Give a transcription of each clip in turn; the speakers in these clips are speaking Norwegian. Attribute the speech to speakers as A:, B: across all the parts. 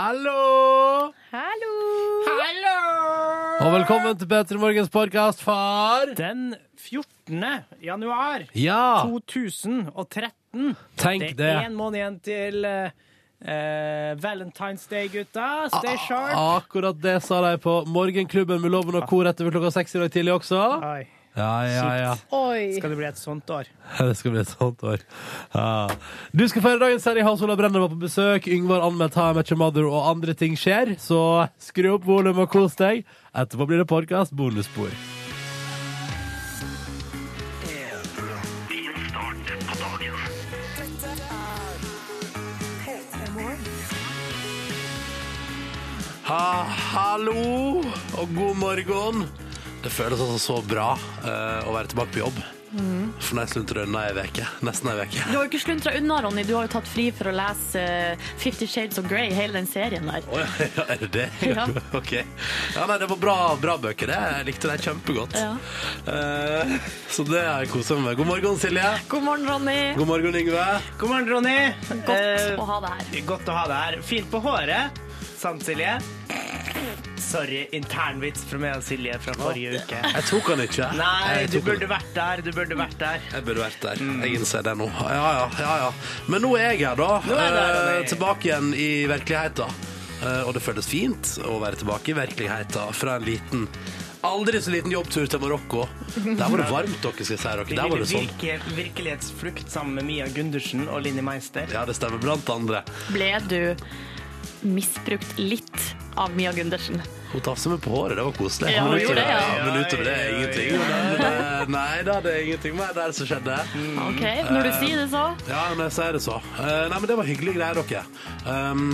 A: Hallo!
B: Hallo!
A: Hallo! Og velkommen til Petter Morgens podkast, far.
C: Den 14. januar
A: Ja,
C: 2013.
A: tenk
C: Det
A: det.
C: er én måned igjen til eh, eh, Valentine's Day, gutta. Stay sharp.
A: Akkurat det sa de på Morgenklubben med Loven og Kor etter klokka seks i dag tidlig også.
C: Oi,
A: Ja, ja, ja.
B: Oi.
C: skal det bli et sånt år?
A: Det skal bli et sånt år. Ja. Du skal feire dagen særlig. Hans Olav Brenner var på besøk. Yngvar anmeldt How I Met Your Mother og andre ting skjer. Så skru opp volumet og kos deg. Etterpå blir det podkast bonusspor. Ha, hallo og god morgen. Det føles altså så bra eh, å være tilbake på jobb. For nå er jeg slunt unna ei uke. Nesten ei uke.
B: Du har jo ikke sluntra unna, Ronny. Du har jo tatt fri for å lese eh, Fifty Shades of Grey, hele den serien der.
A: Å ja, er det det?
B: Ja.
A: OK. Ja, nei, det var bra, bra bøker, det. Jeg likte dem kjempegodt.
B: Ja.
A: Eh, så det har jeg kosa meg med. God morgen, Silje.
B: God morgen, Ronny.
A: God morgen, Yngve.
C: God morgen, Ronny.
B: Godt
C: Eh,
B: å ha deg her.
C: godt å ha deg her. Fint på håret. Sant, Silje? Sorry, internvits fra meg og Silje fra forrige uke.
A: Jeg tok han ikke.
C: Nei,
A: jeg
C: du
A: tok han
C: burde Mm. vært der. Du burde vært der.
A: Jeg burde vært der. Jeg innser det nå. Ja, ja, ja, ja. Men nå er jeg her, da.
C: Nå er det,
A: Eh,
C: Ronny.
A: tilbake igjen i virkeligheten. Eh, og det føles fint å være tilbake i virkeligheten fra en liten Aldri så liten jobbtur til Marokko. Der var det varmt, dere skal jeg si dere. Der var det sånn.
C: Virke, virkelighetsflukt sammen med Mia Gundersen og Linni Meister.
A: Ja, det stemmer. Blant andre.
B: Ble du misbrukt litt av Mia Gundersen?
A: Hun tafsa meg på håret, det var koselig.
B: Ja, hun
A: Men utover-
B: gjorde det, ja.
A: Men utover det er ingenting. Men, eh, Nei da, det er ingenting mer der som skjedde.
B: OK, når du
A: eh,
B: sier det, så.
A: Ja, men jeg sier det så. Eh, Nei, men det var hyggelige greier, dere. Um,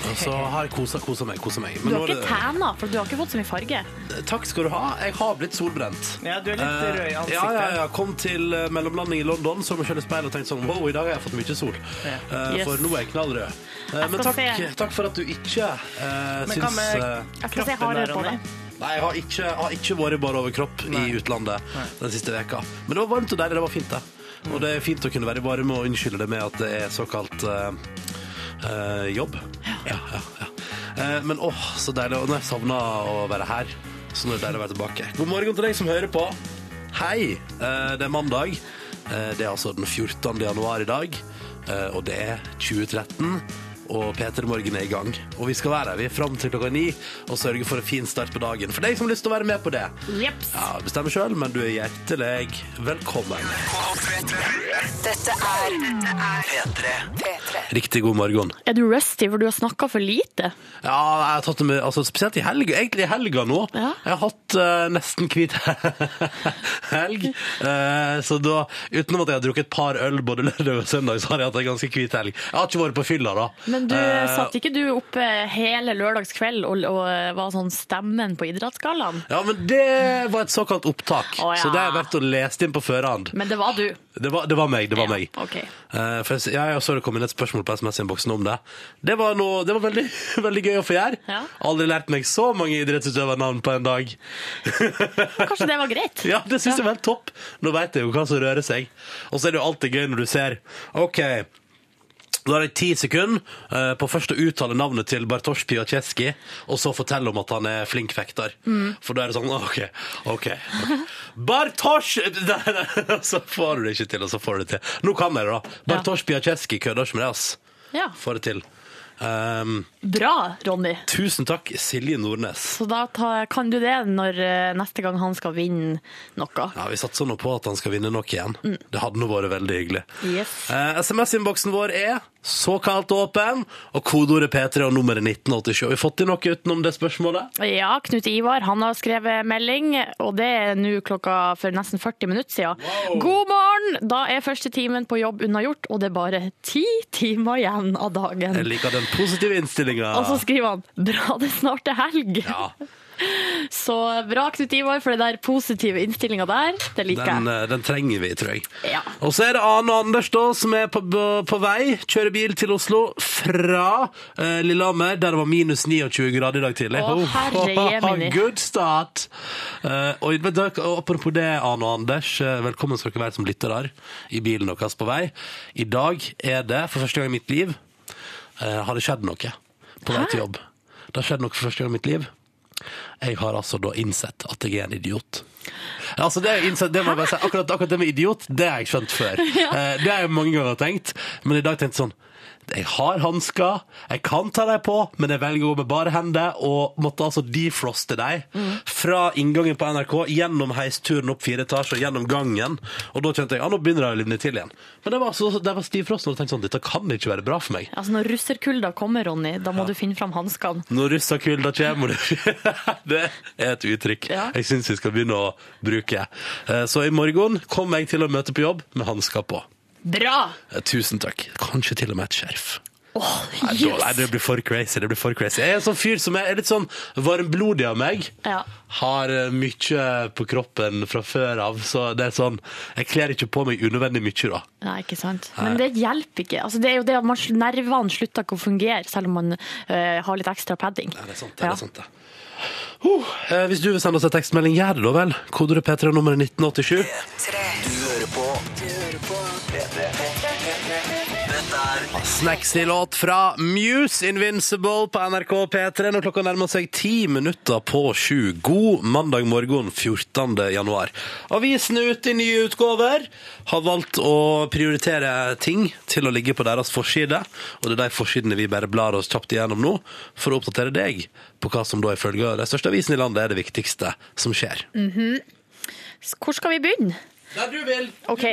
A: og så har jeg kosa, kosa meg, kosa meg. Men
B: Du
A: nå
B: har
A: er
B: ikke tanna, for du har ikke fått så mye farge.
A: det, takk skal du ha. Jeg har blitt solbrent.
C: Ja, du er litt
A: Eh,
C: rød i ansiktet.
A: Ja, ja, ja. Kom til eh, mellomlanding i London, så meg selv i speilet og tenkte sånn Wow, i dag har jeg fått mye sol.
C: Ja.
A: Eh,
B: Yes.
A: For nå er jeg knallrød. Eh,
B: Jeg
A: men
B: skal
A: takk,
B: se.
A: takk for at du ikke uh,
C: Men hva
A: syns
C: med
A: eh,
B: Jeg skal se
C: kroppen
B: hardere
C: der,
B: på
C: Ronny?
B: det.
A: Nei, jeg har ikke, jeg har ikke vært bare overkropp i utlandet den siste veka. Men det var varmt og deilig, det var fint det. Og det er fint å kunne være varme og unnskylde det med at det er såkalt eh, eh, jobb. Ja, ja, ja. Eh, men åh, så deilig. Og nå har jeg savna å være her. Så nå er det deilig å være tilbake. God morgen til deg som hører på. Hei, eh, det er mandag. Eh, det er altså den 14. januar i dag, eh, og det er 2013 og Peter Morgen er i gang. Og vi skal være her vi er fram til klokka ni og sørge for en fin start på dagen. For deg som har lyst til å være med på det.
B: Jeps.
A: Ja, Bestemmer sjøl, men du er hjertelig velkommen.
D: Dette er P3. P3.
A: Riktig god morgen.
B: Er du rusty, for du har snakka for lite?
A: Ja, jeg har tatt det med, altså spesielt i helga, egentlig i helga nå.
B: Ja.
A: Jeg har hatt eh, nesten hvit helg. Eh, så da, utenom at jeg har drukket et par øl både lørdag og søndag, så har jeg hatt en ganske hvit helg. Jeg har ikke vært på fylla da.
B: Men du,
A: Eh,
B: satt ikke du oppe hele lørdagskveld og, og var sånn stemmen på Idrettsgallaen?
A: Ja, men det var et såkalt opptak,
B: Å, ja.
A: så det har jeg vært og lest inn på førehånd.
B: Men det var du.
A: Det var, det var meg, det var meg.
B: Ja, ok.
A: Eh, for jeg, s- ja, jeg så det kom inn et spørsmål på SMS-innboksen om det. Det var, noe, det var veldig, veldig gøy å få gjøre.
B: Ja.
A: Aldri lært meg så mange idrettsutøvernavn på en dag.
B: Kanskje det var greit?
A: Ja, Det syns jeg var helt topp. Nå veit jeg jo hva som rører seg. Og så er det jo alltid gøy når du ser OK, da har jeg ti sekunder eh, på først å uttale navnet til Bartosz Piacheski, og så fortelle om at han er flink fekter. For da er det sånn OK, OK. ok. Bartosz Nei, nei, Så får du det ikke til, og så får du det til. Nå kan jeg det, da. Bartosz Piacheski kødder ikke med det, ass.
B: Ja.
A: Får det til. Ehm,
B: Bra, Ronny.
A: tusen takk, Silje Nordnes.
B: Så da ta, kan du det når eh, neste gang han skal vinne noe.
A: Ja, Vi satser nå på at han skal vinne noe igjen. Det hadde nå vært veldig hyggelig.
B: Mm. Yes.
A: Eh, SMS-innboksen vår er såkalt åpen, og kodeordet P3 og nummeret 1987. Har vi fått inn noe utenom det spørsmålet?
B: Ja, Knut Ivar han har skrevet melding, og det er nå klokka for nesten 40 minutter siden. God morgen! Da er første timen på jobb unnagjort, og det er bare ti timer igjen av
A: Jeg
B: dagen.
A: liker den positive innstillinga.
B: Og så skriver han 'bra det snart er helg'.
A: Ja,
B: Så bra, Knut Ivar, for den der positive innstillinga der. Det liker
A: den,
B: jeg.
A: eh, den trenger vi, tror jeg.
B: Ja.
A: Og så er det Ane Anders da, som er på, på, på vei. Kjører bil til Oslo fra eh, Lillehammer, der det var minus 29 grader i dag tidlig.
B: Å, herre jemini.
A: Good start! Eh, og, men dere, og apropos det, Ane og Anders, eh, velkommen skal dere være som lyttere i bilen deres på vei. I dag er det, for første gang i mitt liv, eh, har det skjedd noe på vei til jobb. Det har skjedd noe for første gang i mitt liv. Jeg har altså da innsett at jeg er en idiot. Altså det, er innsett, det må jeg bare si, akkurat, akkurat det med idiot, det har jeg skjønt før. Eh, Det har jeg mange ganger tenkt, men i dag tenkte jeg sånn jeg har hansker, jeg kan ta dem på, men jeg velger å gå med bare hender. Og måtte altså defroste dem fra inngangen på NRK, gjennom heisturen opp fire etasjer, gjennom gangen. Og da kjente jeg ja, nå begynner det å livne til igjen. Men det var, så, det var stivfrosten, og jeg tenkte sånn, dette kan ikke være bra for meg.
B: Altså Når russerkulda kommer, Ronny, da må du finne fram hanskene.
A: Når russakulda kommer, du. Det er et uttrykk
B: Ja.
A: jeg syns vi skal begynne å bruke. Eh, Så i morgen kommer jeg til å møte på jobb med hansker på.
B: Bra!
A: Eh, Tusen takk. Kanskje til og med et skjerf.
B: Åh,
A: Nei, da- nei,
B: yes!
A: det blir for crazy. det blir for crazy. Jeg er en sånn fyr som er litt sånn varmblodig av meg.
B: Ja.
A: Har eh, mye på kroppen fra før av, så det er sånn Jeg kler ikke på meg unødvendig mye, da.
B: Nei, ikke sant. Men det hjelper ikke. Altså, det er jo det at man, Nervene slutter ikke å fungere, selv om man eh, har litt ekstra padding.
A: Ja, det er sant, det. det er sant, det. Huh, eh, hvis du vil sende oss en tekstmelding, gjør det da vel. Kodeordet P3 nummeret 1987.
D: Tre. Du hører på. Du hører på.
A: Snacks i låt fra Muse Invincible på NRK P3 når klokka nærmer seg ti minutter på sju. God mandag morgen 14. januar. Avisen er ute i nye utgaver. Har valgt å prioritere ting til å ligge på deres forside. Og det er de forsidene vi bare blar oss kjapt igjennom nå, for å oppdatere deg på hva som da ifølge de største avisene i landet er det viktigste som skjer.
B: Hvor skal vi begynne?
A: Der du vil!
B: Ok,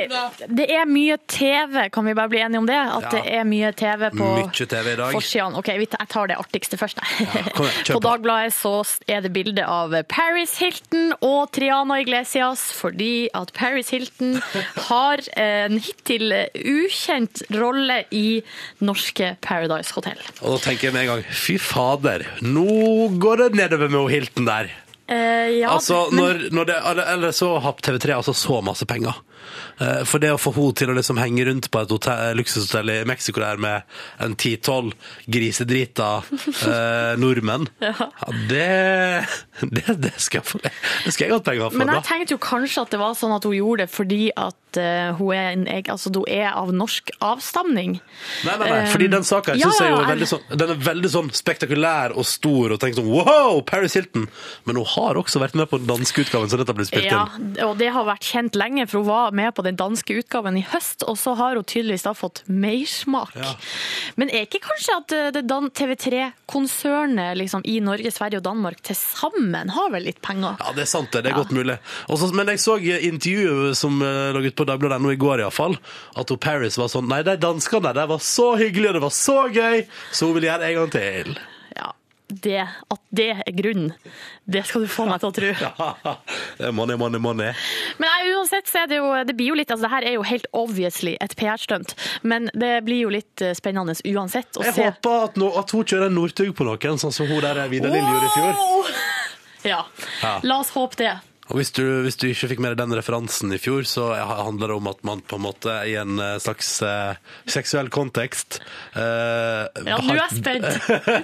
B: Det er mye TV, kan vi bare bli enige om det? At
A: Ja.
B: det er mye TV på
A: Mye TV i dag.
B: forsidene. Ok, vi- jeg tar det artigste først. jeg.
A: kom igjen, kjør på.
B: på Dagbladet så er det bilde av Paris Hilton og Triana Iglesias, fordi at Paris Hilton har en hittil ukjent rolle i norske Paradise Hotel.
A: Og da tenker jeg med en gang fy fader, nå går det nedover med hun Hilton der.
B: Eh, ja,
A: Altså,
B: men-
A: når, når det, eller- eller så har TV3 altså så masse penger. Eh, For det å få henne til å liksom henge rundt på et hotell, luksushotell i Mexico der med en 10-12 grisedrita eh, nordmenn, ja. det, det, det, skal jeg få, det skal jeg godt penger for.
B: Men
A: da.
B: jeg tenkte jo kanskje at det var sånn at hun gjorde det fordi at eh, hun, er en, eg- altså, hun er av norsk avstamning.
A: Nei, nei, nei, fordi den saken her
B: Ja,
A: synes jeg jo er
B: ja,
A: veldig
B: jeg-
A: sånn, den er veldig sånn spektakulær og stor, og tenker sånn, wow, Paris Hilton! Men hun har også vært med på den danske utgaven, så dette blir spilt
B: Ja,
A: inn.
B: og det har vært kjent lenge, for hun var med på den danske utgaven i høst, og så har hun tydeligvis da fått mersmak.
A: Ja.
B: Men er ikke kanskje at eh, det Dan- TV3-konsernet liksom, i Norge, Sverige og Danmark til sammen har vel litt penger?
A: Ja, det er sant det. Det er
B: Ja.
A: godt mulig. Også, men jeg så eh, intervjuet som eh, lå ute på Dagbladet.no i går, iallfall, at hun Paris var sånn Nei, de danskene der var så hyggelige, og det var så gøy, så hun vil gjøre det en gang til.
B: Ja, det, at det er grunnen, det skal du få meg til å tro.
A: det er money, money, money.
B: Men nei, uansett så er det jo, det blir jo litt, altså det her er jo helt obviously et PR-stunt, men det blir jo litt eh, spennende uansett å
A: Jeg
B: se.
A: håper at, nå- at hun kjører en Northug på noen, sånn som hun der Vidar Lill gjorde i fjor.
B: Wow! Ja,
A: Ja.
B: la oss håpe det.
A: Og hvis du, hvis du ikke fikk med deg den referansen i fjor, så eh, handler det om at man på en måte i en eh, slags eh, seksuell kontekst eh,
B: Ja, nå er jeg spent.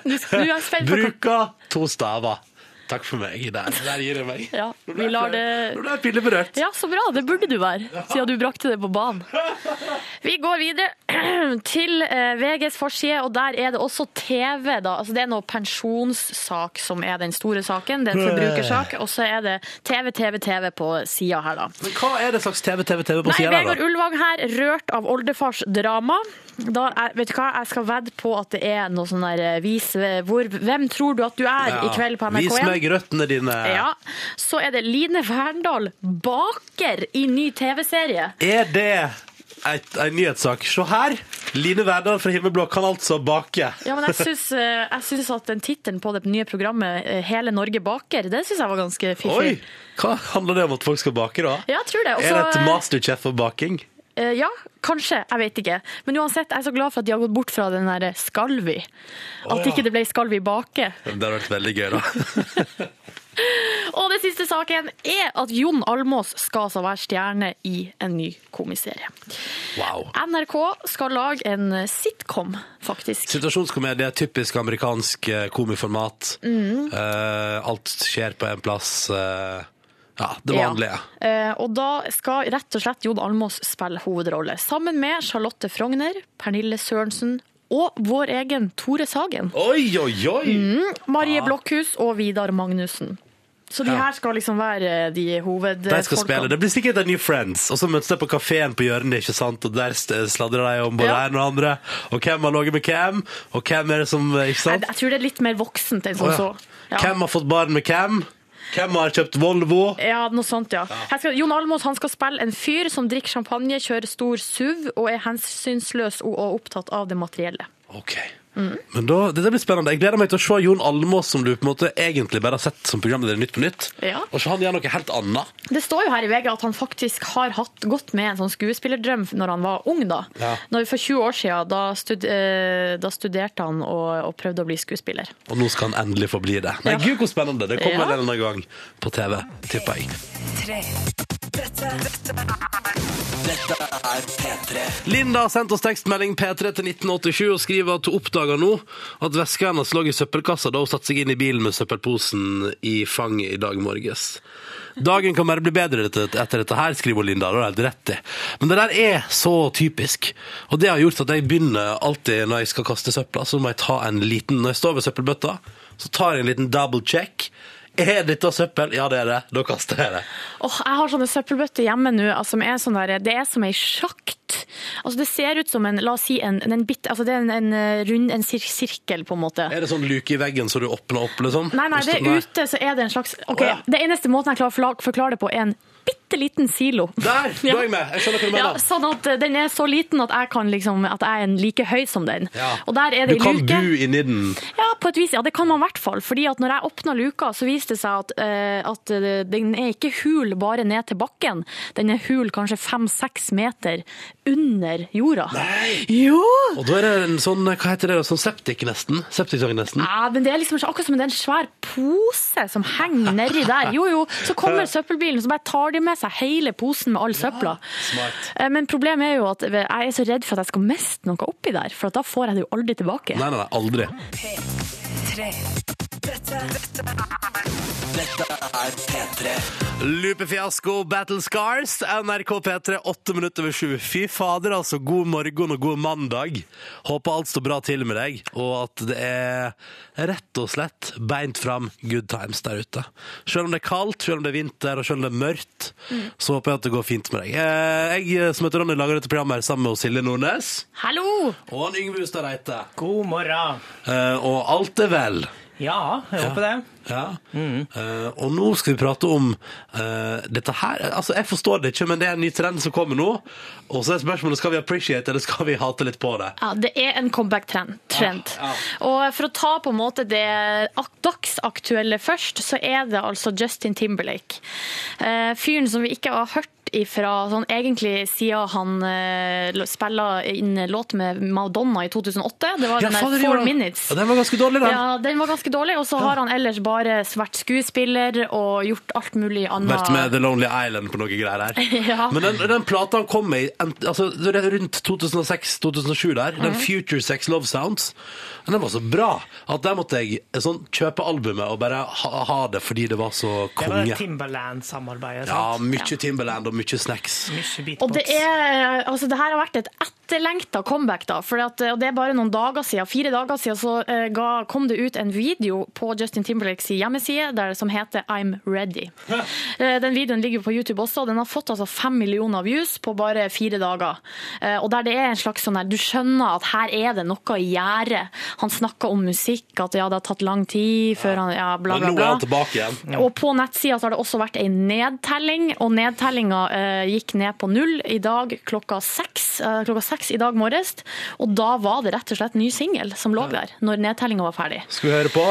B: Nå skal- nå er jeg spent på hva-
A: Bruker to staver. Takk for meg. Der, der gir jeg meg.
B: Ja,
A: Nå ble
B: vi
A: jeg
B: lar
A: flau.
B: det-
A: Nå ble jeg pinlig berørt.
B: Ja, så bra. Det burde du være, siden du brakte det på banen. Vi går videre til eh, VGs forside, og der er det også TV. da. Altså, det er noe pensjonssak som er den store saken. Det er en forbrukersak. Og så er det TV, TV, TV på sida her, da.
A: Men hva er det slags TV, TV, TV på
B: Nei,
A: sida der,
B: Vegard
A: da?
B: Ulvang her, rørt av oldefars drama. Da er, vet du hva, jeg skal vedde på at det er noe sånn der eh, vis hvor, Hvem tror du at du er i kveld på
A: Vis
B: NRK1?
A: meg røttene dine.
B: Ja. Så er det Line Verndal baker i ny TV-serie.
A: Er det et- en nyhetssak? Se her! Line Verdal fra Himmelblå kan altså bake.
B: Ja, men jeg syns, eh, jeg syns at den tittelen på det nye programmet, eh, Hele Norge baker, det syns jeg var ganske
A: Oi!
B: fiffig.
A: Hva handler det om at folk skal bake, da?
B: Ja, jeg tror det.
A: er det
B: Også,
A: et
B: eh,
A: masterchef for baking?
B: Eh, Ja, kanskje. Jeg vet ikke. Men uansett, jeg er så glad for at de har gått bort fra den der eh, Skalvi. At
A: ja.
B: ikke det ble Skalvi bake.
A: Det hadde vært veldig gøy, da.
B: Og den siste saken er at Jon Almås skal altså være stjerne i en ny komiserie.
A: Wow.
B: NRK skal lage en sitcom, faktisk.
A: Situasjonskomedie, typisk amerikansk eh, komiformat.
B: Mm.
A: Eh, alt skjer på en plass. eh, ja, det vanlige.
B: Ja. Eh, Og da skal rett og slett Jon Almås spille hovedrolle. Sammen med Charlotte Frogner, Pernille Sørensen og vår egen Tore Sagen.
A: Oi, oi, oi!
B: Mm. Marie Blokhus og Vidar Magnussen. Så de
A: Ja.
B: her skal liksom være eh, de hovedfolkene.
A: De skal spille. Det blir sikkert en ny Friends. Og så møtes de på kafeen på hjørnet, ikke sant? og der st- sladrer de om både
B: Ja.
A: en og andre. Og hvem har ligget med hvem, og hvem er det som eh, Ikke
B: Nei,
A: sant?
B: Jeg tror det er litt mer voksent enn som
A: Å, ja.
B: så. Ja.
A: Hvem har fått barn med hvem? Hvem har kjøpt Volvo?
B: Ja, noe sånt, ja. Her skal, Jon Almaas han skal spille en fyr som drikker champagne, kjører stor SUV og er hensynsløs og, og opptatt av det materielle.
A: Ok.
B: Mm.
A: Men da, Dette blir spennende. Jeg gleder meg til å se Jon Almaas, som du på en måte egentlig bare har sett som programleder i Nytt på Nytt.
B: Ja.
A: Og så han gjør noe helt annet.
B: Det står jo her i VG at han faktisk har hatt godt med en sånn skuespillerdrøm når han var ung. da.
A: Ja.
B: Når, for 20 år siden, da, stud, eh, da studerte han og, og prøvde å bli skuespiller.
A: Og nå skal han endelig få bli det. Nei,
B: Ja.
A: gud, hvor spennende! Det kommer
B: Ja.
A: vel en eller annen gang på TV, tipper jeg. Linda har sendt oss tekstmelding P3 til 1987 og skriver at hun oppdager nå at veska hennes lå i søppelkassa da hun satte seg inn i bilen med søppelposen i fanget i dag morges. Dagen kan bare bli bedre etter etter dette her, skriver hun Linda. Det har hun helt rett i. Men det der er så typisk. Og det har gjort at jeg begynner alltid når jeg skal kaste søpla, så må jeg ta en liten Når jeg står ved søppelbøtta, så tar jeg en liten double check. Er dette søppel? Ja, det er det. Da kaster jeg det.
B: Åh, jeg har sånne søppelbøtter hjemme nå. Altså, som er sånn der, det er som ei sjakt. Altså, det ser ut som en la oss si, en, en bit, altså, det er en, en eh, rund en sir sirkel, på en måte.
A: Er det sånn luke i veggen så du åpner opp, liksom?
B: Nei, nei, det er
A: Nei.
B: ute, så er det en slags Ok,
A: Å, ja.
B: Det eneste måten jeg klarer å forla- forklare det på, er en bitte liten silo.
A: Der! Da er jeg med. Jeg skjønner hva du
B: Ja,
A: mener.
B: sånn at eh, Den er så liten at jeg, kan liksom, at jeg er like høy som den.
A: Ja.
B: Og der er
A: Du
B: det ei
A: kan
B: luke.
A: bu inni den.
B: Ja, på et vis, ja, det kan man i hvert fall. Fordi at når jeg åpna luka, så viste det seg at, eh, at eh, den er ikke hul bare ned til bakken. Den er hul kanskje fem-seks meter under jorda.
A: Nei!
B: Jo!
A: Og da er det en sånn, hva heter det, da? sånn septik nesten. Septiktang nesten.
B: Ja, men det er liksom ikke akkurat som det er en svær pose som henger nedi der. Jo, jo, så kommer søppelbilen, så bare tar de med seg hele posen med all søpla.
A: smart.
B: Eh, Men problemet er jo at jeg er så redd for at jeg skal miste noe oppi der, for at da får jeg det jo aldri tilbake.
A: Nei, nei, nei, aldri. Lupefiasko, Battle Scars, NRK P3, åtte minutter over sju. Fy fader, altså. God morgen og god mandag. Håper alt står bra til med deg, og at det er rett og slett beint fram good times der ute. Selv om det er kaldt, selv om det er vinter, og selv om det er mørkt, så håper jeg at det går fint med deg. Eh, Jeg som heter Ronny, lager dette programmet her sammen med Silje Nordnes.
B: Hallo!
A: Og han Yngve Hustad Reite.
C: God morgen.
A: Eh, og alt er vel.
C: Ja, jeg håper det.
A: Ja.
B: Mm.
A: Eh, og nå skal vi prate om eh, dette her. Altså, Jeg forstår det ikke, men det er en ny trend som kommer nå. Og så er spørsmålet skal vi appreciate eller skal vi hate litt på det.
B: Ja, det er en comeback-trend. Trend.
A: Ah, Ja,
B: Og for å ta på en måte det ak- dagsaktuelle først, så er det altså Justin Timberlake. Eh, Fyren som vi ikke har hørt ifra sånn egentlig siden han uh, spilla inn låt med Madonna i 2008. Det var den
A: fader, gjorde
B: der Four
A: han-
B: Minutes.
A: Ja, den var ganske dårlig, den.
B: Ja, den var ganske dårlig, og så har han ellers bare vært skuespiller og gjort alt mulig annet.
A: Vært med The Lonely Island på noe greier her.
B: Ja.
A: Men den, den plata han kom med i ent- altså, det er rundt 2006-2007 der,
B: Mhm.
A: den Future Sex Love Sounds, den var så bra at der måtte jeg eh, sånn, kjøpe albumet og bare ha, ha det fordi det var så
C: Det var det
A: konge.
C: Timberland-samarbeidet.
A: Ja,
C: sant?
A: mye Timberland og mye snacks.
C: Mye beatbox.
B: Og det, er, altså, det her har vært et etterlengta comeback. da, for at, eh, og Det er bare noen dager siden, fire dager siden så eh, ga, kom det ut en video på Justin Timberlakes hjemmeside der, som heter I'm Ready. Eh, den videoen ligger jo på YouTube også, og den har fått altså fem millioner views på bare fire dager. Eh, og der det er en slags sånn her, Du skjønner at her er det noe i gjære. Han snakker om musikk, at ja, det har tatt lang tid før han ja, bla,
A: Men nå
B: bla,
A: er
B: bla.
A: han tilbake igjen.
B: Og på nettsida så har det også vært en nedtelling, og nedtellinga eh, gikk ned på null i dag klokka seks, eh, klokka seks i dag morges. Og da var det rett og slett ny singel som lå der, når nedtellinga var ferdig.
A: Skal vi høre på?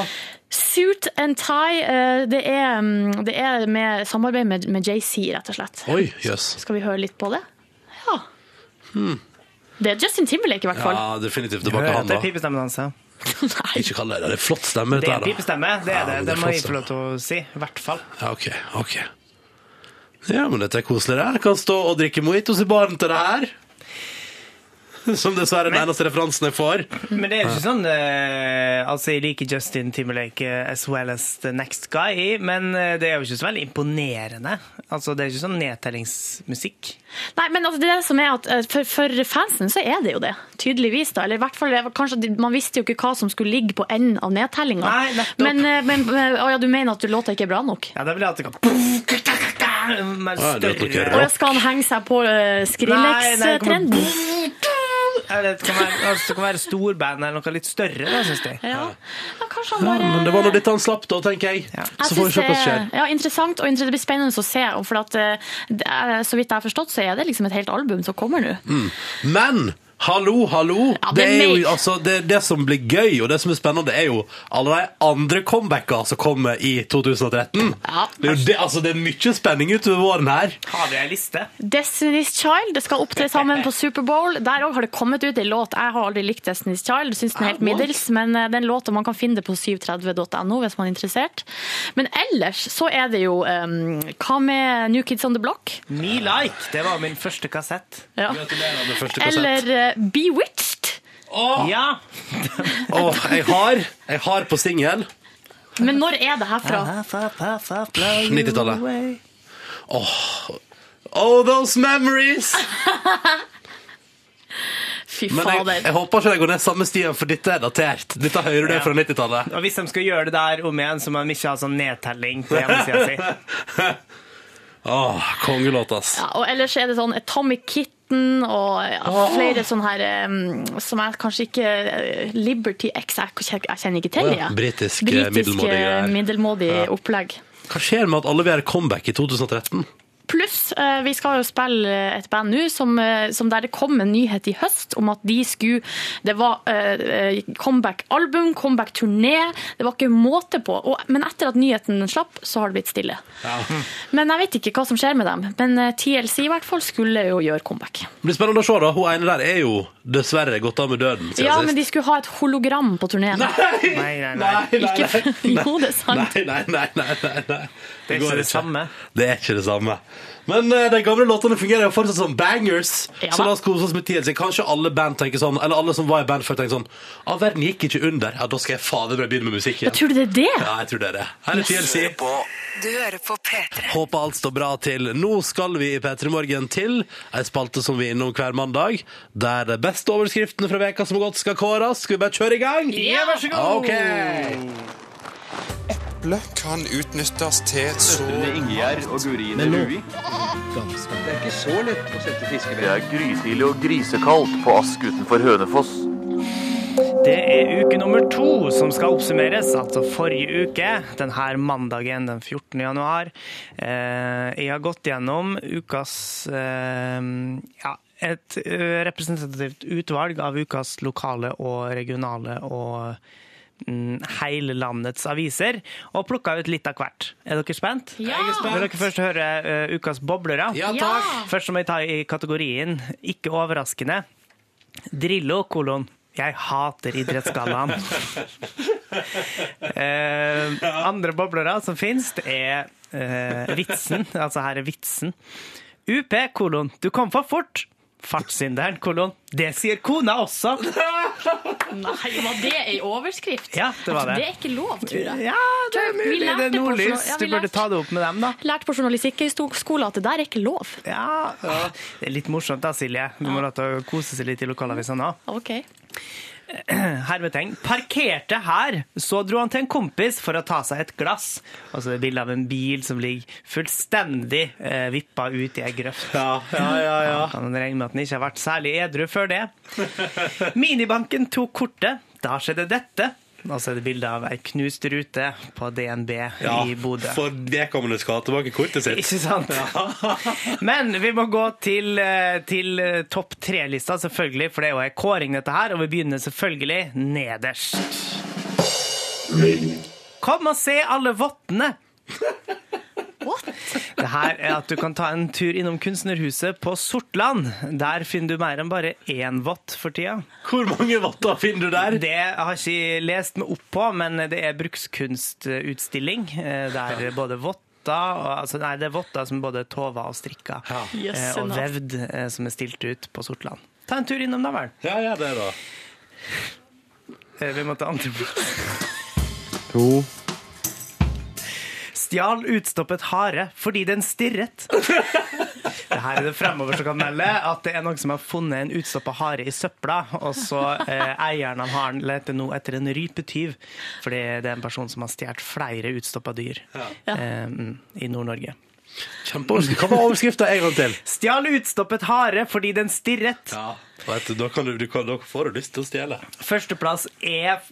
B: Suit and tie, eh, det er, mm, det er med samarbeid med, med JC, rett og slett.
A: Oi, jøss.
B: Skal vi høre litt på det? Ja. Det er Justin Timberlake, i hvert fall.
A: Hmm. Ja, definitivt
C: Hører
A: tilbake
C: at
A: han,
C: det
A: da.
C: er pipestemme hans, ja.
B: Nei.
A: Ikke kall det det. Det er flott stemme,
C: Det
A: dette
C: er
A: her. da.
C: pipestemme, det
A: Ja,
C: er det.
A: men
C: Det
A: det er
C: må
A: flott
C: jeg få lov til å si. I hvert fall.
A: Ja, OK. ok. Ja, men dette er koselig. det. Jeg kan stå og drikke mojitos i baren til det her. Som dessverre er den eneste referansen jeg får.
C: Men det er jo ikke sånn eh,
E: eh, altså, jeg liker Justin Timberlake eh, as well as the next guy, men eh, det er jo ikke så veldig imponerende. Altså, det er ikke sånn nedtellingsmusikk.
B: Nei, men altså, det er det som er at eh, for, for fansen så er det jo det, tydeligvis. da, eller i hvert fall, det var kanskje, at de- Man visste jo ikke hva som skulle ligge på enden av nedtellinga.
E: Nei, nettopp.
B: Men, eh, men å, ja, du mener at du låta ikke er bra nok?
E: Ja, da ville jeg hatt det kan- Med
A: Ja, det er
E: større
A: nok
B: Og
A: rock.
B: da skal han henge seg på eh,
E: Nei, nei, kom igjen.
B: Skrillex-trenden?
E: Eller det kan være, altså, det kan være storband eller noe litt større, da, syns jeg.
B: Ja. ja, kanskje han
A: Ja,
B: bare
A: men det var nå dette han slapp, da, tenker jeg.
B: Jeg
A: Så får vi
B: synes
A: se hva som
B: det er-
A: skjer.
B: Ja, interessant, og inter- det blir spennende å se. og For at, eh, det er, så vidt jeg har forstått, så er det liksom et helt album som kommer nå.
A: Men hallo, hallo!
B: Ja,
A: det,
B: det
A: er
B: mer-
A: jo, altså, det, det som blir gøy, og det som er spennende, er jo alle de andre comebacker som kommer i 2013.
B: Ja.
A: Det, er jo det, altså, det er mye spenning utover våren her.
E: Har vi ei liste?
B: Destiny's Child det skal opptre sammen på Superbowl. Der òg har det kommet ut en låt. Jeg har aldri likt Destiny's Child, syns den er helt middels, men eh, den låta man kan finne det på 730.no hvis man er interessert. Men ellers så er det jo eh, Hva med New Kids On The Block?
E: Me Like. Det var min første kassett.
B: Ja.
A: Gratulerer med første kassett.
B: Eller eh, Bewitched?
E: Ja.
A: Og jeg har, jeg har på singel
B: Men når er det herfra?
A: 90-tallet. Oh, those memories!
B: Ah, Fy
A: Men jeg,
B: fader.
A: jeg håper ikke jeg går ned samme stien, for dette er datert. Dette hører du
E: Ja.
A: fra 90-tallet.
E: Og hvis de skal gjøre det der om igjen, så må de ikke ha sånn nedtelling på hjemmesida si.
A: Åh, kongelåt, ass.
B: Ja, og ellers er det sånn Atomic Kitten og ja, flere sånne her em, som jeg kanskje ikke eh, Liberty X, jeg, kjen- jeg kjenner ikke til
A: Å
B: det.
A: ja,
B: jeg.
A: britisk, eh,
B: Britisk,
A: middelmådig
B: eh,
A: greier.
B: middelmådig opplegg.
A: Hva skjer med at alle vil gjøre comeback i 2013?
B: Pluss, eh, vi skal jo spille et band nå som, eh, som der det kom en nyhet i høst om at de skulle Det var eh, eh, comeback-album, comeback-turné. Det var ikke måte på. Og, men etter at nyheten slapp, så har det blitt stille. Men jeg vet ikke hva som skjer med dem. Men eh, TLC i hvert fall skulle jo gjøre comeback.
A: Det blir spennende å se, da. Hun ene der er jo dessverre gått av med døden siden
B: Ja,
A: sist.
B: men de skulle ha et hologram på turneen.
E: Nei, nei, nei.
A: Nei, nei, nei.
B: Ikke- Jo, det er sant.
A: Nei, nei, nei, nei, nei, nei.
E: Det er
A: går
E: ikke det samme.
A: Det er ikke det samme. Men eh, de gamle låtene fungerer jo fortsatt som bangers.
B: Ja,
A: så
B: da.
A: la oss kose oss med TLC. Kanskje alle band tenker sånn, eller alle som var i band før, tenker sånn Ja, verden gikk ikke under. Ja, da skal jeg fader meg begynne med musikk igjen.
B: Tror du det er det?
A: Ja, jeg tror det er det. Her er TLC.
D: På. Du hører på P3.
A: Håper alt står bra til. Nå skal vi i P3 Morgen til ei spalte som vi er innom hver mandag, der de beste overskriftene fra veka som har gått, skal kåres. Skal vi bare kjøre i gang?
E: Ja, vær så god.
A: OK.
F: Eple kan utnyttes til så
G: Ingjerd og Gurine Rui. Det er ikke så lett å sette fiskevær. Det er grytidlig og grisekaldt
H: Oh
G: på Ask utenfor Hønefoss.
E: Det er uke nummer to som skal oppsummeres, altså forrige uke. Denne mandagen den 14. januar. Eh, jeg har gått gjennom ukas eh, ja, et eh, representativt utvalg av ukas lokale og regionale og mm, hele landets aviser, og plukka ut litt av hvert. Er dere spent?
B: Ja!
E: Vil dere først høre eh, ukas boblere?
A: Ja,
B: Ja.
A: takk.
E: Først må jeg ta i kategorien ikke overraskende. Drillo, kolon. Jeg hater idrettsgallaen. Eh, andre boblere som finnes, det er eh, vitsen. Altså her er vitsen. UP, kolon. Du kom for fort. Fartssynderen, kolon. Det sier kona også.
B: Nei, var det ei overskrift? Altså,
E: Ja, det var det.
B: Det er ikke lov, tror jeg.
E: Ja, det er
B: Vi
E: mulig. Det
B: lærte
E: er
B: på
E: nordlys.
B: journal- ja,
E: Du
B: vi
E: burde
B: lærte.
E: ta det opp med dem, da.
B: Lærte på journalistikkskolen at det der er ikke lov.
E: Ja, Det er litt morsomt da, Silje. Du må la det kose seg litt i lokalavisa nå.
B: Ok.
E: hermetegn, parkerte her, så dro han til en kompis for å ta seg et glass. Og så er det bilde av en bil som ligger fullstendig eh, vippa ut i ei grøft.
A: Ja, ja, ja, ja.
E: Kan man regne med at den ikke har vært særlig edru før det. Minibanken tok kortet. Da skjedde dette. Og så er det bilde av ei knust rute på DNB i Bodø.
A: For vedkommende skal ha tilbake kortet sitt.
E: Ikke sant? Men vi må gå til, eh, til eh, topp tre-lista, selvfølgelig, for det er jo en kåring, dette her. Og vi begynner selvfølgelig nederst. Kom og se alle vottene!
B: What?
E: Det her er at du kan ta en tur innom Kunstnerhuset på Sortland. Der finner du mer enn bare én vott for tida.
A: Hvor mange vatter finner du der?
E: Det har ikke jeg lest meg opp på, men det er brukskunstutstilling eh, der både votter og, altså, Nei, det er votter som både tova og strikka eh, og
B: Jøsse navn.
E: vevd eh, som er stilt ut på Sortland. Ta en tur innom da, vel.
A: Ja, ja, det er da.
E: Eh, Vi må ta andreplass.
I: to,
E: Stjal utstoppet hare fordi den stirret. Det her er det fremover som kan melde at det er noen som har funnet en utstoppa hare i søpla, og så eh, eieren av haren leter nå etter en rypetyv, fordi det er en person som har stjålet flere utstoppa dyr eh, mm, i Nord-Norge.
A: Kjempeoverskrift. Hva var overskrifta en gang til?
E: Stjal utstoppet hare fordi den stirret.
A: Ja. Vet du, da, kan du, du kan, da får du lyst til å stjele.
E: Førsteplass er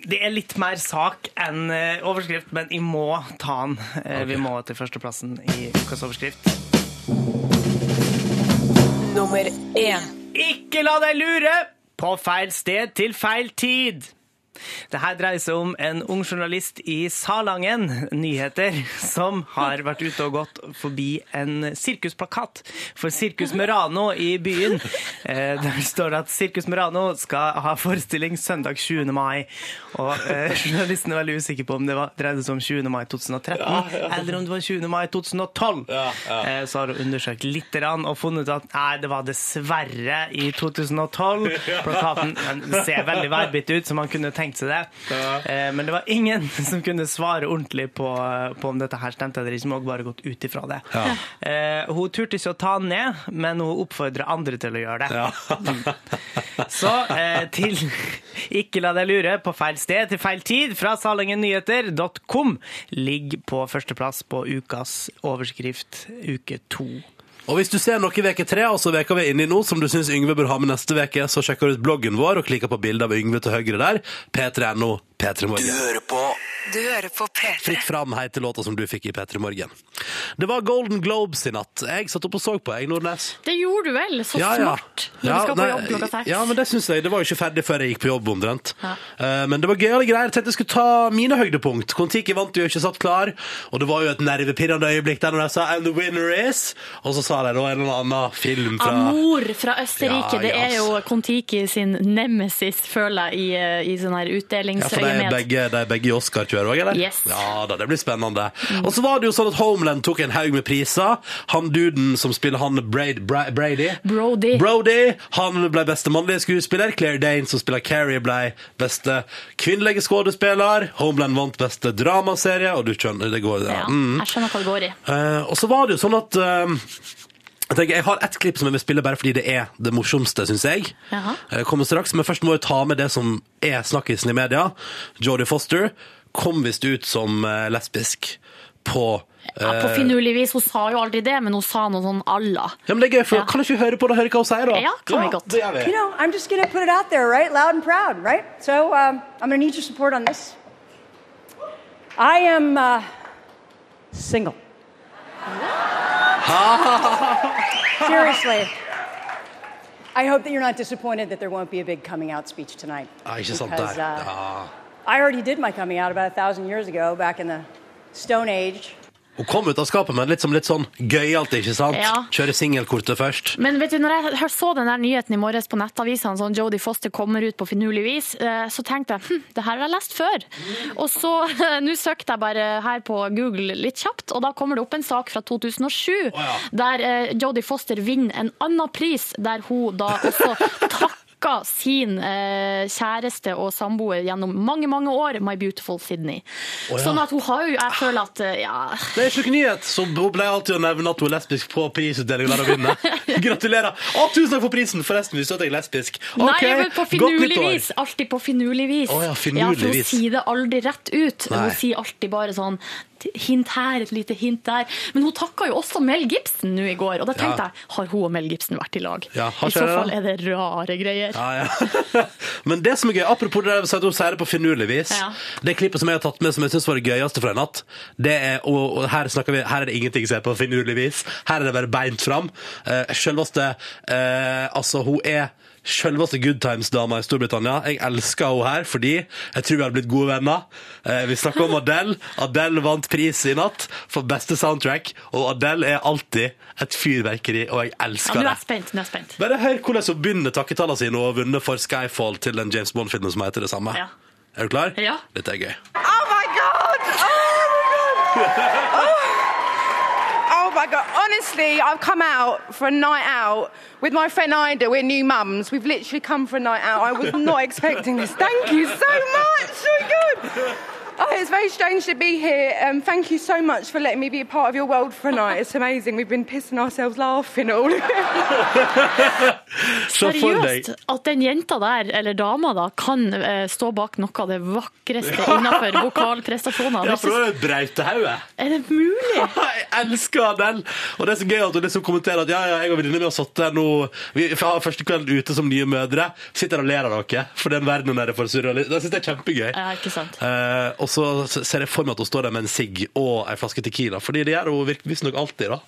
E: det er litt mer sak enn eh, overskrift, men jeg må ta den. Eh, Vi må til førsteplassen i ukas overskrift.
D: Nummer én.
E: Ikke la deg lure! På feil sted til feil tid. Det her dreier seg om en ung journalist i Salangen Nyheter som har vært ute og gått forbi en sirkusplakat for Sirkus Murano i byen. Eh, der står det at Sirkus Murano skal ha forestilling søndag 20. mai. Og eh, journalisten er veldig usikker på om det var, dreide seg om 20. mai 2013 eller om det var 20. mai 2012. Eh, Så har hun undersøkt litt grann, og funnet ut at nei, det var dessverre i 2012. Plakaten den ser veldig værbitt ut, så man kunne tenkt seg det. Eh, Men det var ingen som kunne svare ordentlig på, på om dette her stemte eller ikke. Må bare gått ut ifra det. Eh, Hun turte ikke å ta den ned, men hun oppfordra andre til å gjøre det. Så eh, til Ikke la deg lure på feil sted til feil tid fra salangennyheter.com ligger på førsteplass på ukas overskrift uke to.
A: Og hvis du ser noe i veke tre, altså veka vi er inne i nå, som du syns Yngve bør ha med neste veke, så sjekker du ut bloggen vår og klikker på bildet av Yngve til høyre der. P3.no. P3 Morgen.
D: Du hører på P3.
A: Fritt fram heter låta som du fikk i P3 Morgen. Det var Golden Globes i natt. Jeg satt opp og så på, jeg, Nordnes.
B: Det gjorde du vel? Så smart! Når
A: Ja,
B: du skal på
A: nei,
B: jobb klokka seks.
A: Ja, men det syns jeg. Det var jo ikke ferdig før jeg gikk på jobb, omtrent.
B: Ja.
A: Eh, Men det var gøyale greier. Jeg tenkte jeg skulle ta mine høydepunkt. Kon-Tiki vant jo ikke satt klar, og det var jo et nervepirrende øyeblikk der når de sa 'And the winner is', og så sa de da en eller annen film fra
B: Amor fra
A: Ja,
B: Østerrike. det er
A: yes.
B: jo Kon-Tiki sin nemesis, føler jeg, i, eh, i sånn her
A: Ja, for de er
B: utdelingsøyemed.
A: begge, de er begge i Oscar-kjøret òg, eller?
B: Yes.
A: Ja da, det blir spennende. Og så var det jo sånn at Homeland tok en haug med priser. Han duden som spiller han Braid, Bra, Brady
B: Brody.
A: Brody, han ble beste mannlige skuespiller. Claire Dane, som spiller Carrie, ble beste kvinnelige skuespiller. Homeland vant beste dramaserie, og du skjønner, det går ja.
B: Ja,
A: Mm.
B: jeg skjønner hva det går i.
A: Eh, og så var det jo sånn at eh, jeg, tenker, jeg har ett klipp som jeg vil spille bare fordi det er det morsomste, syns jeg.
B: Jaha.
A: Eh, kommer straks, Men først må vi ta med det som er snakkisen i media. Jodie Foster kom visst ut som eh, lesbisk på eh,
B: Ja, på finurlig vis. Hun sa jo aldri det, men hun sa noe sånn Allah.
A: Ja, men det er gøy, for
B: Ja.
A: Kan du ikke høre på det og høre hva hun sier, da?
B: Ja, kan vi godt.
A: det gjør
J: You
A: vi.
J: know, I'm just going to put it out there, right? Loud and proud, right? So um, I'm going to need your support on this. I am uh, single. Seriously. I hope that you're not disappointed that there won't be a big coming out speech tonight.
A: Ja, ikke sant
J: Because,
A: der.
J: uh,
A: Ja.
J: I already did my coming out about a thousand years ago, back in the Stone Age.
A: Hun kom ut av skapet med litt, som litt sånn gøyalt, ikke sant?
B: Ja.
A: Kjøre singelkortet først.
B: Men vet du, når jeg hør- så den der nyheten i morges på nettavisene, sånn Jodie Foster kommer ut på finurlig vis, eh, så tenkte jeg hm, det her har jeg lest før. Og så nå søkte jeg bare her på Google litt kjapt, og da kommer det opp en sak fra 2007 der eh, Jodie Foster vinner en annen pris, der hun da også takker sin eh, kjæreste og samboer gjennom mange mange år, My Beautiful Sydney. Sånn at hun har jo Jeg føler at eh, ja,
A: Det er ikke noe nyhet. Så hun ble alltid å nevne at hun er lesbisk på prisutdelingen der hun vinner. Gratulerer. Å, tusen takk for prisen, forresten. Visste du at jeg er lesbisk? Ok,
B: Nei, men på
A: godt
B: finurlig
A: nyttår.
B: vis. Alltid på finurlig vis.
A: Å ja, finurlig
B: for hun
A: vis.
B: sier det aldri rett ut.
A: Nei.
B: Hun sier alltid bare sånn t- hint her, et lite hint der. Men hun takka jo også Mel Gibson nå i går, og da
A: Ja.
B: tenkte jeg har hun og Mel Gibson vært i lag?
A: Ja, har
B: I
A: ikke
B: så
A: det da?
B: fall er det rare greier.
A: Ja, ja. Men det som er gøy, apropos det der med at hun sier det på finurlig vis,
B: Ja.
A: det klippet som jeg har tatt med som jeg synes var det gøyeste fra i natt, det er, og, og her snakker vi, her er det ingenting som er på finurlig vis, her er det bare beint fram. Eh, selveste, eh, altså hun er Selveste Good Times-dama i Storbritannia. Jeg elsker henne her fordi jeg tror vi hadde blitt gode venner. Eh, vi snakker om Adele. Adele vant pris i natt for beste soundtrack, og Adele er alltid et fyrverkeri, og jeg
B: Ja,
A: elsker
B: nå er
A: det.
B: jeg spent. Nå er jeg spent.
A: Bare hør hvordan hun begynner takketallene sine og har vunnet for Skyfall til den James Bond-filmen som heter det samme.
B: Ja.
A: Er du klar?
B: Ja.
A: Dette er gøy.
G: Oh my god! Oh my god! Oh, oh
H: I got, honestly, I've come out for a night out with my friend Ida. We're new mums. We've literally come for a night out. I was not expecting this. Thank you so much. Oh, my God. Oh, it's very strange to be here. Um, thank you so much for letting me be a part of your world for a night. It's amazing. We've been pissing ourselves laughing all.
A: Se for deg
B: Seriøst, at den jenta der, eller dama da, kan eh, stå bak noe av det vakreste innenfor vokalprestasjoner.
A: Ja,
B: Det
A: for det
B: synes-
A: var det Brautehauget.
B: Er det mulig?
A: Jeg elsker den! Og det er så gøy at hun liksom kommenterer at ja, ja, jeg og venninna mi har sittet her nå Vi har første kvelden ute som nye mødre. Sitter her og ler av dere for den verdenen der er for surrealistisk. Det syns jeg er kjempegøy.
B: Ja, ikke sant.
A: Eh, og så ser jeg for meg at hun står der med en sigg og ei flaske Tequila, fordi det gjør hun virk- visstnok alltid, da.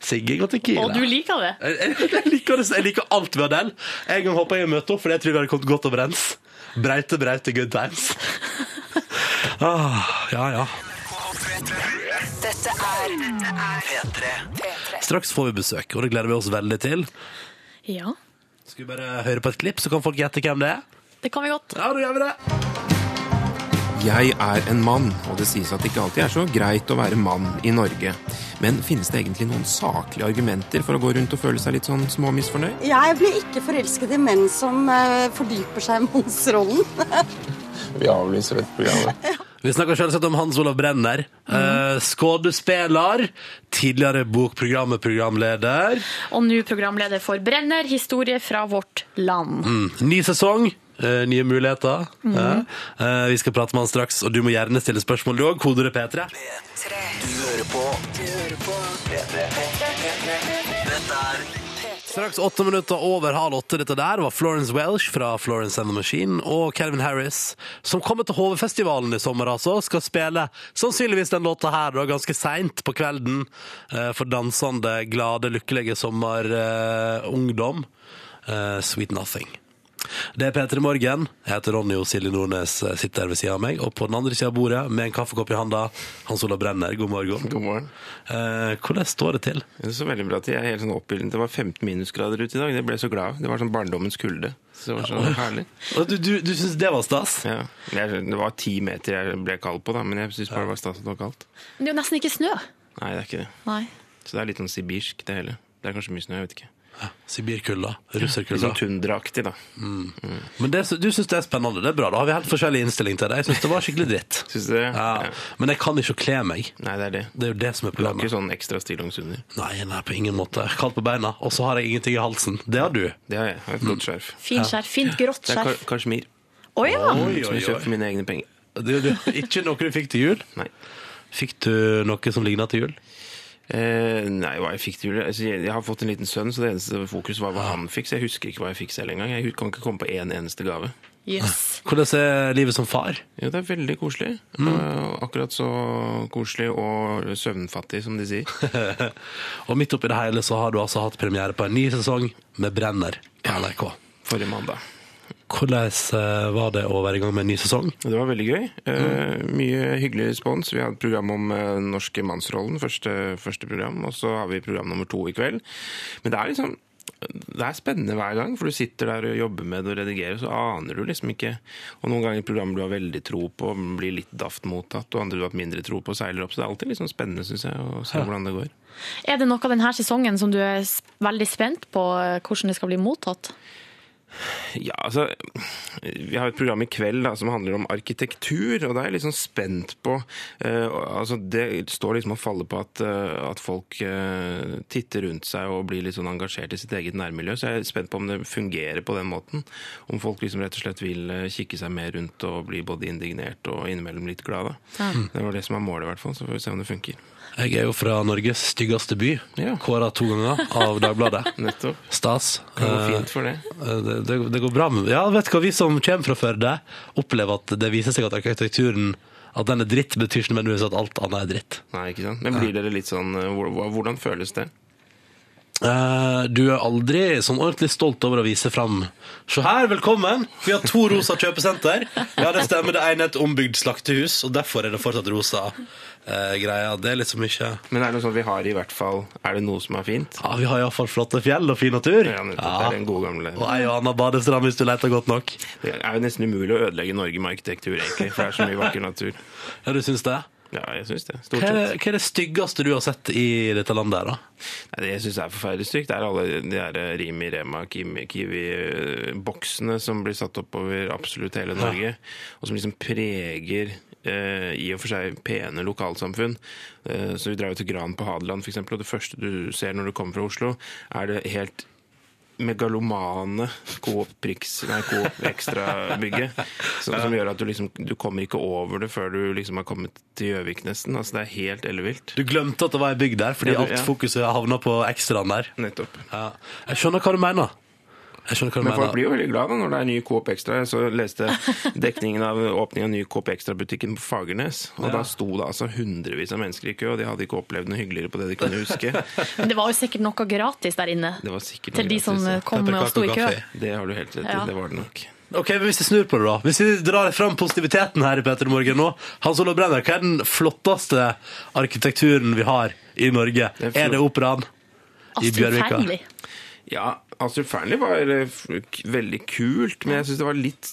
A: Sigging og Tequila.
B: Og du liker det?
A: Jeg- jeg, jeg, liker, det- jeg liker alt ved Adele. En gang håper jeg å møte henne, for jeg tror vi hadde kommet godt overens. Breite, breite good times. ah, ja, ja.
D: Dette er P3.
A: Straks får vi besøk, og det gleder vi oss veldig til.
B: Ja,
A: Skal vi bare høre på et klipp, så kan folk gjette hvem det er?
B: det kan vi godt.
A: Ja, da gjør vi det.
F: Jeg er en mann, og det sies at det ikke alltid er så greit å være mann i Norge. Men finnes det egentlig noen saklige argumenter for å gå rundt og føle seg litt sånn småmisfornøyd?
K: Jeg blir ikke forelsket i menn som eh, fordyper seg i mannsrollen.
F: Vi avlyser dette programmet.
A: Vi snakker selvsagt om Hans Olav Brenner. eh, Skuespiller. Tidligere Bokprogrammet-programleder.
B: Og nå programleder for Brenner, historie fra vårt land.
A: Mm. Ny sesong. eh, nye muligheter. Ja. Eh, vi skal prate med han straks, og du må gjerne stille spørsmål du òg. Kodeordet P3.
D: Du hører på Du hører på P3. Dette er
A: Straks åtte minutter over halv åtte. Dette der var Florence Welsh fra Florence and the Machine og Calvin Harris, som kommer til HV-festivalen i sommer, altså. Skal spille sannsynligvis den låta her da, ganske seint på kvelden eh, for dansende, glade, lykkelige sommerungdom. Eh, Sweet Nothing. Det er P3 Morgen. Jeg heter Ronny og Silje Nordnes eh, sitter her ved siden av meg. Og på den andre siden av bordet, med en kaffekopp i handa, Hans Olav Brenner. God morgen.
F: God morgen.
A: Eh, hvordan står det til?
F: Det er så veldig bra til. Jeg er helt sånn oppildnet. Det var 15 minusgrader ute i dag. Det ble jeg så glad av. Det var sånn barndommens kulde. Så det var så herlig.
A: Og Du, du, du syns det var stas?
F: Ja. Jeg, det var ti meter jeg ble kald på, da, men jeg syns bare det var stas at det var kaldt.
B: Men det er jo nesten ikke snø.
F: Nei, det er ikke det.
B: Nei.
F: Så det er litt sånn sibirsk, det hele. Det er kanskje mye snø, jeg vet ikke.
A: Sibirkulda?
F: Litt
A: Russerkulda?
F: sånn tundraaktig, da.
A: Men det, du syns det er spennende, det er bra. Da har vi helt forskjellig innstilling til det. Jeg syns det var skikkelig dritt.
F: Syns du det?
A: Ja. Men jeg kan ikke å kle meg.
F: Nei, det er det.
A: Det er jo det som er
F: Du har ikke
A: problemet.
F: sånn ekstra stillongs under.
A: Nei, nei, på ingen måte. Kaldt på beina, og så har jeg ingenting i halsen. Det har du.
F: Det har jeg. Jeg har
A: Mm.
F: et godt skjerf.
B: Fin skjerf. Fint grått
F: Det er
B: skjerf.
F: ka kasjmir.
B: Å ja!
A: Oi,
F: Som
A: oi,
F: jeg kjøpte
A: oi.
F: for mine egne penger.
A: Det, det, ikke noe du fikk til jul?
F: Nei.
A: Fikk du noe som ligna til jul?
F: Eh, nei, hva jeg fikk til jul altså, jeg, jeg har fått en liten sønn, så det eneste fokus var hva
A: Ah.
F: han fikk. Så jeg husker ikke hva jeg fikk selv engang. Jeg hu- kan ikke komme på én eneste gave.
B: Yes.
A: Hvordan er livet som far?
F: Jo, det er veldig koselig.
A: Mm.
F: Eh, akkurat så koselig og søvnfattig, som de sier.
A: Og midt oppi det hele så har du altså hatt premiere på en ny sesong med Brenner på NRK.
F: Forrige mandag.
A: Hvordan eh, var det å være i gang med en ny sesong?
F: Og Det var veldig gøy. Eh, mye hyggelig respons. Vi har et program om eh, den norske mannsrollen, første, første program, og så har vi program nummer to i kveld. Men det er liksom det er spennende hver gang, for du sitter der og jobber med det og redigerer, så aner du liksom ikke Og noen ganger program du har veldig tro på, blir litt daft mottatt, og andre du har hatt mindre tro på, seiler opp. Så det er alltid litt sånn spennende, syns jeg, å se hvordan det går.
B: Er det noe denne sesongen som du er s- veldig spent på eh, hvordan det skal bli mottatt?
F: Ja, altså Vi har et program i kveld da, som handler om arkitektur, og da er jeg litt sånn spent på eh, altså Det står liksom og faller på at, eh, at folk eh, titter rundt seg og blir litt sånn engasjert i sitt eget nærmiljø, så jeg er spent på om det fungerer på den måten. Om folk liksom rett og slett vil eh, kikke seg mer rundt og bli både indignert og innimellom litt glade. Det var det som er målet, i hvert fall. Så får vi se om det funker.
A: Jeg er jo fra Norges styggeste by.
F: Ja.
A: Kåra to ganger av Dagbladet.
F: Nettopp.
A: Stas.
F: Det går fint for det.
A: Eh, det, det, det går bra med Ja, vet du hva, vi som kommer fra Førde, opplever at det viser seg at arkitekturen At den er dritt, betyr ikke nødvendigvis at alt annet er dritt.
F: Nei, ikke sant? Men blir dere litt sånn eh, hvor- Hvordan føles det?
A: Eh, du er aldri sånn ordentlig stolt over å vise fram Se her, velkommen! Vi har to rosa kjøpesenter. Ja, det stemmer. Det ene er et ombygd slaktehus, og derfor er det fortsatt rosa eh, greier. Det er liksom ikke
F: Men er det noe sånn vi har i hvert fall Er det noe som er fint?
A: Ja, vi har iallfall flotte fjell og fin natur.
F: Ja, nettopp. Det er den gode gamle
A: Og ei og anna badestrand hvis du leter godt nok.
F: Det er jo nesten umulig å ødelegge Norge med arkitektur, egentlig. For det er så mye vakker natur.
A: Ja, du syns det?
F: Ja, jeg syns det.
A: Hva
F: Stort
A: er,
F: sett.
A: hva er det styggeste du har sett i dette landet her, da?
F: Nei, det jeg syns er forferdelig stygt, det er alle de der Rimi, Rema, Kimi, Kiwi-boksene som blir satt opp over absolutt hele Norge, og som liksom preger eh, i og for seg pene lokalsamfunn. Eh, så vi drar jo til Gran på Hadeland, f.eks., og det første du ser når du kommer fra Oslo, er det helt megalomane Coop Prix, nei, Coop Extra-bygget. Som, som gjør at du liksom du kommer ikke over det før du liksom har kommet til Gjøvik, nesten. Altså, det er helt ellevilt.
A: Du glemte at det var ei bygd der, fordi
F: Ja, du-
A: alt
F: ja.
A: fokuset havna på ekstraen der.
F: Nettopp.
A: Ja. Jeg skjønner hva du mener. Jeg skjønner hva du
F: Men folk
A: mener.
F: blir jo veldig glad da, når det er ny Coop Extra. Jeg så leste dekningen av åpningen av ny Coop Extra-butikken på Fagernes. Og
B: Ja.
F: da sto det altså hundrevis av mennesker i kø, og de hadde ikke opplevd noe hyggeligere på det de kunne huske.
B: Men det var jo sikkert noe gratis der inne.
F: Det var sikkert
B: Til
F: noe
B: de som eh,
F: gratis, ja.
B: kom og sto i kø.
F: Det har du helt rett i.
B: Ja.
F: Det var det nok.
A: Ok, men Hvis jeg snur på det, da. Hvis vi drar fram positiviteten her i Peter Morgen nå. Hans Olav Brenner, hva er den flotteste arkitekturen vi har i Norge? er det operaen i Bjørvika?
F: Ja, Astrid Fearnley var eh, f- k- veldig kult, men jeg syns det var litt,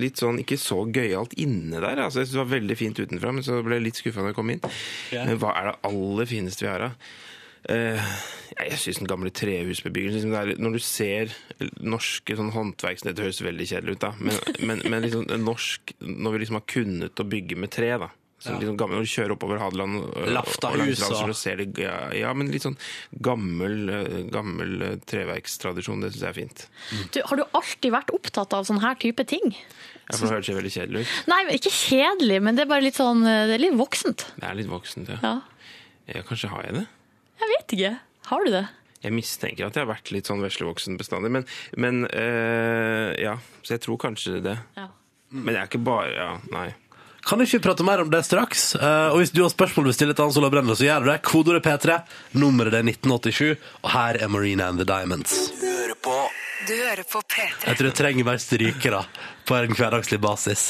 F: litt sånn ikke så gøyalt inne der. Altså, jeg synes Det var veldig fint utenfra, men så ble jeg litt skuffa når jeg kom inn.
A: Ja.
F: Men hva er det aller fineste vi har, da? Eh, jeg syns den gamle trehusbebyggelsen liksom det er, Når du ser norske sånn håndverks... Det høres veldig kjedelig ut, da, men, men, men liksom, norsk Når vi liksom har kunnet å bygge med tre, da. Så
A: Ja.
F: liksom gammel, når du kjører oppover Hadeland og- og-
A: Laftahus
F: og langs Randsfjord,
A: og-
F: så ser det, ja, ja, men litt sånn gammel, eh, gammel eh, treverkstradisjon, det syns jeg er fint.
B: Du, har du alltid vært opptatt av sånne her type ting?
F: Ja, for det høres jo veldig kjedelig ut.
B: Nei, men ikke kjedelig, men det er bare litt sånn Det er litt voksent.
F: Det er litt voksent, ja.
B: Ja.
F: ja. Kanskje har jeg det?
B: Jeg vet ikke. Har du det?
F: Jeg mistenker at jeg har vært litt sånn veslevoksen bestandig, men, men eh, ja. Så jeg tror kanskje det.
B: Ja.
F: Men jeg er ikke bare Ja, nei.
A: Kan ikke vi prate mer om det straks? Eh, og hvis du har spørsmål du vil stille til Hans Olav Brenner, så gjør du det. Kodeordet P3, nummeret det er 1987, og her er Marina and the Diamonds.
D: Hører på.
K: Du hører på P3.
A: Jeg tror jeg trenger mer strykere på en hverdagslig basis.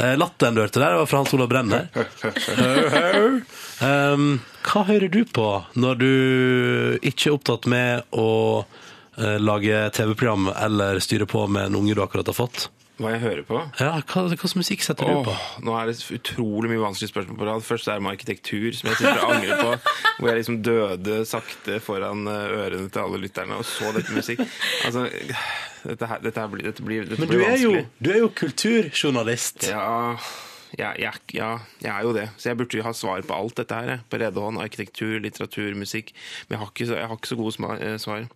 A: Eh, Latteren du hørte der, var fra Hans Olav Brenner. um, hva hører du på når du ikke er opptatt med å eh, lage TV-program eller styre på med en unge du akkurat har fått?
F: Hva jeg hører på?
A: Ja, hva, hva slags musikk setter du på?
F: Åh, nå er det utrolig mye vanskelige spørsmål på rad. Først er det med arkitektur, som jeg sitter og angrer på. Hvor jeg liksom døde sakte foran eh, ørene til alle lytterne. Og så dette musikk. Altså, dette, her, dette, her blir, dette blir, dette
A: Men du
F: blir
A: er, jo,
F: vanskelig.
A: du er jo kulturjournalist.
F: Ja, ja, ja, ja, jeg er jo det. Så jeg burde jo ha svar på alt dette her. jeg. På rede hånd. Arkitektur, litteratur, musikk. Men jeg har ikke så, jeg har ikke så gode sma- eh, svar.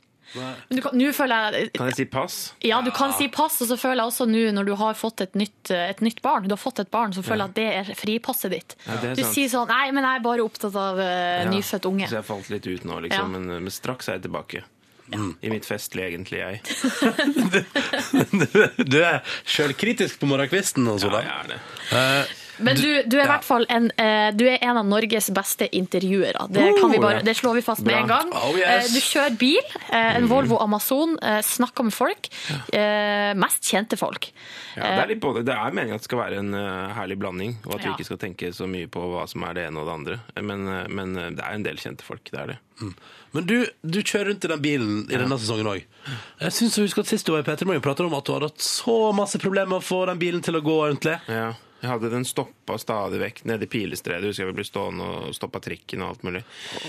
B: Men du kan- Nå føler jeg
F: Kan jeg si pass?
B: Ja, du kan si pass, og så føler jeg også nå når du har fått et nytt, et nytt barn, du har fått et barn, så føler jeg at det er fripasset ditt.
F: Ja, det er
B: du
F: sant.
B: sier sånn Nei, men jeg er bare opptatt av eh,
F: Ja.
B: nyfødt unge.
F: Så jeg falt litt ut nå,
B: Ja.
F: liksom. Men, men straks er jeg tilbake. I mitt festlige egentlig jeg.
A: Du er sjølkritisk på morgenkvisten, sånn. Eh, Hans Olav.
F: Ja, jeg er det.
B: Men du, du er i hvert fall en, eh, du er en av Norges beste intervjuere. Det, kan vi
L: Oh,
B: bare,
L: ja.
B: det slår vi fast med
L: Bra.
B: en gang.
L: Oh, yes.
B: Eh, Du kjører bil, eh, en Volvo Amazon, eh, snakker med folk. eh, Mest kjente folk.
F: Ja, det, er litt både, det er meningen at det skal være en eh, herlig blanding, og at
B: Ja.
F: vi ikke skal tenke så mye på hva som er det ene og det andre. Men, eh, men eh, det er en del kjente folk. det er det.
A: Men du, du kjører rundt i den bilen i denne sesongen òg. Jeg syns jeg husker at sist du var i P3 Morgen, pratet du om at du hadde hatt så masse problemer med å få den bilen til å gå ordentlig.
F: Ja. Jeg hadde den stoppa stadig vekk nede i Pilestredet. Husker jeg vi ble stående og stoppa trikken og alt mulig.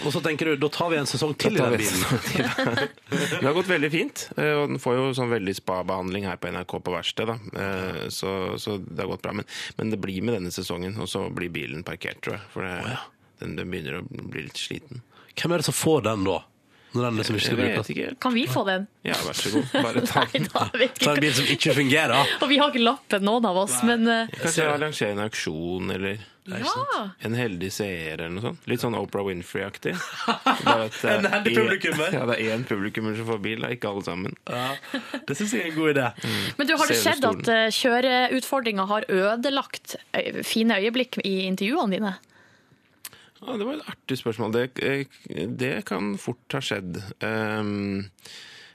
A: Og så tenker du da tar vi en sesong til i
F: Da tar
A: den
F: vi
A: bilen.
F: Det har gått veldig fint, eh, og den får jo sånn veldig spabehandling her på NRK på verksted, da. Eh, Så, så det har gått bra. Men, men det blir med denne sesongen, og så blir bilen parkert, tror jeg. For det, den, den begynner å bli litt sliten.
A: Hvem er det som får den da? Når den liksom ikke skal
F: Jeg vet
A: brukes?
F: ikke.
B: Kan vi få den?
F: Ja, vær så god. Bare ta den.
A: Ta en bil som ikke fungerer.
B: Og vi har ikke lappen, noen av oss, men eh,
F: Kanskje arrangere en auksjon eller
B: ja.
F: en heldig seer eller noe sånt. Litt sånn Oprah Winfrey-aktig. Bare at, eh,
A: En heldig
F: en-
A: publikummer.
F: Ja, det er én publikummer som får bil, da, ikke alle sammen.
A: Det syns jeg er en god idé.
B: Men du, har det
F: Ser
B: skjedd
F: du stolen?
B: at eh, kjøreutfordringer har ødelagt eh, fine øyeblikk i intervjuene dine?
F: Ja, det var et artig spørsmål. Det, eh, det kan fort ha skjedd. Ehm,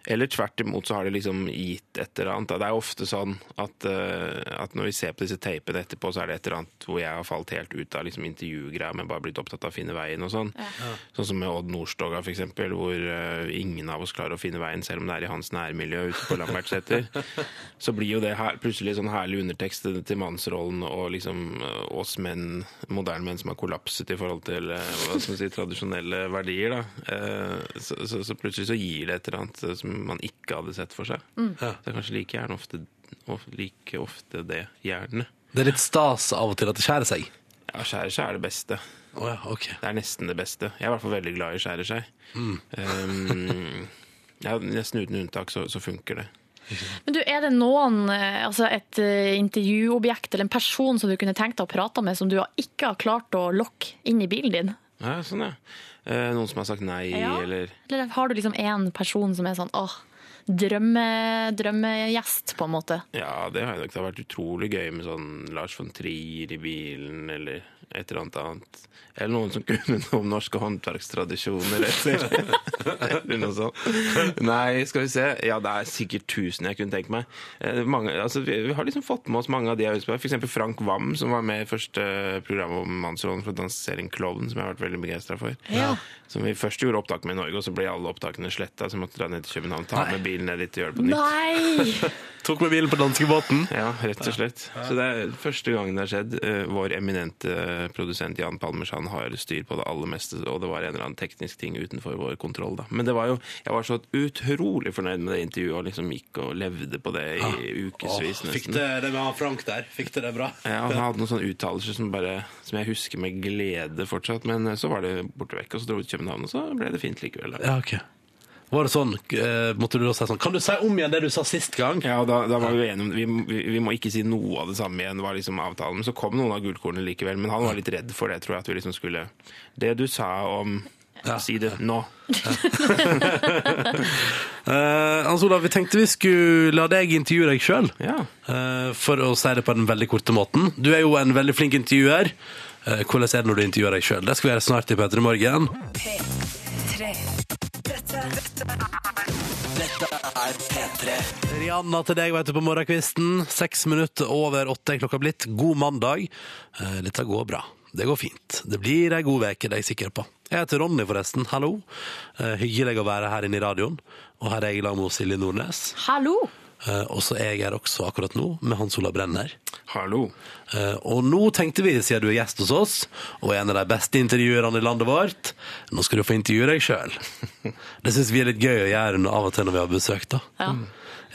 F: Eller tvert imot så har de liksom gitt et eller annet. Det er ofte sånn at, eh, at når vi ser på disse tapene etterpå, så er det et eller annet hvor jeg har falt helt ut av liksom intervjugreier, men bare blitt opptatt av å finne veien og sånn. Sånn som med Odd Nordstoga, for eksempel, hvor eh, ingen av oss klarer å finne veien, selv om det er i hans nærmiljø ute på Lambertseter. så blir jo det her, plutselig sånn herlig undertekst til- til mannsrollen og liksom eh, oss menn, moderne menn som har kollapset i forhold til eh, hva skal man si, tradisjonelle verdier. da. Eh, Så, så, så plutselig så gir det et eller annet eh, som man ikke hadde sett for seg.
A: Mm.
F: Så det er kanskje like gjerne ofte, of, like ofte det gjerne.
A: Det er litt stas av og til at det skjærer seg.
F: Ja, skjærer seg er det beste. Det er nesten det beste. Jeg er i hvert fall veldig glad i skjærer seg.
A: Mm.
F: Um, ja, nesten uten unntak så, så funker det.
B: Men du, er det noen, eh, altså et eh, intervjuobjekt eller en person som du kunne tenkt deg å prate med, som du ikke har klart å lokke inn i bilen din?
F: Ja, sånn, ja. Eh, noen som har sagt nei,
B: Ja.
F: eller
B: Eller har du liksom én person som er sånn åh, drømme, drømmegjest, på en måte?
F: Ja, det har jeg nok. Det har vært utrolig gøy med sånn Lars von Trier i bilen, eller et eller annet annet. Eller noen som kunne noe om norske håndverkstradisjoner, eller, eller noe sånt. Nei, skal vi se. Ja, det er sikkert tusen jeg kunne tenkt meg. Eh, Mange, altså, vi, vi har liksom fått med oss mange av de jeg husker. For eksempel Frank Wam, som var med i første program om mannsrollen for danseserien Klovn, som jeg har vært veldig begeistra for.
B: Ja.
F: Som vi først gjorde opptak med i Norge, og så ble alle opptakene sletta, så vi måtte dra ned til København, ta med bilen ned dit og gjøre det på nytt.
B: Nei!
A: Tok med bilen på danskebåten.
F: Ja, rett og slett. Så det er første gangen det har skjedd. Eh, Vår eminente eh, produsent Jan Palmersand har styr på det aller meste, og det var en eller annen teknisk ting utenfor vår kontroll, da. Men det var jo Jeg var så utrolig fornøyd med det intervjuet, og liksom gikk og levde på det i ukevis,
A: Ah, Åh, fikk
F: nesten.
A: det, det med han Frank der. Fikk det det bra?
F: Ja, han hadde noen sånne uttalelser som, bare, som jeg husker med glede fortsatt, men eh, så var det borte vekk, og så dro vi til København, og så ble det fint likevel. Da.
A: Ja, ok. Var det sånn, eh, måtte du da si sånn Kan du si om igjen det du sa sist gang?
F: Ja, og da, da var vi enige om vi, vi, vi må ikke si noe av det samme igjen, var liksom avtalen. Men så kom noen av gullkornene likevel, men han var litt redd for det, tror jeg. At vi liksom skulle Det du sa om Si det nå.
A: Eh, Hans Olav, vi tenkte vi skulle la deg intervjue deg sjøl. for å si det på den veldig korte måten. Du er jo en veldig flink intervjuer. Eh, hvordan er det når du intervjuer deg sjøl? Det skal vi gjøre snart i P3 Morgen.
D: P3. Dette, dette, dette er P3.
A: Rihanna til deg vet du, på morgenkvisten. Seks minutter over åtte er klokka blitt. God mandag. Eh, Dette går bra. Det går fint. Det blir ei god uke, det er jeg sikker på. Jeg heter Ronny, forresten. Hallo. Eh, Hyggelig å være her inne i radioen. Og her er jeg i lag med Silje Nordnes.
B: Hallo!
A: Eh, Og så er jeg her også akkurat nå med Hans Ola Brenner. Eh,
F: Hallo.
A: Og nå tenkte vi, siden du er gjest hos oss, og en av de beste intervjuerne i landet vårt, nå skal du få intervjue deg sjøl. Det syns vi er litt gøy å gjøre når- av og til når vi har besøk, da.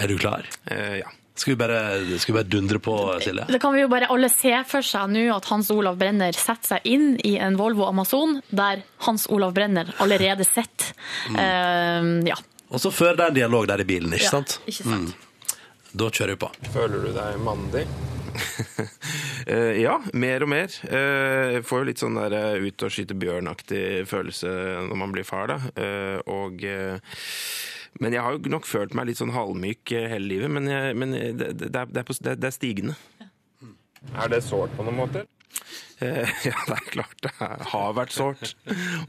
A: Er du klar?
F: eh, ja.
A: Skal vi, bare, skal vi bare dundre på, Silje?
B: Det kan vi jo bare alle se for seg nå at Hans Olav Brenner setter seg inn i en Volvo Amazon der Hans Olav Brenner allerede sitter.
A: Mm.
B: Eh, ja.
A: Og så før det er en dialog der i bilen, ikke
B: Ja,
A: sant?
B: ikke sant.
A: Mm. Da kjører vi på.
F: Føler du deg mandig? Eh, ja, mer og mer. Eh, Jeg får jo litt sånn der eh, ut og skyte bjørn-aktig følelse når man blir far, da. Eh, og eh, Men jeg har jo nok følt meg litt sånn halvmyk eh, hele livet, men, jeg, men eh, det, det, er, det, er på, det, det er stigende. Er det sårt på noen måter? Eh, Ja, det er klart det er- har vært sårt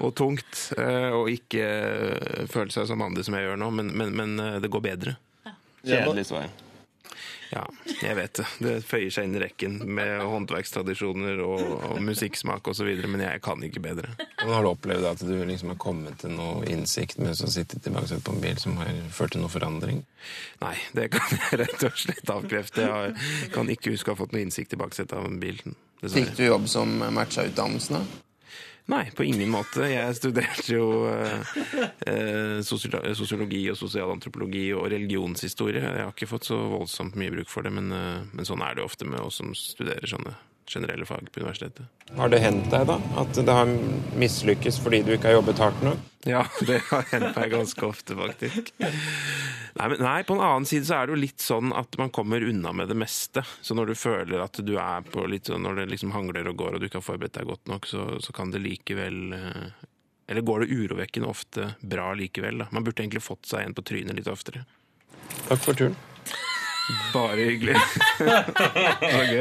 F: og tungt. eh, Og ikke eh, føle seg som andre som jeg gjør nå, men, men, men eh, det går bedre.
A: Kjedelig
F: svar. Ja, jeg vet det. Det føyer seg inn i rekken med håndverkstradisjoner og, og musikksmak osv., men jeg kan ikke bedre.
M: Har du opplevd at du liksom har kommet til noe innsikt mens du har sittet i baksetet på en bil som har ført til noe forandring?
F: Nei, det kan jeg rett og slett avkrefte. Jeg har- kan ikke huske å ha fått noe innsikt i baksetet av en bil. dessverre.
M: Fikk du jobb som matcha utdannelsen, da?
F: Nei, på ingen måte. Jeg studerte jo eh, eh, sosiolo- sosiologi og sosialantropologi og religionshistorie. Jeg har ikke fått så voldsomt mye bruk for det, men, eh, men sånn er det jo ofte med oss som studerer sånne generelle fag på universitetet.
M: Har det hendt deg, da? At det har mislykkes fordi du ikke har jobbet hardt nok?
F: Ja, det har hendt meg ganske ofte, faktisk. Nei, men nei, på en annen side så er det jo litt sånn at man kommer unna med det meste. Så når du føler at du er på litt sånn, når det liksom hangler og går, og du ikke har forberedt deg godt nok, så, så kan det likevel eh, Eller går det urovekkende ofte bra likevel, da. Man burde egentlig fått seg en på trynet litt oftere.
M: Takk for turen.
F: Bare hyggelig. det var gøy.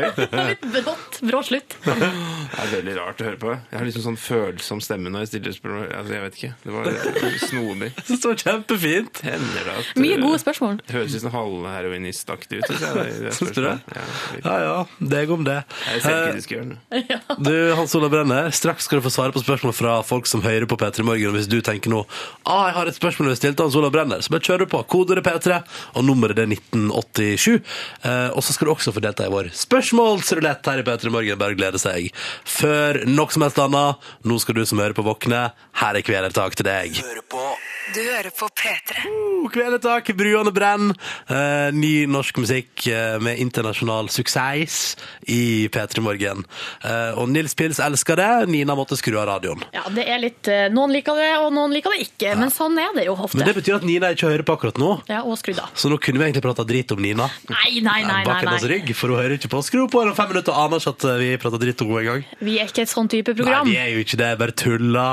B: Litt brått. Brå slutt.
F: Det er veldig rart å høre på. Jeg har liksom sånn følsom stemme når jeg stiller spørsmål. Altså, jeg vet ikke. Det var snodig.
A: Det står kjempefint.
F: Hender det at
B: Mye gode spørsmål.
F: Det høres ut som halvheroinistaktig ut. synes jeg, det- det
A: Syns du det?
F: spørsmålet. Ja,
A: Ja ja, deg om det. Eh,
F: Jeg ser ikke diskuren.
A: Du, Hans Olav Brenner, straks skal du få svare på spørsmål fra folk som hører på P3 Morgen. Og hvis du tenker nå ah, jeg har et spørsmål jeg stilte Hans Olav Brenner, så bare kjør du på. Kodeordet P3, og nummeret det er 1987. Eh, og så skal du også få delta i vår spørsmålsrulett her i P3 Morgen. Bare glede seg. Før nok som helst annet, nå skal du som hører på, våkne. Her er kvelertak til deg.
D: Du hører på P3.
A: Oh, Kvelertak, Bruane Brenn. Eh, ny norsk musikk eh, med internasjonal suksess i P3 Morgen. Eh, og Nils Pils elsker det. Nina måtte skru av radioen.
B: Ja, det er litt eh, Noen liker det, og noen liker det ikke. Men sånn er det jo ofte.
A: Men det betyr at Nina ikke hører på akkurat nå.
B: Ja, og skrudd av.
A: Så nå kunne vi egentlig prata drit om Nina. Eh,
B: Nei, nei, nei.
A: Bak
B: nei,
A: hennes
B: nei.
A: rygg, for hun hører ikke på. Skru på henne om fem minutter og aner ikke at eh, vi prata dritt om henne engang.
B: Vi er ikke et sånn type
A: Nei,
B: program. Mm.
A: vi er jo ikke det. Bare tulla.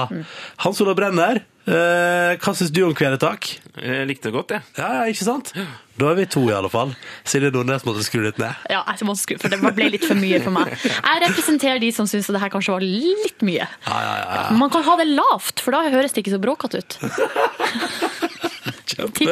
A: Hans Olav Brenner, eh, hva syns du om Kvelertak?
F: Jeg likte det godt, jeg.
A: Ja, ja, ikke sant? Da er vi to, i alle fall. Silje Nordnes måtte skru litt ned.
B: Ja, jeg må skru, for det ble litt for mye for meg. Jeg representerer de som syns det her kanskje var litt mye.
A: Ja, ja, ja. ja.
B: Man kan ha det lavt, for da høres det ikke så bråkete ut.
A: Kjempe,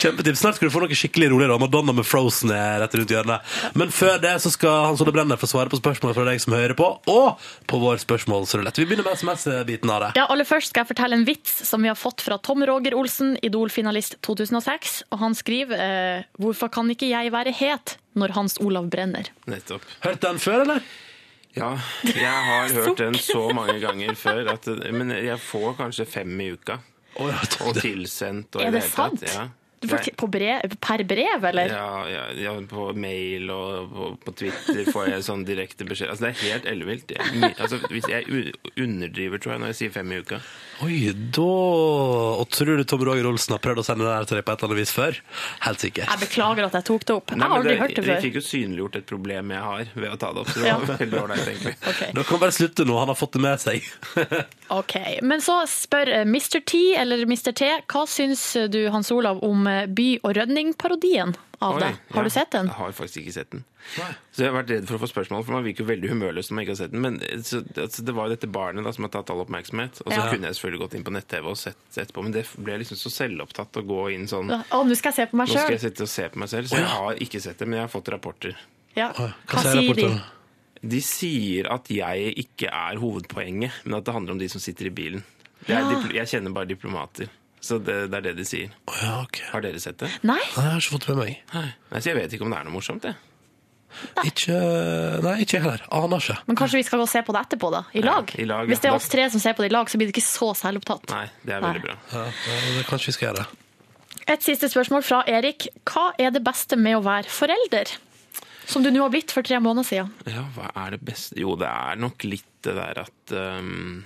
A: kjempetips. Snart skal du få noe skikkelig rolig. da. Madonna med Frozen er rett rundt hjørnet. Men før det så skal Hans Ole Brenner få svare på spørsmål fra deg som hører på, og på vår spørsmålsrulett. Vi begynner med SMS-biten av det.
B: Ja, aller først skal jeg fortelle en vits som vi har fått fra Tom Roger Olsen, Idol-finalist 2006. Og han skriver eh, 'Hvorfor kan ikke jeg være het når Hans Olav brenner'?
F: Nettopp.
A: Hørt den før, eller?
F: Ja, jeg har hørt den så mange ganger før, at, men jeg får kanskje fem i uka. Og tilsendt. Og i
B: Er det
F: hele tatt,
B: sant?
F: Ja.
B: Du får
F: Nei.
B: ti- på brev, per brev, eller?
F: Ja, ja, ja, på mail og på, på Twitter får jeg sånn direkte beskjed. Altså, det er helt ellevilt. Jeg- Altså, hvis jeg u- underdriver, tror jeg, når jeg sier fem i uka.
A: Oi, da Og tror du Tom Roger Olsen har prøvd å sende det her til deg på et eller annet vis før? Helt sikkert.
B: Jeg beklager at jeg tok det opp.
F: Nei,
B: jeg har
F: men
B: aldri
F: det-
B: hørt det
F: Vi
B: før.
F: fikk jo synliggjort et problem jeg har ved å ta det opp. Så det
B: Ja.
F: var veldig ålreit, egentlig.
A: Da kan vi bare slutte nå. Han har fått det med seg.
B: Ok, Men så spør eh, Mr. T eller Mr. T, hva syns du, Hans Olav, om eh, By- og Rønning-parodien av
F: Oi,
B: det? Har
F: ja.
B: du sett den?
F: Jeg har faktisk ikke sett den. Så jeg har vært redd for å få spørsmål, for man virker jo veldig humørløs når man ikke har sett den. Men eh, så, altså, det var jo dette barnet da, som har tatt all oppmerksomhet. Og så
B: Ja.
F: kunne jeg selvfølgelig gått inn på nett-TV og sett etterpå, men det ble liksom så selvopptatt å gå inn sånn
B: Ja, Å, nå skal jeg se på meg
F: Nå skal
B: sjøl.
F: jeg sitte og se på meg selv, så jeg har ikke sett det, men jeg har fått rapporter.
B: Ja. Hva sier de?
F: De sier at jeg ikke er hovedpoenget, men at det handler om de som sitter i bilen. Jeg, er
B: Ja.
F: dipl- jeg kjenner bare diplomater, så det, det er det de sier. Har dere sett det?
B: Nei.
A: Jeg har ikke fått det med meg.
F: Nei, så jeg vet ikke om det er noe morsomt, jeg.
B: Ah.
A: Ikke Nei, ikke jeg heller. Aner ikke.
B: Men kanskje vi skal gå og se på det etterpå, da? I lag?
F: I lag,
B: Hvis det
F: ja.
B: er oss tre som ser på det i lag, så blir det ikke så selvopptatt.
F: Nei, det er
B: Nei.
F: veldig bra.
A: kanskje vi skal gjøre det.
B: Et siste spørsmål fra Erik. Hva er det beste med å være forelder? Som du nå har blitt for tre måneder siden.
F: Ja, hva er det beste Jo, det er nok litt det der at ehm,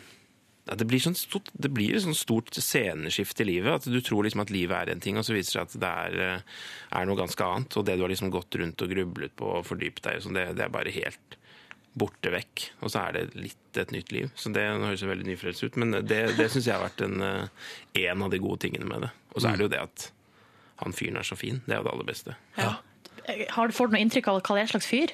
F: at det blir, sånn stort, det blir et sånn stort sceneskift i livet. At du tror liksom at livet er en ting, og så viser det seg at det er, eh, er noe ganske annet. Og det du har liksom gått rundt og grublet på og fordypt deg i, og sånn, det, det er bare helt borte vekk. Og så er det litt et nytt liv. Så det nå høres det veldig nyfrelst ut, men det, det syns jeg har vært en, eh, en av de gode tingene med det. Og så er det jo det at han fyren er så fin. Det er jo det aller beste.
B: Har du fått noe inntrykk av hva det er slags fyr?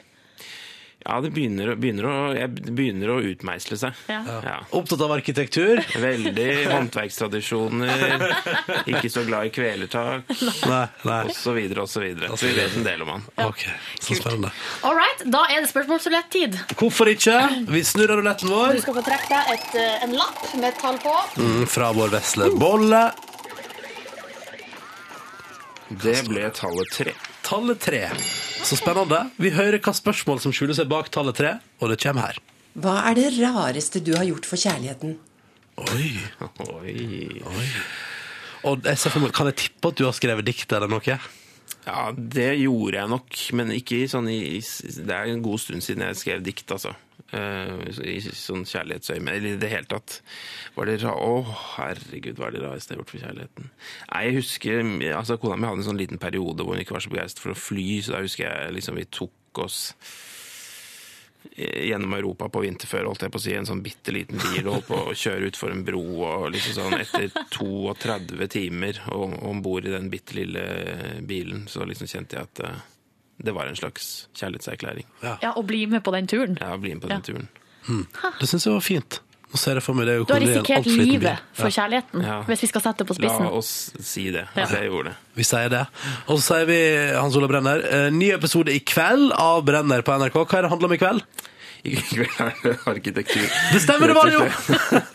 F: Ja, det begynner, å- begynner, å, jeg- det begynner å utmeisle seg.
B: Ja.
F: Ja.
A: Opptatt av arkitektur?
F: Veldig håndverkstradisjoner, ikke så glad i kvelertak,
A: Nei, nei.
F: og så videre, og så videre. Så vi vet en del om han.
A: Ok, så spennende.
B: All right, da er det spørsmålsrulettid.
A: Hvorfor ikke? Vi snurrer ruletten
B: Du
A: vår.
B: skal få trekke deg et, eh, en lapp med et tall på.
A: Mm, fra vår vesle bolle.
F: Det ble tallet tre.
A: Tallet tre. Så spennende. Vi hører hva spørsmål som skjuler seg bak tallet tre, og det kommer her.
L: Hva er det rareste du har gjort for kjærligheten?
A: Oi.
F: Oi.
A: Og jeg ser for meg, Kan jeg tippe at du har skrevet dikt eller noe?
F: Ja, det gjorde jeg nok, men ikke i sånn i, i Det er en god stund siden jeg skrev dikt, altså. Eh, I sånn kjærlighetsøyemed, eller i det hele tatt. Var det ra Å, herregud, hva er det rareste jeg har gjort for kjærligheten? Nei, jeg husker altså Kona mi hadde en sånn liten periode hvor hun ikke var så begeistret for å fly, så da husker jeg liksom vi tok oss eh, gjennom Europa på vinterføre, holdt jeg på å si, en sånn bitte liten bil, og holdt på å kjøre utfor en bro, og liksom sånn etter 32 timer om bord i den bitte lille bilen, så liksom kjente jeg at eh, Det var en slags kjærlighetserklæring.
B: Ja, Og bli med på den turen.
F: Ja, bli med på den turen.
A: Hmm. Det syns jeg var fint. Nå ser jeg for meg det
B: Du har
A: økonomien,
B: risikert
A: alt for liten bil.
B: livet for kjærligheten, hvis vi skal sette det på spissen.
F: La oss si det.
B: Ja.
F: at Jeg gjorde det.
A: Vi sier det. Og så sier vi Hans Olav Brenner. eh, Ny episode i kveld av Brenner på NRK. Hva er det handler om i kveld?
F: I kveld er det arkitektur.
A: Det stemmer, det var det jo!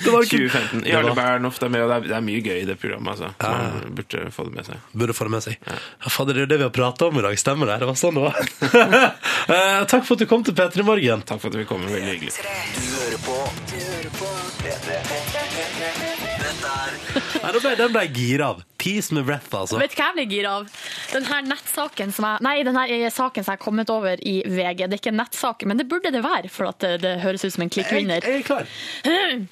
F: 2015. Jarle Bernhoft er med, og det er, det er mye gøy i det programmet. Altså. Man burde få det med seg.
A: Burde få det med seg. Ja, Fader, det er jo det vi har prata om i dag. Stemmer det? Det var sånn det var. Eh, Takk for at du kom til P3 Morgen.
F: Takk for at vi kom. Veldig hyggelig.
D: Du hører på Du hører på P3 Dette
A: Nei, nå ble, den ble jeg gira av. Peace med breath, altså.
B: Vet du hva jeg blir gira av? Den her nettsaken som jeg, nei, den her saken som jeg har kommet over i VG. Det er ikke en nettsak, men det burde det være, for at det, det høres ut som en klikkvinner.
A: Jeg, jeg er klar.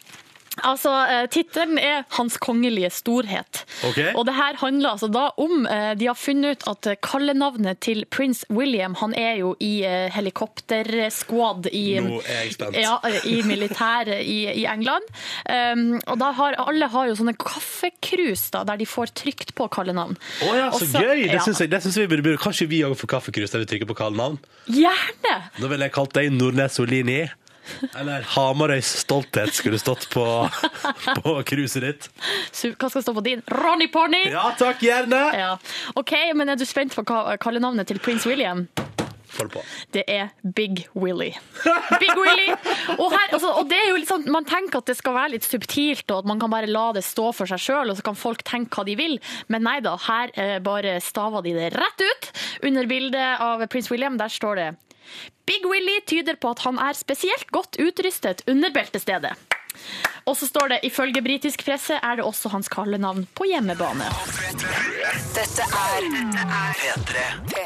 B: Altså, eh, Tittelen er 'Hans kongelige storhet'.
N: Ok.
B: Og det her handler altså da om eh, De har funnet ut at eh, kallenavnet til prins William Han er jo i eh, helikoptersquad i
A: Nå er jeg spent.
B: Ja, eh, i militæret i, i England. Um, og da har alle har jo sånne kaffekrus da, der de får trykt på kallenavn.
A: Å ja, så
B: Og
A: gøy! Det
B: ja.
A: syns jeg, det syns vi burde burde. Kanskje vi òg får kaffekrus der vi trykker på kallenavn?
B: Gjerne!
A: Da ville jeg kalt deg Nordnes Olini. Eller Hamarøys stolthet skulle stått på, på kruset ditt.
B: Su- Hva skal stå på din? Ronny Porny!
A: Ja takk, gjerne!
B: Ja. OK, men er du spent på hva kallenavnet til prins William?
A: Få det på.
B: Det er Big Willy. Big Willy! Og, her, altså, og det er jo litt sånn, Man tenker at det skal være litt subtilt, og at man kan bare la det stå for seg sjøl, og så kan folk tenke hva de vil. Men nei da, her eh, bare staver de det rett ut. Under bildet av prins William der står det Big Willy tyder på at han er spesielt godt utrustet under beltestedet. Og så står det ifølge britisk presse er det også hans kallenavn på hjemmebane.
D: er Dette er P3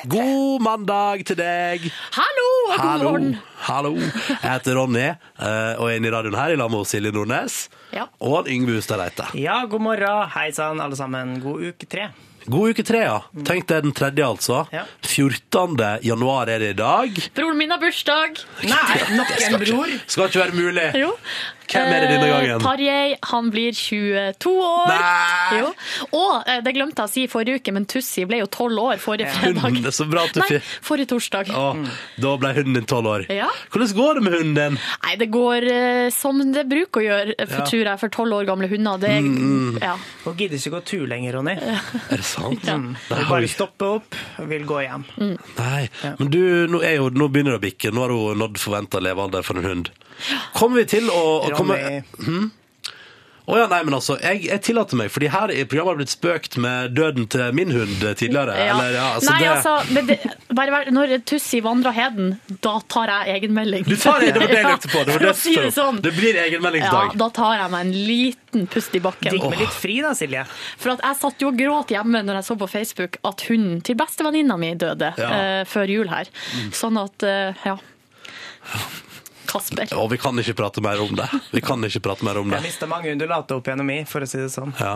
A: God mandag til deg!
B: Hallo og god
A: Hallo.
B: morgen!
A: Hallo. Jeg heter Ronny eh, og er inne i radioen her i lag med Silje Nordnes
E: Ja.
A: og han Yngve Hustad Reite.
E: Ja, god morgen. Hei sann, alle sammen. God uke tre.
A: God uke tre, ja. Tenk deg den tredje, altså. 14. januar er det i dag.
B: Broren min har bursdag.
E: Nei, nok
A: Skal ikke, skal ikke være mulig.
B: Jo.
A: Hvem er det denne gangen?
B: Eh, Tarjei, han blir 22 år.
A: Nei!
B: Jo. Og eh, det glemte jeg å si i forrige uke, men Tussi ble jo 12 år forrige fredag.
A: Hunden, det er så bra at du
B: Nei,
A: fikk
B: forrige torsdag.
A: Å, Da ble hunden din tolv år.
B: Ja.
A: Hvordan går det med hunden din?
B: Nei, det går eh, som det bruker å gjøre, eh, for,
A: Ja.
B: tror jeg, for 12 år gamle hunder. Det,
A: Mm, mm.
B: ja.
E: Hun gidder ikke gå tur lenger, Ronny.
A: Er det sant?
E: Mm.
A: Nei,
E: Vil bare stoppe opp, vil gå hjem.
A: Nei. Men du, nå, er jo, nå begynner det å bikke. Nå har hun nådd forventa levealder for en hund. Kommer vi til å å komme
E: Ronny.
A: Hm? Å ja, nei, men altså, jeg, jeg tillater meg, fordi her i programmet har det blitt spøkt med døden til min hund tidligere.
B: Ja.
A: Eller, ja, altså,
B: Nei,
A: det...
B: altså, men det, bare, vær- når Tussi vandrer heden, da tar jeg egenmelding.
A: Du tar det, det var det jeg
B: Ja,
A: lekte på. Det, var
B: for
A: det,
B: å si det sånn.
A: det blir
B: Ja,
A: egenmeldingsdag.
B: da tar jeg meg en liten pust i bakken.
A: Digg med litt
E: fri da, Silje.
B: For at jeg satt jo og gråt hjemme når jeg så på Facebook at hunden til bestevenninna mi døde
A: Ja.
B: eh, før jul her. Sånn at, eh, ja. Kasper.
A: Og vi kan ikke prate mer om det. Vi kan ikke prate mer om det.
E: Jeg mista mange undulater opp gjennom i, for å si det sånn.
A: Ja.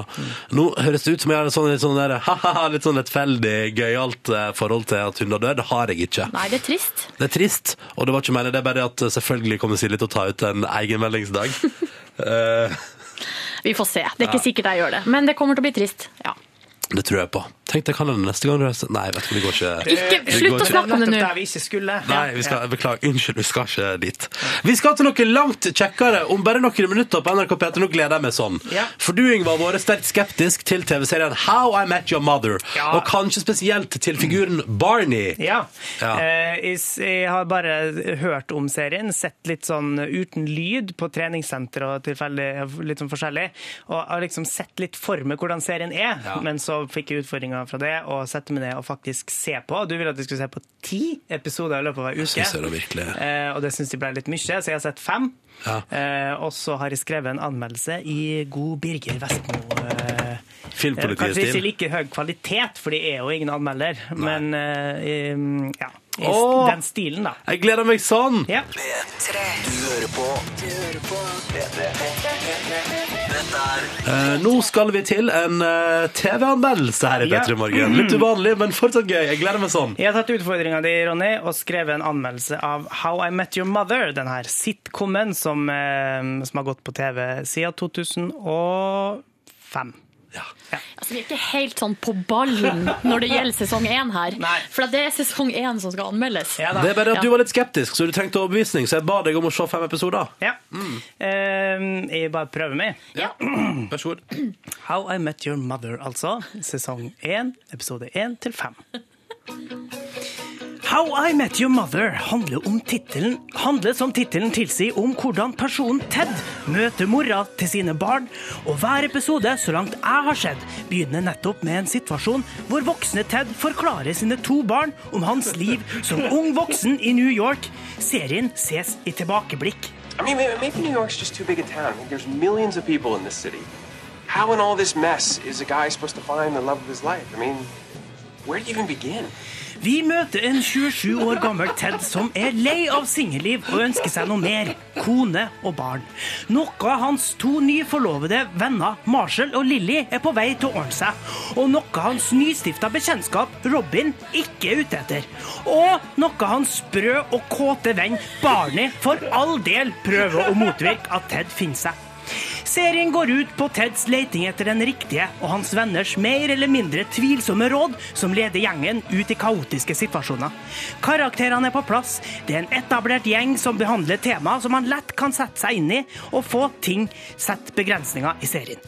A: Nå høres det ut som jeg har et sånn, litt sånn der, haha, litt sånn lettfeldig, gøyalt eh, forhold til at hunder dør. Det har jeg ikke.
B: Nei, det er trist.
A: Det er trist, og det var ikke meningen. Det er bare at eh, selvfølgelig kommer Silje til å ta ut en egenmeldingsdag. Eh,
B: Vi får se. Det er
A: Ja.
B: ikke sikkert jeg gjør det, men det kommer til å bli trist. Ja. det
A: tror jeg på. Tenk deg hva det er neste gang du reiser Nei, vet du, det går ikke. det går ikke.
E: Nettopp der vi ikke skulle.
A: Nei, vi skal, beklager, unnskyld, vi skal ikke dit. Vi skal til noe langt kjekkere om bare noen minutter på NRK P3. Nå gleder jeg meg sånn.
E: Ja.
A: For du, Yngve, har vært sterkt skeptisk til TV-serien How I Met Your Mother,
E: Ja.
A: og kanskje spesielt til figuren Barney.
E: Ja.
A: Ja.
E: Eh, jeg, s- jeg har bare hørt om serien, sett litt sånn uten lyd på treningssenter og tilfeldig, litt sånn forskjellig, og har liksom sett litt for meg hvordan serien er, men så fikk jeg utfordringer fra det, og sette meg ned og faktisk se på. Du ville at vi skulle se på ti episoder i løpet av hver uke.
A: synes jeg da virkelig.
E: Eh, og det syns de ble litt mye, så jeg har sett fem.
A: Ja.
E: Eh, og så har jeg skrevet en anmeldelse i god Birger Vestmo. Eh, Kanskje
A: Filmpolitiet
E: ikke
A: til.
E: like høy kvalitet, for de er jo ingen anmelder. Men eh, um, ja, i s-
A: Åh!
E: den stilen, da.
A: Jeg gleder meg sånn!
E: Ja.
D: P3 Du hører på Du hører på P3 Dette er
A: Eh, nå skal vi til en eh, TV-anmeldelse her i
E: Ja.
A: P3 Morgen. Litt uvanlig, men fortsatt gøy. Jeg gleder meg sånn.
E: Jeg har tatt utfordringa di, Ronny, og skrevet en anmeldelse av How I Met Your Mother. Den her sitcomen som, eh, som har gått på TV siden 2005.
B: Altså, vi er ikke helt sånn på ballen når det gjelder sesong én her. For at det er sesong én som skal anmeldes.
A: Det er bare at
B: Ja.
A: du var litt skeptisk, så du trengte overbevisning, så jeg ba deg om å se fem episoder.
E: Ja.
A: Mm.
E: Eh, jeg bare prøver meg.
A: Vær så god.
E: How I Met Your Mother, altså. Sesong 1, episode 1 til 5. How I Met Your Mother handler, om tittelen, handler som tittelen tilsier om hvordan personen Ted møter mora til sine barn, og hver episode, så langt jeg har sett, begynner nettopp med en situasjon hvor voksne Ted forklarer sine to barn om hans liv som ung voksen i New York. Serien ses i tilbakeblikk.
J: I mean, may- maybe New York's just too big a town. I mean, there's millions of people in this city. How in all this mess is a guy supposed to find the love of his life? I mean, where do you even begin?
E: Vi møter en 27 år gammel Ted som er lei av singelliv og ønsker seg noe mer. Kone og barn. Noe hans to nyforlovede venner Marshall og Lilly er på vei til å ordne seg. Og noe hans nystifta bekjentskap Robin ikke er ute etter. Og noe hans sprø og kåte venn Barney for all del prøver å motvirke at Ted finner seg. Serien går ut på Teds leting etter den riktige og hans venners mer eller mindre tvilsomme råd som leder gjengen ut i kaotiske situasjoner. Karakterene er på plass, det er en etablert gjeng som behandler temaer som man lett kan sette seg inn i og få ting sett begrensninger i serien.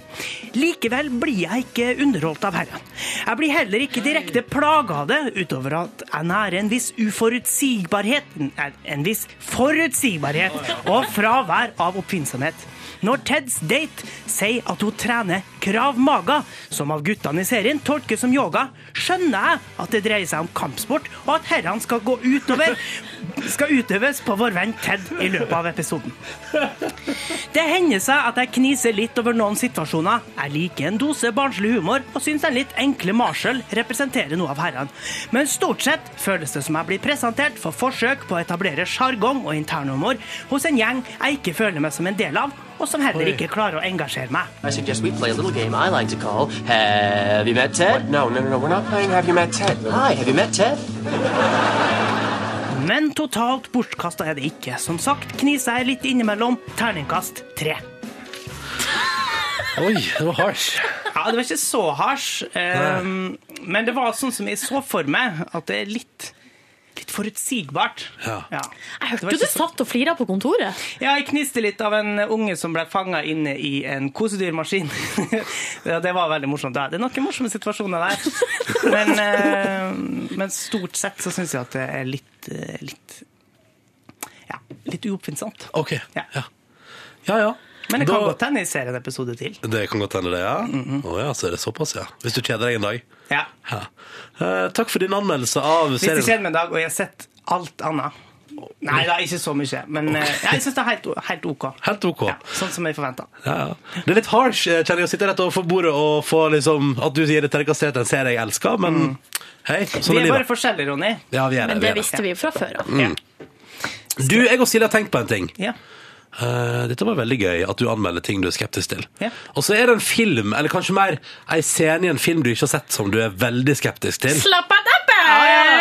E: Likevel blir jeg ikke underholdt av herren. Jeg blir heller ikke direkte plaga av det, utover at jeg nærer en viss uforutsigbarhet, nei, en viss forutsigbarhet og fravær av oppfinnsomhet. Når Teds date sier at hun trener krav maga, som av guttene i serien tolkes som yoga, skjønner jeg at det dreier seg om kampsport, og at herrene skal gå utover skal utøves på vår venn Ted i løpet av episoden. Det hender seg at jeg kniser litt over noen situasjoner. Jeg liker en dose barnslig humor og syns den litt enkle Marshall representerer noe av herrene. Men stort sett føles det som jeg blir presentert for forsøk på å etablere sjargong og internhumor hos en gjeng jeg ikke føler meg som en del av, og som heller ikke klarer å engasjere meg.
O: I suggest we play a little game I like to call Have You Met Ted?
J: No, no, no, no. We're not playing Have You Met Ted.
O: Hi, have you met Ted?
E: Men totalt bortkasta er det ikke. Som sagt kniser jeg litt innimellom. Terningkast tre.
A: Oi, det var harsh.
E: Ja, det var ikke så harsh. ehm, men det var sånn som jeg så for meg, at det er litt Litt forutsigbart.
A: Ja.
E: Jeg
B: Du, du satt og flira på kontoret.
E: Ja, jeg kniste litt av en unge som ble fanga inne i en kosedyrmaskin. Ja, det var veldig morsomt. Ja, Det er noen morsomme situasjoner der. Men, eh, men stort sett så syns jeg at det er litt, eh, litt Ja, litt uoppfinnsomt.
A: OK.
E: Ja,
A: ja. ja,
E: Men det kan
A: Da-
E: godt hende jeg ser en episode til.
A: Det kan godt hende det, ja. Å ja, så er det såpass, ja. Hvis du kjeder deg en dag.
E: Ja.
A: Ja. Eh, takk for din anmeldelse av
E: Hvis det
A: serien.
E: skjer med en dag, og jeg har sett alt annet Nei da, ikke så mye. Men eh, jeg syns det er helt, helt OK.
A: Helt OK.
E: Sånn som jeg forventa.
A: Ja, ja. Det er litt harsh, eh, kjenner jeg, å sitte rett overfor bordet og få liksom At du gir det terningkast tre til en serie jeg elsker, men hei, sånn
E: Mm. Vi
A: er
E: er bare
A: livet.
E: forskjellige, Ronny.
A: Ja, vi er det.
B: Men det visste vi jo fra før av.
A: Mm. Du, jeg og Silje har tenkt på en ting.
E: Ja.
A: Eh, dette var veldig gøy, at du anmelder ting du er skeptisk til.
E: Ja.
A: Og så er det en film, eller kanskje mer ei scene i en film du ikke har sett, som du er veldig skeptisk til.
B: Slapp av deg best!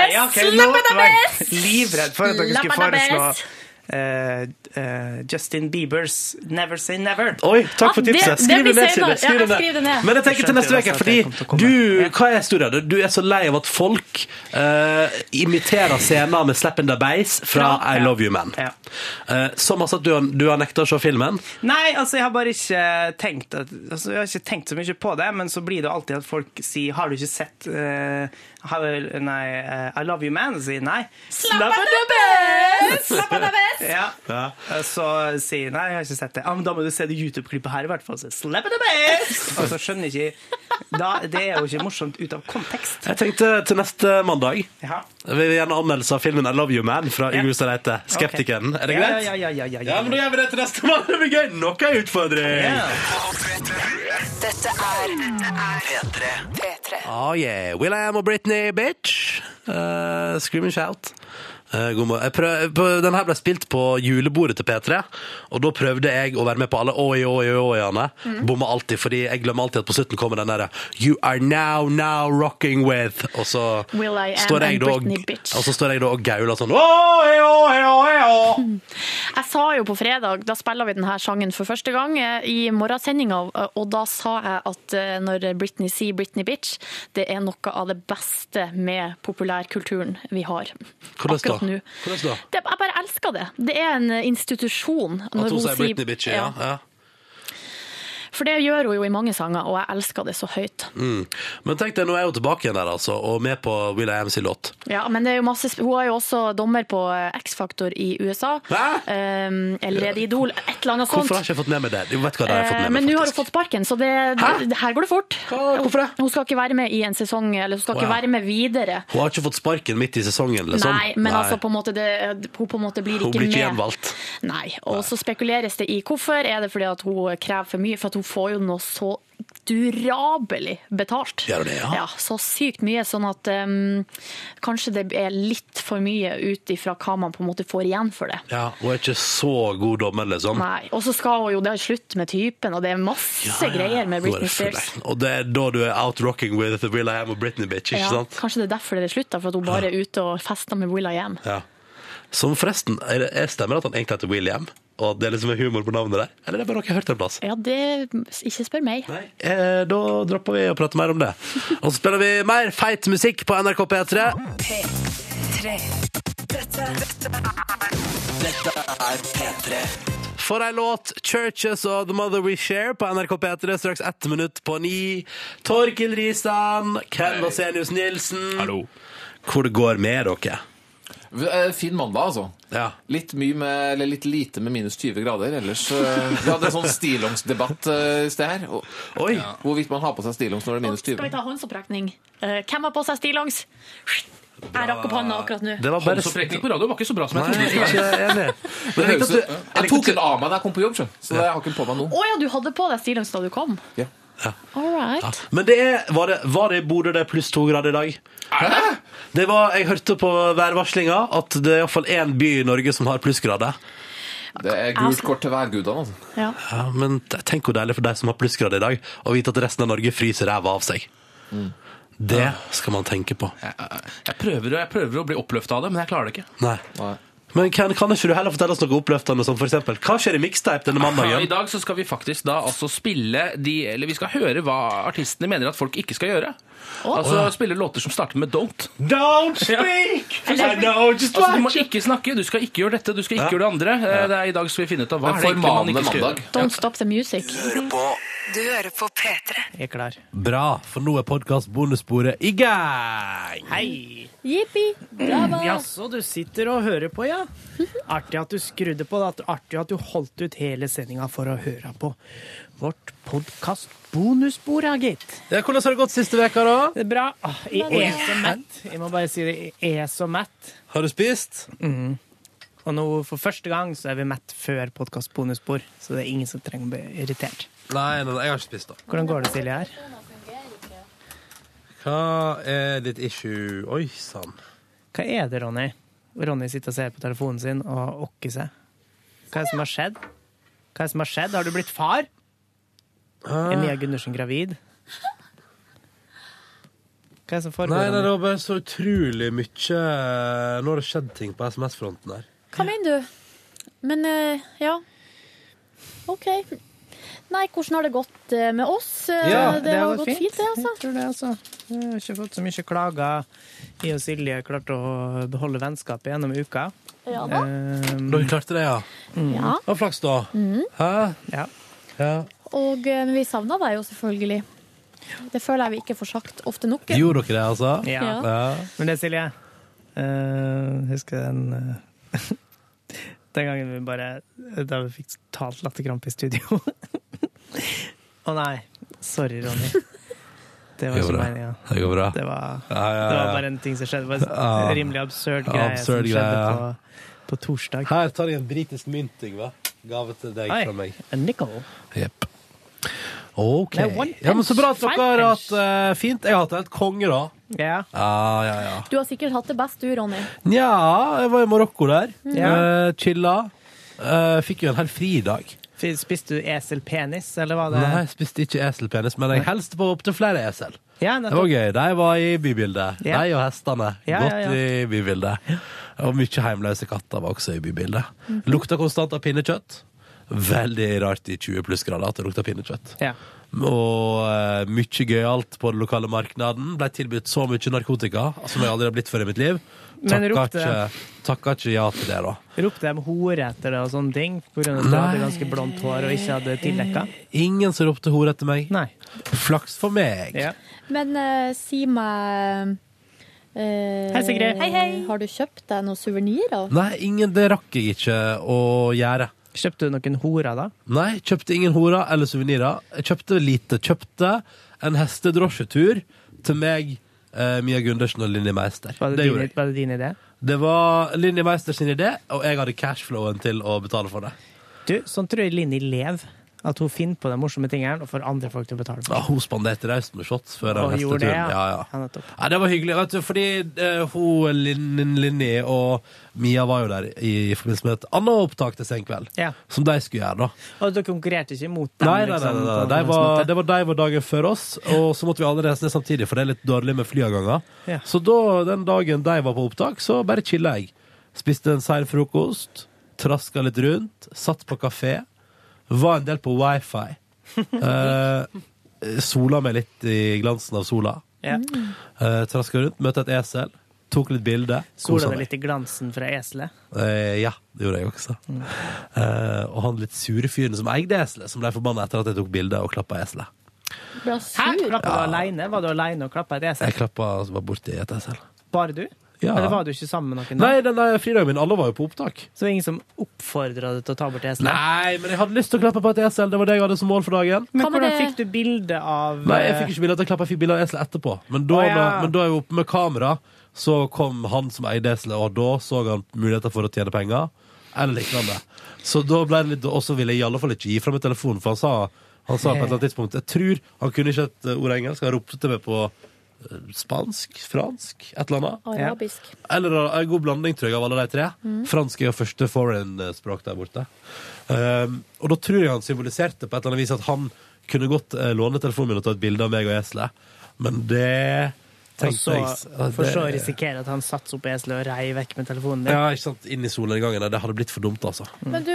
E: ja, ok, nå
B: Slapp av deg
E: var jeg
B: best!
E: Livredd for at dere
B: Slapp
E: skulle
B: av deg
E: foreslå
B: best!
E: eh, eh, Justin Biebers 'Never Say Never'.
A: Oi, takk for tipset. Skriv Ah, det, ned, Silje. Skriv det ned. Men jeg tenker til neste uke, fordi du, hva er historien? Du er så lei av at folk eh, imiterer scener med Slap in the Bass fra I Love You Man. Eh, så masse at du, har- du har nekta å se filmen.
E: Nei, altså jeg har bare ikke tenkt at, altså, Jeg har ikke tenkt så mye på det, men så blir det alltid at folk sier 'Har du ikke sett eh, har, Nei, eh, I Love You Man?' Og sier nei.
B: Slapp av deg best! Slapp av deg best!
E: Ja. Eh, Så sier jeg, nei, jeg har ikke sett det. Ja, men da må du se det YouTube-klippet her i hvert fall. Så Slap it best! Og så skjønner jeg ikke da, Det er jo ikke morsomt ut av kontekst.
A: Jeg tenkte til neste mandag.
E: Ja.
A: Jeg vil gjerne anmeldelse av filmen I Love You Man fra Yngve Stareite. Skeptikeren. Er det
E: Ja,
A: greit?
E: Ja, ja, ja, ja, ja,
A: Ja, men da gjør vi det til neste mandag. Det blir gøy. Nok en utfordring.
P: Dette er P3. P3.
A: Ah, Oh yeah, Will I am a Britney, bitch. Eh, scream and shout. Eh, god morgen. Jeg prøv, på- den her ble spilt på julebordet til P3, og da prøvde jeg å være med på alle oi, oi, oi, oi-ene.
B: Mm.
A: Bomma alltid, fordi jeg glemmer alltid at på slutten kommer den derre You are now, now rocking with Og så
B: Will I am
A: står jeg
B: and
A: da og,
B: Britney, bitch.
A: og så står jeg da og gauler sånn
B: Oi, oi, oi, oi. Jeg sa jo på fredag, da spiller vi denne sangen for første gang, eh, i morgensendinga, eh, og da sa jeg at eh, når Britney sier 'Britney bitch', det er noe av det beste med populærkulturen vi har.
A: Hvordan da?
B: Akkurat nå.
A: Hvordan da?
B: Det, jeg bare elsker det. Det er en institusjon.
A: At hun sier Britney bitch, ja.
B: Ja,
A: ja.
B: For det gjør hun jo i mange sanger, og jeg elsker det så høyt.
A: Mm. Men tenk deg, nå er jeg jo tilbake igjen der, altså, og med på Will I am sin låt.
B: Ja, men det er jo masse, sp- Hun er jo også dommer på eh, X-Factor i USA. Eh, Eller er det Idol? Et eller annet sånt.
A: Hvorfor har jeg ikke fått med meg det? Jo, vet du hva det har jeg fått med meg.
B: Eh, Men nå har hun fått sparken, så det, det, her går det fort.
A: Hvorfor det?
B: Hun skal ikke være med i en sesong, eller hun skal ikke
A: Wow.
B: være med videre.
A: Hun har ikke fått sparken midt i sesongen, liksom.
B: Nei, men altså på en måte det, hun på en måte blir
A: Hun
B: ikke
A: blir ikke
B: med.
A: gjenvalgt.
B: Nei, og så spekuleres det i hvorfor. Er det fordi at hun krever for mye? For at hun får jo noe så durabelig betalt.
A: Gjør hun det, ja?
B: Så sykt mye, sånn at eh, kanskje det er litt for mye ut ifra hva man på en måte får igjen for det.
A: Ja, hun er ikke så god dommer, liksom.
B: Nei, Og så skal hun jo det er slutt med typen, og det er masse greier med
A: Nå er
B: Britney
A: det full,
B: Spears.
A: nei. Og det er da du er out rocking with Will I Am og Britney Bitch, ikke
B: Ja,
A: sant?
B: Kanskje det er derfor det er slutt, da, for at hun bare er ute og fester med Will I Am.
A: Ja. Som forresten, er det, er stemmer det at han egentlig heter William? Og at det liksom er humor på navnet der? Eller er det bare noe jeg har hørt en plass?
B: Ja, det Ikke spør meg.
A: Eh, da dropper vi å prate mer om det. Og så spiller vi mer feit musikk på NRK P3.
D: P3. Dette, dette, dette er P3.
A: For ei låt! 'Churches of the Mother We Share' på NRK P3 straks ett minutt på ni. Torkil Risan, Ken Vasenius Nilsen. Hvor det går med dere?
Q: Eh, Fin mandag, altså. Litt, mye med, eller litt lite med minus 20 grader. Ellers eh, Vi hadde en sånn stillongdebatt eh, i sted her. Og,
A: Ja.
Q: Hvorvidt man har på seg stillongs når det er minus
B: Skal vi
Q: 20.
B: ta håndsopprekning? Eh, hvem har på seg stillongs? Jeg rakk opp hånda akkurat nå.
A: Det var bare-
Q: Håndsopprekning på radio var ikke så bra
A: som jeg Nei, trodde. ikke jeg er enig.
Q: Det
A: Men jeg
Q: høres
A: likte at
Q: ut- jeg tok den av meg da jeg kom på jobb, skjønner du, så jeg har ikke den på meg nå.
B: Å ja, du hadde på deg stillongs da du kom?
Q: Ja.
B: All right.
A: Men det er, var, det, var det i Bodø det er pluss to grader i dag? Det var, jeg hørte på værvarslinga at det er iallfall én by i Norge som har plussgrader.
Q: Det er gult kort til værgudene, altså.
B: Ja.
A: men t- tenk hvor deilig for deg som har plussgrader i dag, å vite at resten av Norge fryser ræva av seg. Det skal man tenke på.
R: Jeg prøver, jeg prøver å bli oppløfta av det, men jeg klarer det ikke.
A: Nei. Men kan, kan ikke du heller fortelle oss noe oppløftende, som for eksempel Hva skjer i mixtape denne
R: Ja, I
A: mandagen?
R: dag så skal vi faktisk da altså spille de Eller vi skal høre hva artistene mener at folk ikke skal gjøre. Altså
A: Åh.
R: spille låter som starter med don't.
A: Don't
R: speak! altså, du må ikke snakke, du skal ikke gjøre dette, du skal ikke
Q: Ja.
R: gjøre det andre. Eh, Det er I dag skal vi finne ut av hva
Q: En
R: er det egentlig man
Q: formanende
R: ikke skal
Q: mandag.
R: gjøre.
B: Don't stop the music.
D: Du hører på P3.
C: Jeg er klar.
A: Bra, for nå er podkast bonussporet i gang!
E: Hei!
B: Jippi!
E: Mm, Jaså, du sitter og hører på, ja? Artig at du skrudde på. da. Artig at du holdt ut hele sendinga for å høre på vårt podkast-bonusbord, ja, gitt.
A: Ja, hvordan har det gått siste veka da?
E: Det er bra. Ah, Jeg er så mett. Jeg må bare si det. Jeg er så mett.
A: Har du spist?
E: Mm. Og nå for første gang så er vi mett før podkast-bonusbord, så det er ingen som trenger å bli irritert.
A: Nei, nei, nei, jeg har ikke spist, da.
E: Hvordan går det, Silje? her?
A: Hva er ditt issue? Oi sann.
E: Hva er det, Ronny? Ronny sitter og ser på telefonen sin og okker seg. Hva er det som har skjedd? Hva er det som har skjedd? Har du blitt far? Er Mia Gundersen gravid? Hva er det som foregår?
A: Nei, nei,
E: Ronny?
A: det var bare så utrolig mye eh, Nå har det skjedd ting på SMS-fronten her.
B: Hva mener du? Men eh, ja. OK. Nei, hvordan har det gått eh, med oss? Eh, det, har gått fint, det, altså.
E: Jeg tror det, altså. Jeg har ikke fått så mye klager. Jeg og Silje klarte å beholde vennskapet gjennom uka.
B: Ja da.
E: Mm.
A: Dere klarte det, ja?
B: Ja.
A: Det var flaks, da.
B: Mhm.
A: Hæ?
E: Ja.
B: Og eh, men vi savna deg jo selvfølgelig. Det føler jeg vi ikke får sagt ofte nok. eh,
A: Gjorde dere det, altså?
E: Ja. Men det, Silje eh, Husker den eh, Den gangen vi bare Da vi fikk totalt latterkrampe i studio. Å nei. Sorry, Ronny.
A: Det
E: Det var
A: går
E: ikke
A: bra.
E: meninga.
A: Det går bra.
E: Det var,
A: Ja, ja, ja.
E: det var bare en ting som skjedde. Det var
A: Ja.
E: en rimelig absurd
A: Ja,
E: greie
A: absurd
E: som
A: greie,
E: skjedde
A: ja.
E: på, på torsdag.
A: Her tar jeg en britisk mynt, Yngve. Gave til deg
E: Oi,
A: fra meg.
E: en nickel.
A: Jepp. OK.
E: Nei, one
A: Ja, men Så bra at
E: punch.
A: dere har eh,
E: Five
A: hatt det fint. Jeg har hatt det helt konge, da.
E: Ja.
A: Ah, ja, ja.
B: Du har sikkert hatt det best, du, Ronny.
A: Nja, jeg var i Marokko der.
E: Ja.
A: eh, chilla. Eh, fikk jo en hel fridag.
E: F- Spiste du eselpenis, eller var det
A: Nei, jeg spiste ikke eselpenis, men jeg helste på opptil flere esel.
E: Ja,
A: Det var
E: nettopp.
A: gøy. De var i bybildet.
E: Ja.
A: De og hestene.
E: Ja, ja,
A: Godt
E: ja.
A: i bybildet. Og mye heimløse katter var også i bybildet.
E: Mhm.
A: Lukta konstant av pinnekjøtt. Veldig rart i 20 plussgrader at det lukta pinnekjøtt.
E: Ja.
A: Og uh, mye gøyalt på den lokale markedet. Ble tilbudt så mye narkotika som jeg aldri har blitt før i mitt liv.
E: Men
A: Takka
E: ropte
A: ikke, takka ikke ja til det, da.
E: Ropte de hore etter deg og sånne ting på grunn av at du
A: Nei.
E: hadde ganske blondt hår og ikke hadde tildekka?
A: Ingen som ropte hore etter meg. Flaks for meg.
B: Men eh, si meg eh,
A: Hei, Sigrid. Hei,
B: Har du kjøpt deg noen suvenirer?
A: Nei, ingen, det rakk jeg ikke å gjøre.
E: Kjøpte du noen horer, da?
A: Nei, kjøpte ingen horer eller suvenirer. Jeg kjøpte lite. Kjøpte en hestedrosjetur til meg, eh, Mia Gundersen og Linni Meister.
E: Var det,
A: Det gjorde
E: din,
A: jeg.
E: var det din idé?
A: Det var Linni Meister sin idé, og jeg hadde cashflowen til å betale for det.
E: Du, sånn tror jeg Linni lever. At hun finner på de morsomme tingene og får andre folk til å betale. for
A: Ja, hun spanderte raust med shots før den
E: Og
A: hesteturen.
E: gjorde det,
A: ja.
E: ja.
A: Ja, Nei, det var hyggelig, vet du, fordi eh, hun, Lin- Linni og Mia var jo der i, i forbindelse med et annet opptak til Senkveld,
E: Ja.
A: som de skulle gjøre, da.
E: Og dere konkurrerte ikke mot dem?
A: Nei, nei, nei,
E: liksom,
A: nei,
E: på
A: nei.
E: noen
A: De
E: som
A: var,
E: måte?
A: det var de var dagen før oss, og så måtte vi alle reise ned samtidig, for det er litt dårlig med flyavganger.
E: Ja.
A: Så da, den dagen de var på opptak, så bare chilla jeg. Spiste en sein frokost, traska litt rundt, satt på kafé. Var en del på wifi. Eh, sola meg litt i glansen av sola.
E: Ja.
A: Eh, traska rundt, møtte et esel, tok litt bilde.
E: Sola
A: kosa
E: det
A: meg.
E: litt i glansen fra eselet?
A: Eh, ja, det gjorde jeg også.
E: Mm.
A: Eh, og han litt sure fyren som eide eselet, som ble forbanna etter at jeg tok bilde og klappa eselet.
B: Bra
E: Hæ? Klappa du alene? Var du alene og klappa et
A: Jeg
E: esel?
A: klappa og var borti et esel.
E: Bare du?
A: Ja.
E: Eller var du ikke sammen med noen? da?
A: Nei, den der fridagen min, alle var jo på opptak.
E: Så det var ingen som oppfordra deg til å ta bort eselet?
A: Nei, men jeg hadde lyst til å klappe på et esel. Det var det jeg hadde som mål for dagen.
E: Men hvordan fikk du bilde av
A: Nei, jeg fikk ikke bilde av at jeg klappa, jeg fikk bilde av eselet etterpå. Men da,
E: Å, ja.
A: men da jeg var oppe med kamera, så kom han som eide eselet, og da så han muligheter for å tjene penger. Eller lignende. Så da ble det litt Og så ville jeg i alle fall ikke gi fra meg telefonen, for han sa, han sa på et eller annet tidspunkt Jeg tror han kunne ikke et ord engelsk, han ropte til meg på eh, spansk, fransk, et eller annet.
B: Arabisk.
A: Eller eh, en god blanding, tror jeg, av alle de tre.
B: Mm.
A: Fransk er jo første foreign-språk der borte. Um, og da tror jeg han symboliserte på et eller annet vis at han kunne godt eh, låne telefonen min og ta et bilde av meg og eselet, men det
E: Og
A: tenkte
E: så,
A: jeg
E: for så å
A: det-
E: risikere at han satte seg opp eselet og rei vekk med telefonen din?
A: Ja, ikke sant. Inn i solnedgangen. Nei, Det hadde blitt for dumt, altså.
B: Men du,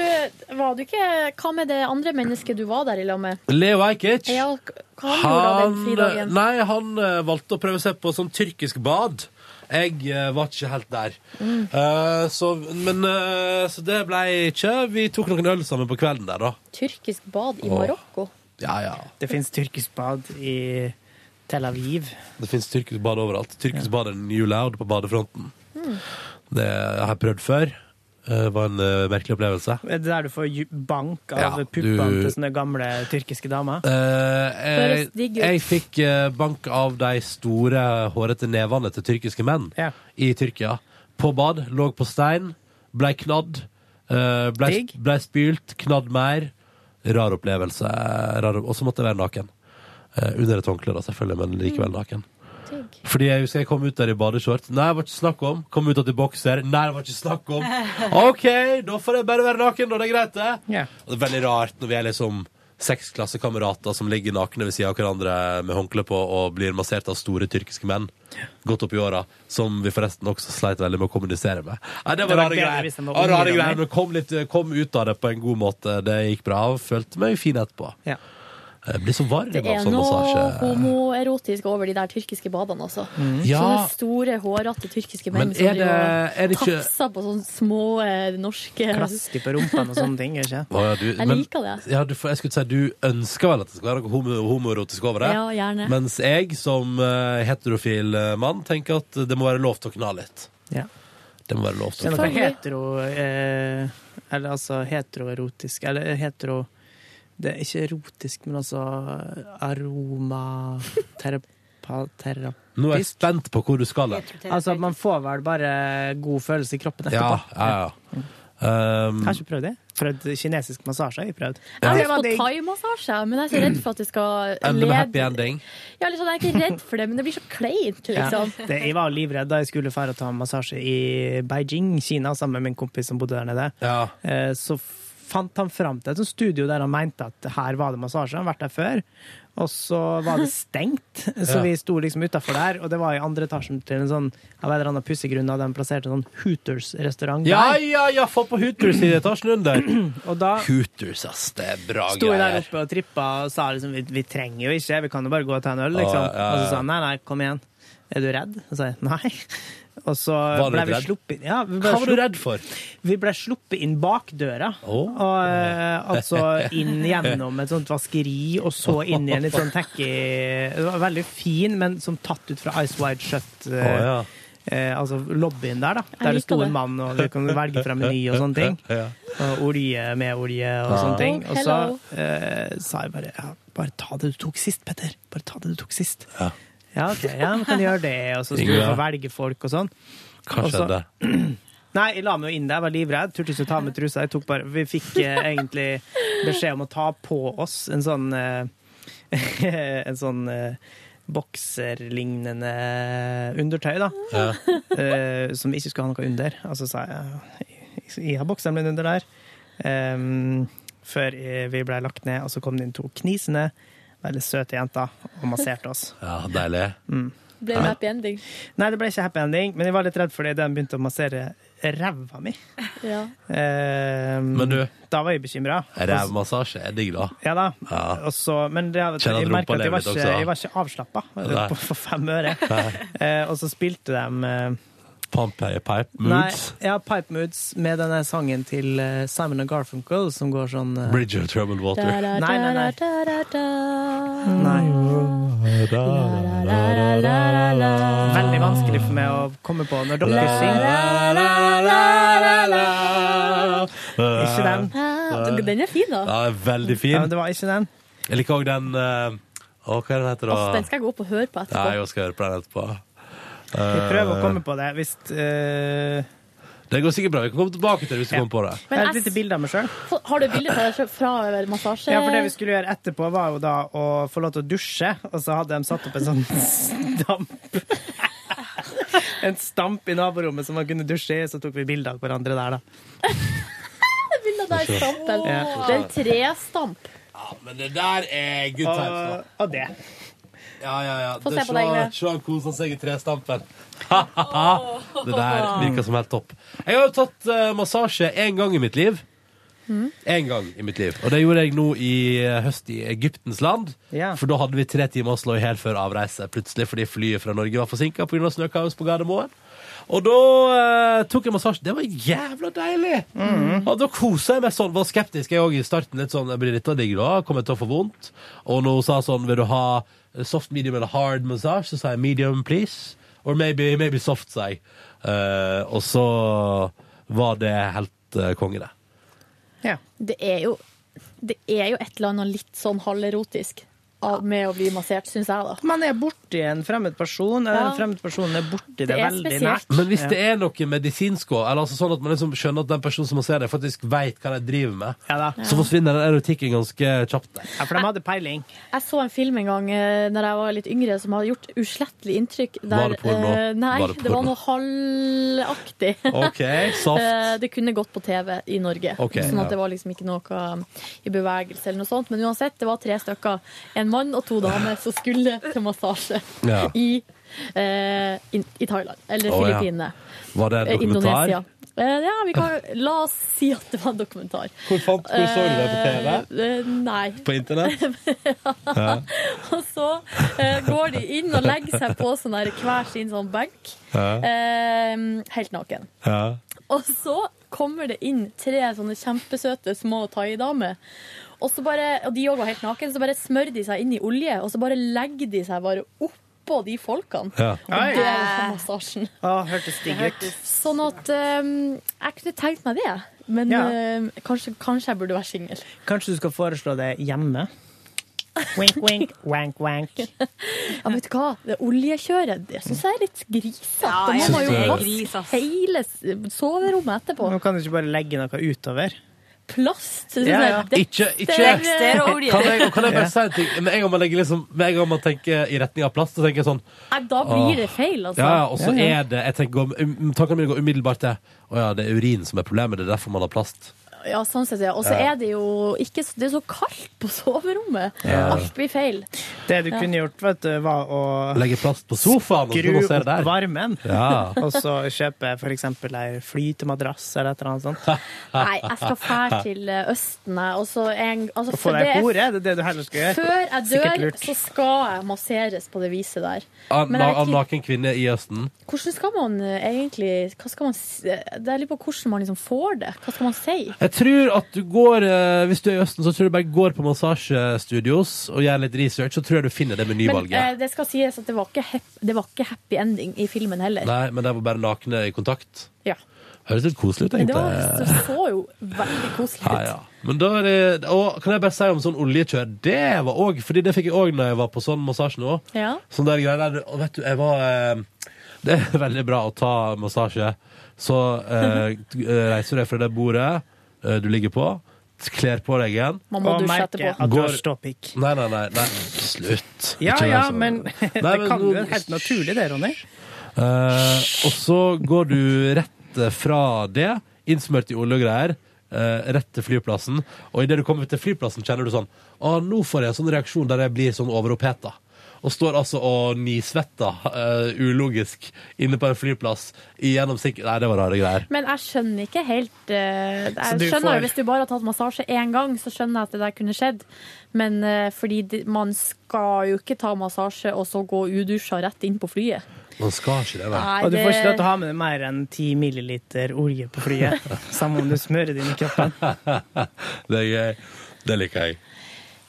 B: var du ikke Hva med det andre mennesket du var der i lag med?
A: Leo Ajkic
B: Ja, hva han gjorde han den fridagen?
A: Nei, han eh, valgte å prøve seg på sånn tyrkisk bad. Jeg eh, var ikke helt der.
B: Mm.
A: Eh, så, men, eh, så det ble jeg ikke. Vi tok noen øl sammen på kvelden der, da.
B: Tyrkisk bad i
A: Åh.
B: Marokko?
A: Ja, ja.
E: Det fins tyrkisk bad i Tel Aviv.
A: Det fins tyrkisk bad overalt. Tyrkisk bad er new loud på badefronten.
E: Mm.
A: Det har jeg prøvd før. Det var en eh, merkelig opplevelse.
E: Er det der du får ju- bank
A: Ja,
E: av
A: du-
E: puppene til sånne gamle tyrkiske damer?
A: Eh,
E: Høres digg ut.
A: jeg fikk eh, bank av de store, hårete nevene til tyrkiske menn i Tyrkia. På bad, lå på stein, blei knadd. eh, blei,
E: Digg.
A: blei spylt, knadd mer. Rar opplevelse. Rar, og så måtte jeg være naken. Eh, under et håndkle, da, selvfølgelig, men likevel naken. Fordi jeg husker jeg kom ut der i badeshorts. Nei, det var ikke snakk om. Kom ut at i bokser. Nei, det var ikke snakk om. OK, da får jeg bare være naken, da. Det er greit, det. Og det er veldig rart når vi er liksom seks klassekamerater som ligger nakne ved sida av hverandre med håndkle på og blir massert av store tyrkiske menn godt opp i åra, som vi forresten også sleit veldig med å kommunisere med. Nei, det
E: Det
A: var
E: var
A: rare
E: bedre
A: greier.
E: hvis de var
A: Ja, rare
E: ungdommer.
A: greier, men kom, litt, kom ut av det på en god måte. Det gikk bra. og Følte meg fin etterpå.
E: Ja.
A: Jeg blir så varm
B: Det
A: av
B: er
A: sånn
B: noe
A: massasje.
B: homoerotisk over de der tyrkiske badene, altså.
A: Mm. Ja.
B: Sånne store, hårete tyrkiske
A: Men
B: menn som
A: er det-
B: driver
A: er
B: og
A: det ikke-
B: tafser på sånne små eh, norske
E: Klaske på rumpa og sånne ting, ikke
A: Å, ja, du,
B: Jeg
A: men-
B: liker det.
A: Ja, du, får- jeg skulle si Du ønsker vel at det skal være noe homo- homoerotisk over det?
B: Ja, gjerne.
A: Mens jeg, som eh, heterofil eh, mann, tenker at det må være lov til å kna litt.
E: Ja.
A: Det må være lov til å
E: Det
A: kna
E: er noe hetero... Eh, eller altså heteroerotisk Eller hetero... Det er ikke erotisk, men altså aromaterapi...
A: Nå er jeg spent på hvor du skal. hen.
E: Altså at man får vel bare god følelse i kroppen
A: Ja,
E: etterpå.
A: ja, ja. Um,
E: Kanskje prøv det. prøvd kinesisk massasje. har Vi prøvd.
B: Jeg har lyst på thaimassasje, men jeg er så redd for at det skal
A: Ender med happy
B: lede
A: ending.
B: Ja, liksom, Jeg er ikke redd for det, men det blir så kleint, liksom.
E: Ja. Det, jeg var livredd da jeg skulle fære og ta massasje i Beijing, Kina, sammen med min kompis som bodde der nede. Eh, Så fant han fram til et sånt studio der han mente at her var det massasje. Han har vært der før. Og så var det stengt, så
A: Ja.
E: vi sto liksom utafor der. Og det var i andre etasjen til en sånn av en eller annen pussegrunn hadde de plassert en sånn Hooters-restaurant
A: Ja,
E: der.
A: ja, ja, få på Hooters i etasjen under.
E: Og da
A: Hooters, ass. Det er bra
E: Sto vi der
A: greier.
E: oppe og trippa og sa liksom vi, vi trenger jo ikke, vi kan jo bare gå og ta en øl,
A: Å,
E: liksom.
A: ja, ja.
E: Og så sa han nei, nei, kom igjen. Er du redd? Og så sa jeg nei. Og så
A: Var du
E: ble vi
A: redd?
E: sluppet ja, vi ble
A: Hva var du
E: slupp-
A: redd for?
E: Vi ble sluppet inn bak døra.
A: Å.
E: Og, eh, altså inn gjennom et sånt vaskeri, og så inn i en litt sånn tacky Det var veldig fin, men som tatt ut fra Ice Wide Shut. eh,
A: Å, ja.
E: eh, altså lobbyen der, da. Der
A: liker
E: det sto
A: det.
E: en mann, og du kan velge fra meny og sånne ting.
A: Ja.
E: Og olje med olje og
A: Ja.
E: sånne ting.
A: Oh,
E: Og så
A: hello.
E: eh, sa jeg bare ja, bare ta det du tok sist, Petter. Bare ta det du tok sist.
A: Ja.
E: Ja, ok, ja, men kan du gjøre det, og så skulle
A: Yngve.
E: du få velge folk og sånn.
A: Hva
E: Og så-
A: skjedde?
E: Nei, jeg la meg jo inn der, jeg var livredd. Turte ikke å ta med trusa. Jeg tok bare, vi fikk eh, egentlig beskjed om å ta på oss en sånn eh, En sånn eh, bokserlignende undertøy, da. Eh, som ikke skulle ha noe under. Og så sa jeg jeg har bokseren min under der. Ehm, før eh, vi ble lagt ned, og så kom det inn to knisende, veldig søte jenter og masserte oss.
A: Ja, deilig.
E: Mm.
B: Ble det happy ending?
E: Nei, det ble ikke happy ending, men jeg var litt redd fordi de begynte å massere ræva mi.
B: Ja.
E: Ehm,
A: Men du,
E: Da var jeg bekymra.
A: rævmassasje er digg, da.
E: Ja da.
A: Ja.
E: Og så- Men det, jeg,
A: Kjenner at rumpa
E: merket at jeg
A: lever
E: var
A: litt
E: ikke,
A: også, da.
E: jeg var ikke avslappa
A: Nei.
E: på- for fem øre. Eh, og så spilte de eh,
A: Pump your pipe
E: Nei,
A: moods.
E: ja, Pipe Moods med denne sangen til eh, Simon og Garfunkel som går sånn eh,
A: Bridge of troubled water.
E: Nei, nei, nei. Veldig vanskelig for meg å komme på når dere synger. Ikke den.
B: Den er fin, da.
A: Ja, veldig fin.
E: Ja, men det var ikke den.
A: Jeg liker òg den eh, Å, hva er den heter,
B: Aff,
A: da?
B: den skal jeg gå opp og høre på
A: Ja,
B: etterpå.
A: jeg skal høre på den etterpå.
E: Vi prøver å
A: Eh,
E: komme på det hvis eh,
A: Det går sikkert bra. Vi kan komme tilbake til det hvis vi
E: Ja.
A: kommer på det.
E: Jeg har et lite bilde av meg sjøl.
B: Så Har du bilde fra deg selv fra massasje?
E: Ja, for det vi skulle gjøre etterpå, var jo da å få lov til å dusje, og så hadde de satt opp en sånn stamp. En stamp i naborommet som man kunne dusje i, så tok vi bilde av hverandre der, da.
B: Bildet der, stampen.
E: Ja.
B: Det er en trestamp.
A: Men det der er good
E: Og, og det.
A: Ja, ja, ja.
B: Få se Det- på deg, se- Ingrid.
A: Se han koser seg i trestampen. det der virker som helt topp. Jeg har jo tatt eh, massasje én gang i mitt liv. En gang i mitt liv. Og det gjorde jeg nå i eh, høst i Egyptens land.
E: Ja.
A: For da hadde vi tre timer å slå i hjel før avreise, plutselig fordi flyet fra Norge var forsinka pga. snøkaos på Gardermoen. Og da eh, tok jeg massasje. Det var jævla deilig! Og da kosa jeg meg sånn. Var skeptisk jeg òg i starten. Litt sånn, blir dette digg da? Kommer jeg til å få vondt? Og når hun sa sånn, vil du ha soft, medium eller hard massasje? Så sa jeg medium, please. Or maybe, maybe soft, sa jeg. Eh, og så var det helt eh, konge, det.
B: Det er jo det er jo et eller annet litt sånn halverotisk av- med å bli massert, syns jeg, da.
E: Man er borti en fremmed person, eller en fremmed person er borti det,
B: Det er
E: veldig
B: spesielt.
E: nært.
A: Men hvis
E: Ja.
A: det er noe medisinsk også, eller altså sånn at man liksom skjønner at den personen som masserer deg, faktisk vet hva de driver med, så forsvinner den erotikken ganske kjapt. der.
E: Ja, for de hadde peiling.
B: Jeg så en film en gang eh, Når jeg var litt yngre som hadde gjort uslettelig inntrykk. Der,
A: Var det porno?
B: eh, nei,
A: Var det
B: det, var
A: porno?
B: noe halvaktig.
A: Ok, soft.
B: Eh, det kunne gått på TV i Norge.
A: Ok,
B: sånn at
A: ja.
B: det var liksom ikke noe i bevegelse eller noe sånt. Men uansett, det var tre stykker. En mann og to damer som skulle til massasje
A: Ja.
B: i, eh, in, i Thailand.
A: Å,
B: Eller
A: ja.
B: Filippinene.
A: Var det en
B: Eh,
A: dokumentar?
B: Indonesia. Eh, ja, vi kan, la oss si at det var en dokumentar.
A: Hvor fant- hvor så du det på TV?
B: Eh, eh, nei.
A: På internett?
B: ja. Og så eh, går de inn og legger seg på sånn der, hver sin sånn benk,
A: Ja.
B: eh, helt naken.
A: Ja.
B: Og så kommer det inn tre sånne kjempesøte små thaidamer. Og, så bare, og de òg var helt naken, så bare smører de seg inn i olje, og så bare legger de seg bare oppå de folkene.
A: Ja.
B: Og det er liksom massasjen.
E: Å, hørtes digg ut.
B: Sånn at eh, jeg kunne tenkt meg det, men
E: Ja.
B: eh, kanskje, kanskje jeg burde være singel.
E: Kanskje du skal foreslå det hjemme? Wink, wink, wank, wank.
B: Ja, men vet du hva? Det oljekjøret, det syns jeg er litt grisete.
E: Ja,
B: Da må
E: jeg
B: man jo
E: synes det er
B: vaske hele s- soverommet etterpå.
E: Nå kan du ikke bare legge noe utover.
B: plast.
A: Ja, ja.
B: Sånn der
A: Ikke, ikke
B: dekster og olje.
A: Kan jeg, kan jeg bare si en ting? Med en gang man, legger liksom, med en gang man tenker i retning av plast, så tenker jeg sånn
B: Nei, da blir det feil, altså.
A: Ja, ja, og så er det jeg tenker, går- um, Tankene mine går umiddelbart til Å ja, det er urin som er problemet, det er derfor man har plast.
B: Ja, sånn sett, ja. Og så
A: Ja.
B: er det jo ikke Det er så kaldt på soverommet.
A: Ja.
B: Alt blir feil.
E: Det du
B: Ja.
E: kunne gjort, vet du, var å
A: Legge plast på sofaen, og så
E: skru
A: må man se det
E: opp
A: der.
E: varmen,
A: Ja.
E: og så kjøpe for eksempel ei flytemadrass eller et eller annet sånt.
B: Nei, jeg skal fære til eh, Østen, jeg. Og så en altså,
E: Å få
B: for
E: deg
B: det er-
E: hore, det er det du heller skal gjøre.
B: Før jeg
E: Sikkert
B: dør,
E: lurt.
B: så skal jeg masseres på det viset der.
A: Av
B: Men jeg
A: na- av
B: vet ikke,
A: naken kvinne i Østen.
B: hvordan skal man eh, egentlig hva skal man, s- eh, Det er litt på hvordan man liksom får det. Hva skal man si?
A: Jeg tror at du går eh, Hvis du er i Østen, så tror jeg du bare går på massasjestudios og gjør litt research, så tror jeg du finner det
B: Men
A: menyvalget.
B: eh, det skal sies at det var, ikke hep, det var ikke happy ending i filmen heller.
A: Nei, men det var bare nakne i kontakt.
B: Ja.
A: Høres litt koselig ut,
B: Men det,
A: egentlig.
B: var, det så jo veldig koselig
A: Ja,
B: ut.
A: ja. Men da er det, og kan jeg bare si om sånn oljekjør Det var òg, fordi det fikk jeg òg når jeg var på sånn massasje nå.
B: Ja.
A: Sånn der greier der, og vet du, jeg var eh, Det er veldig bra å ta massasje. Så eh, du- eh, reiser du deg fra det bordet eh, du ligger på, kler på deg igjen
E: Man må Og dusje merker etterpå. at du har ståpikk.
A: Nei, nei, nei. nei. Slutt.
E: Ja,
A: Ikke vær
E: ja,
A: sånn.
E: men det
A: Nei,
E: kan jo
A: nå-
E: helt naturlig det, Ronny.
A: Eh, og så går du rett fra det, innsmørt i olje og greier, eh, rett til flyplassen. Og idet du kommer til flyplassen, kjenner du sånn Å, nå får jeg en sånn reaksjon der jeg blir sånn overoppheta. Og står altså og nisvetter eh, ulogisk inne på en flyplass i gjennomsikker Nei, det var rare greier.
B: Men jeg skjønner ikke helt eh,
A: Så
B: Jeg
A: du
B: skjønner
A: får-
B: jo Hvis du bare har tatt massasje én gang, så skjønner jeg at det der kunne skjedd. Men eh, fordi de- man skal jo ikke ta massasje og så gå udusja rett inn på flyet.
A: Man skal ikke det,
B: Nei,
E: Og du får ikke lov
B: det-
E: til å ha med deg mer enn 10 milliliter olje på flyet. Samme om du smører din i kroppen.
A: det er gøy. Det liker jeg.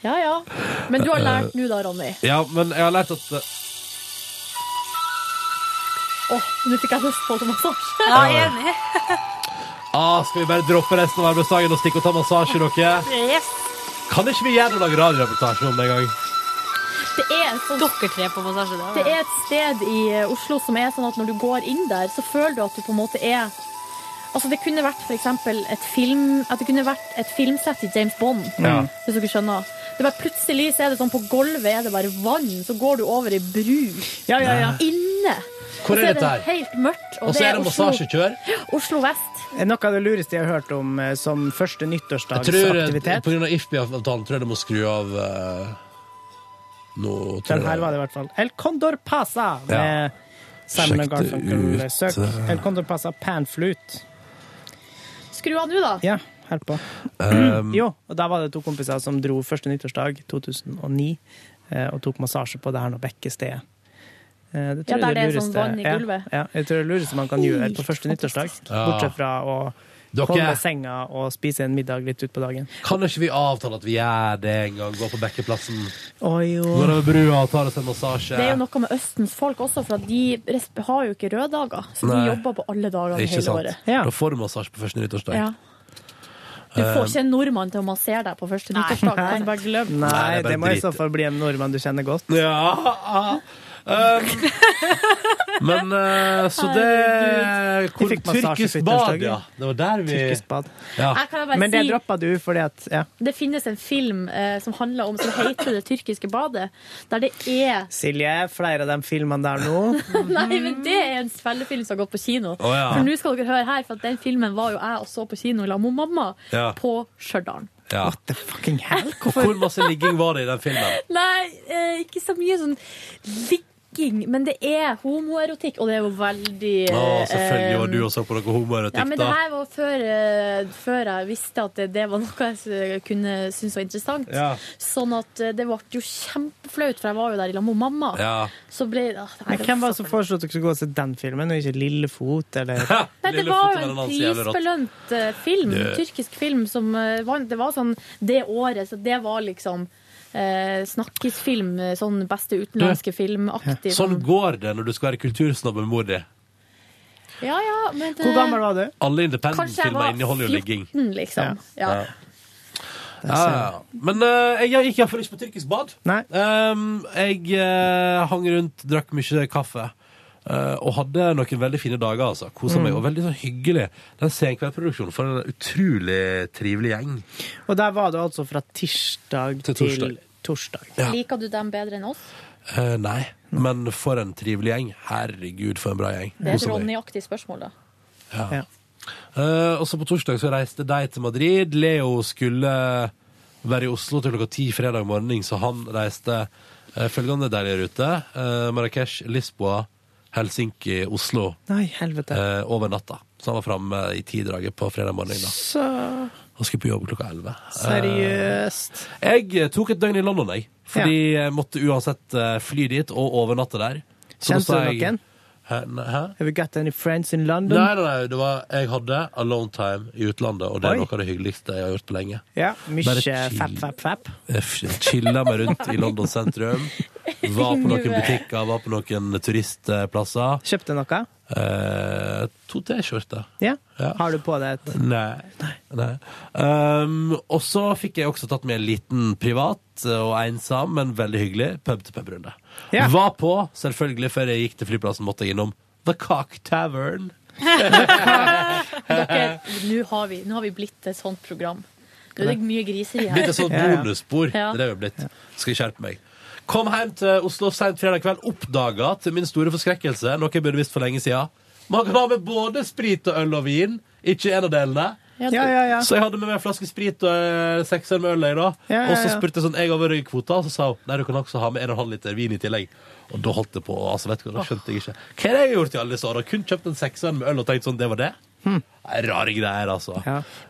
B: Ja ja. Men du
A: Eh.
B: har lært nå da, Ronny.
A: Ja, men jeg har lært at eh,
B: Åh, nå fikk jeg lyst på til massasje.
A: Ja, jeg er ah, Skal vi bare droppe resten av arbeidsdagen og stikke og ta massasje, dere?
B: Yes.
A: Kan ikke vi gjøre noen lage radioreportasje om det en gang?
B: Det er et sånt
S: Dere tre på massasje, det var
B: Det er et sted i eh, Oslo som er sånn at når du går inn der, så føler du at du på en måte er Altså Det kunne vært for eksempel et film At det kunne vært et filmsett i James Bond,
S: Ja.
B: hvis dere skjønner. Det er bare Plutselig så er det sånn på gulvet er det bare vann, så går du over i bru
A: Ja, ja, ja.
B: inne.
A: Hvor
B: Og så
A: er dette her?
B: Helt mørkt.
A: Og så er det
B: Oslo-
A: massasjekjør.
B: Oslo vest.
E: Noe av det lureste jeg har hørt om eh, som
A: Jeg
E: første
A: tror eh,
E: nyttårsdagsaktivitet
A: på grunn av IFBI-avtalen tror jeg det må skru av uh, nå, tror
E: Den her var det i hvert fall. El Condor Pasa med Simon
A: Sjekk
E: og
A: det ut.
E: Garfunkel. Søk El Condor Pasa Panflute.
B: Skru av nå, da.
E: Ja, helt på.
A: Um,
E: jo, og der var det to kompiser som dro første nyttårsdag 2009 eh, og tok massasje på det her nå bekkestedet. Eh,
B: Ja,
E: Det tror jeg
B: der
E: er
B: det er sånn
E: lureste-
B: vann i gulvet.
E: Ja, ja, jeg tror det lureste man kan gjøre på første nyttårsdag,
A: Ja.
E: bortsett fra å
A: Dere-
E: komme i senga og spise en middag litt utpå dagen.
A: Kan ikke vi avtale at vi gjør det en gang? Gå på Bekkeplassen,
E: Oi, jo.
A: går over brua og tar oss en massasje?
B: Det er jo noe med Østens folk også, for at de resp- har jo ikke røddager. Så de
A: Nei.
B: jobber på alle dager
A: Ikke
B: hele
A: sant?
B: året.
A: Da får du massasje på første nyttårsdag.
B: Ja. Du får
A: Eh,
B: ikke en nordmann til å massere deg på første nyttårsdag. Altså, Kan du bare glemme
E: Nei,
A: Nei, det er
E: det,
A: bare
E: må i
A: drit.
E: så fall bli en nordmann du kjenner godt.
A: Ja! Um, men eh, så det
E: Herregud.
A: Hvor
E: Vi fikk massasje på
A: tyrkisk bad,
E: nyttårsdagen.
A: ja. Det var der vi
E: Tyrkisk bad.
A: Ja.
B: Jeg kan bare
E: Men det
B: si-
E: droppa du fordi at ja.
B: Det finnes en film eh, som handler om Som heter 'Det tyrkiske badet', der det er sånn- Mm.
E: Silje, flere av de filmene der nå
B: Nei, men det er en spillefilm som har gått på kino.
E: Å, ja.
B: For nå skal dere høre her, for at den filmen var jo jeg og så på kino sammen med mamma
A: Ja.
B: på Stjørdal.
A: ja. What
E: the fucking hell?
A: Hvor masse ligging var det i den filmen?
B: Nei, eh, ikke så mye sånn ligging, men det er homoerotikk, og det er jo veldig
A: Å, selvfølgelig
B: eh,
A: var du og så på noe homoerotikk,
B: Ja, men det
A: da.
B: her var før, eh, før jeg visste at det, det var noe jeg s- kunne synes var interessant.
A: Ja.
B: Sånn at eh, det ble jo kjempeflaut, for jeg var jo der i lag med mamma.
E: Ja.
B: Så ble ah, det her
E: Men
B: var
E: Hvem var det som foreslo at dere skulle gå og se den filmen, og ikke Lillefot eller
B: Nei, det var jo en prisbelønt eh, film,
E: Det-
B: tyrkisk film, som eh, vant. Det var sånn det året, så det var liksom eh, snakkisfilm, eh, sånn beste utenlandske filmaktig.
A: Sånn går det når du skal være kultursnobb med mor di.
B: Ja, ja, men det-
E: Hvor gammel var du?
A: Alle
B: Kanskje jeg
A: independent-filmer inneholder jo
B: var
A: ligging.
B: 14, liksom. Ja.
A: Ja. Ja, ja. Men eh, jeg gikk iallfall Ehm, ikke på tyrkisk bad. Um, jeg eh, hang rundt, drakk mye kaffe. Eh, og hadde noen veldig fine dager, altså. Kosa meg.
E: Mm.
A: Og veldig sånn hyggelig. Den senkveldproduksjonen for en utrolig trivelig gjeng.
E: Og der var du altså fra tirsdag til torsdag.
A: torsdag. Ja.
B: Liker du dem bedre enn oss?
A: Eh, nei, men for en trivelig gjeng. Herregud, for en bra gjeng.
B: Mm. Det er et
A: Kosa meg.
B: Ronny-aktig spørsmål, da.
A: Ja. Eh, og så på torsdag så reiste de til Madrid. Leo skulle være i Oslo til klokka ti fredag morgen, så han reiste eh, følgende deilige rute. Uh, Marrakech, Lisboa, Helsinki, Oslo.
E: Nei, helvete.
A: eh, over natta. Så han var framme i tidraget på fredag morgen. da.
E: Så
A: Han skulle på jobb klokka elleve.
E: seriøst.
A: Eh, jeg tok et døgn i London, jeg. Fordi jeg måtte uansett eh, fly dit og overnatte der. da
E: Kjente
A: sa
E: du
A: jeg-
E: noen?
A: Hæ? Nei, Hæ?
E: Have you got any friends in London?
A: Nei, nei, nei, det var, jeg hadde alone time i utlandet, og det er
E: Oi.
A: noe av det hyggeligste jeg har gjort på lenge.
E: Ja,
A: Bare
E: mye
A: chill.
E: fapp, fapp, fapp.
A: Jeg f- chilla meg rundt i London sentrum. Var på noen butikker, var på noen turistplasser.
E: Kjøpte noe?
A: Eh, to T-skjorter.
E: Ja. Har du på deg et
A: Nei. Nei. Um, og så fikk jeg også tatt med en liten privat eh, og ensom, men veldig hyggelig pub-til-pub-runde. Var på, selvfølgelig, før jeg gikk til flyplassen, måtte jeg innom The Cock Tavern.
B: Dere, nå har, vi, nå har vi blitt et sånt program. Nå er det mye griseri her.
A: Blitt et sånt bonusspor.
B: Ja.
A: Det er det vi har blitt. Skal jeg skjerpe meg. Kom hjem til Oslo sent fredag kveld, oppdaga til min store forskrekkelse, noe jeg burde visst for lenge siden. Man kan ha med både sprit og øl og vin, ikke en av delene.
E: Ja, ja, ja.
A: Så jeg hadde med meg en flaske sprit og eh, seks øl med øl, jeg, da.
E: Ja, ja,
A: Og så
E: ja.
A: spurte jeg sånn, jeg over røykvota, og så sa hun nei, du kan også ha med en og en halv liter vin i tillegg. Og da holdt det på, altså, vet du hva, da skjønte jeg ikke. Hva er det jeg har gjort i alle disse åra? Kun kjøpt en sekser med øl og tenkt sånn, det var det?
E: Hm.
A: Nei, Rare greier, altså.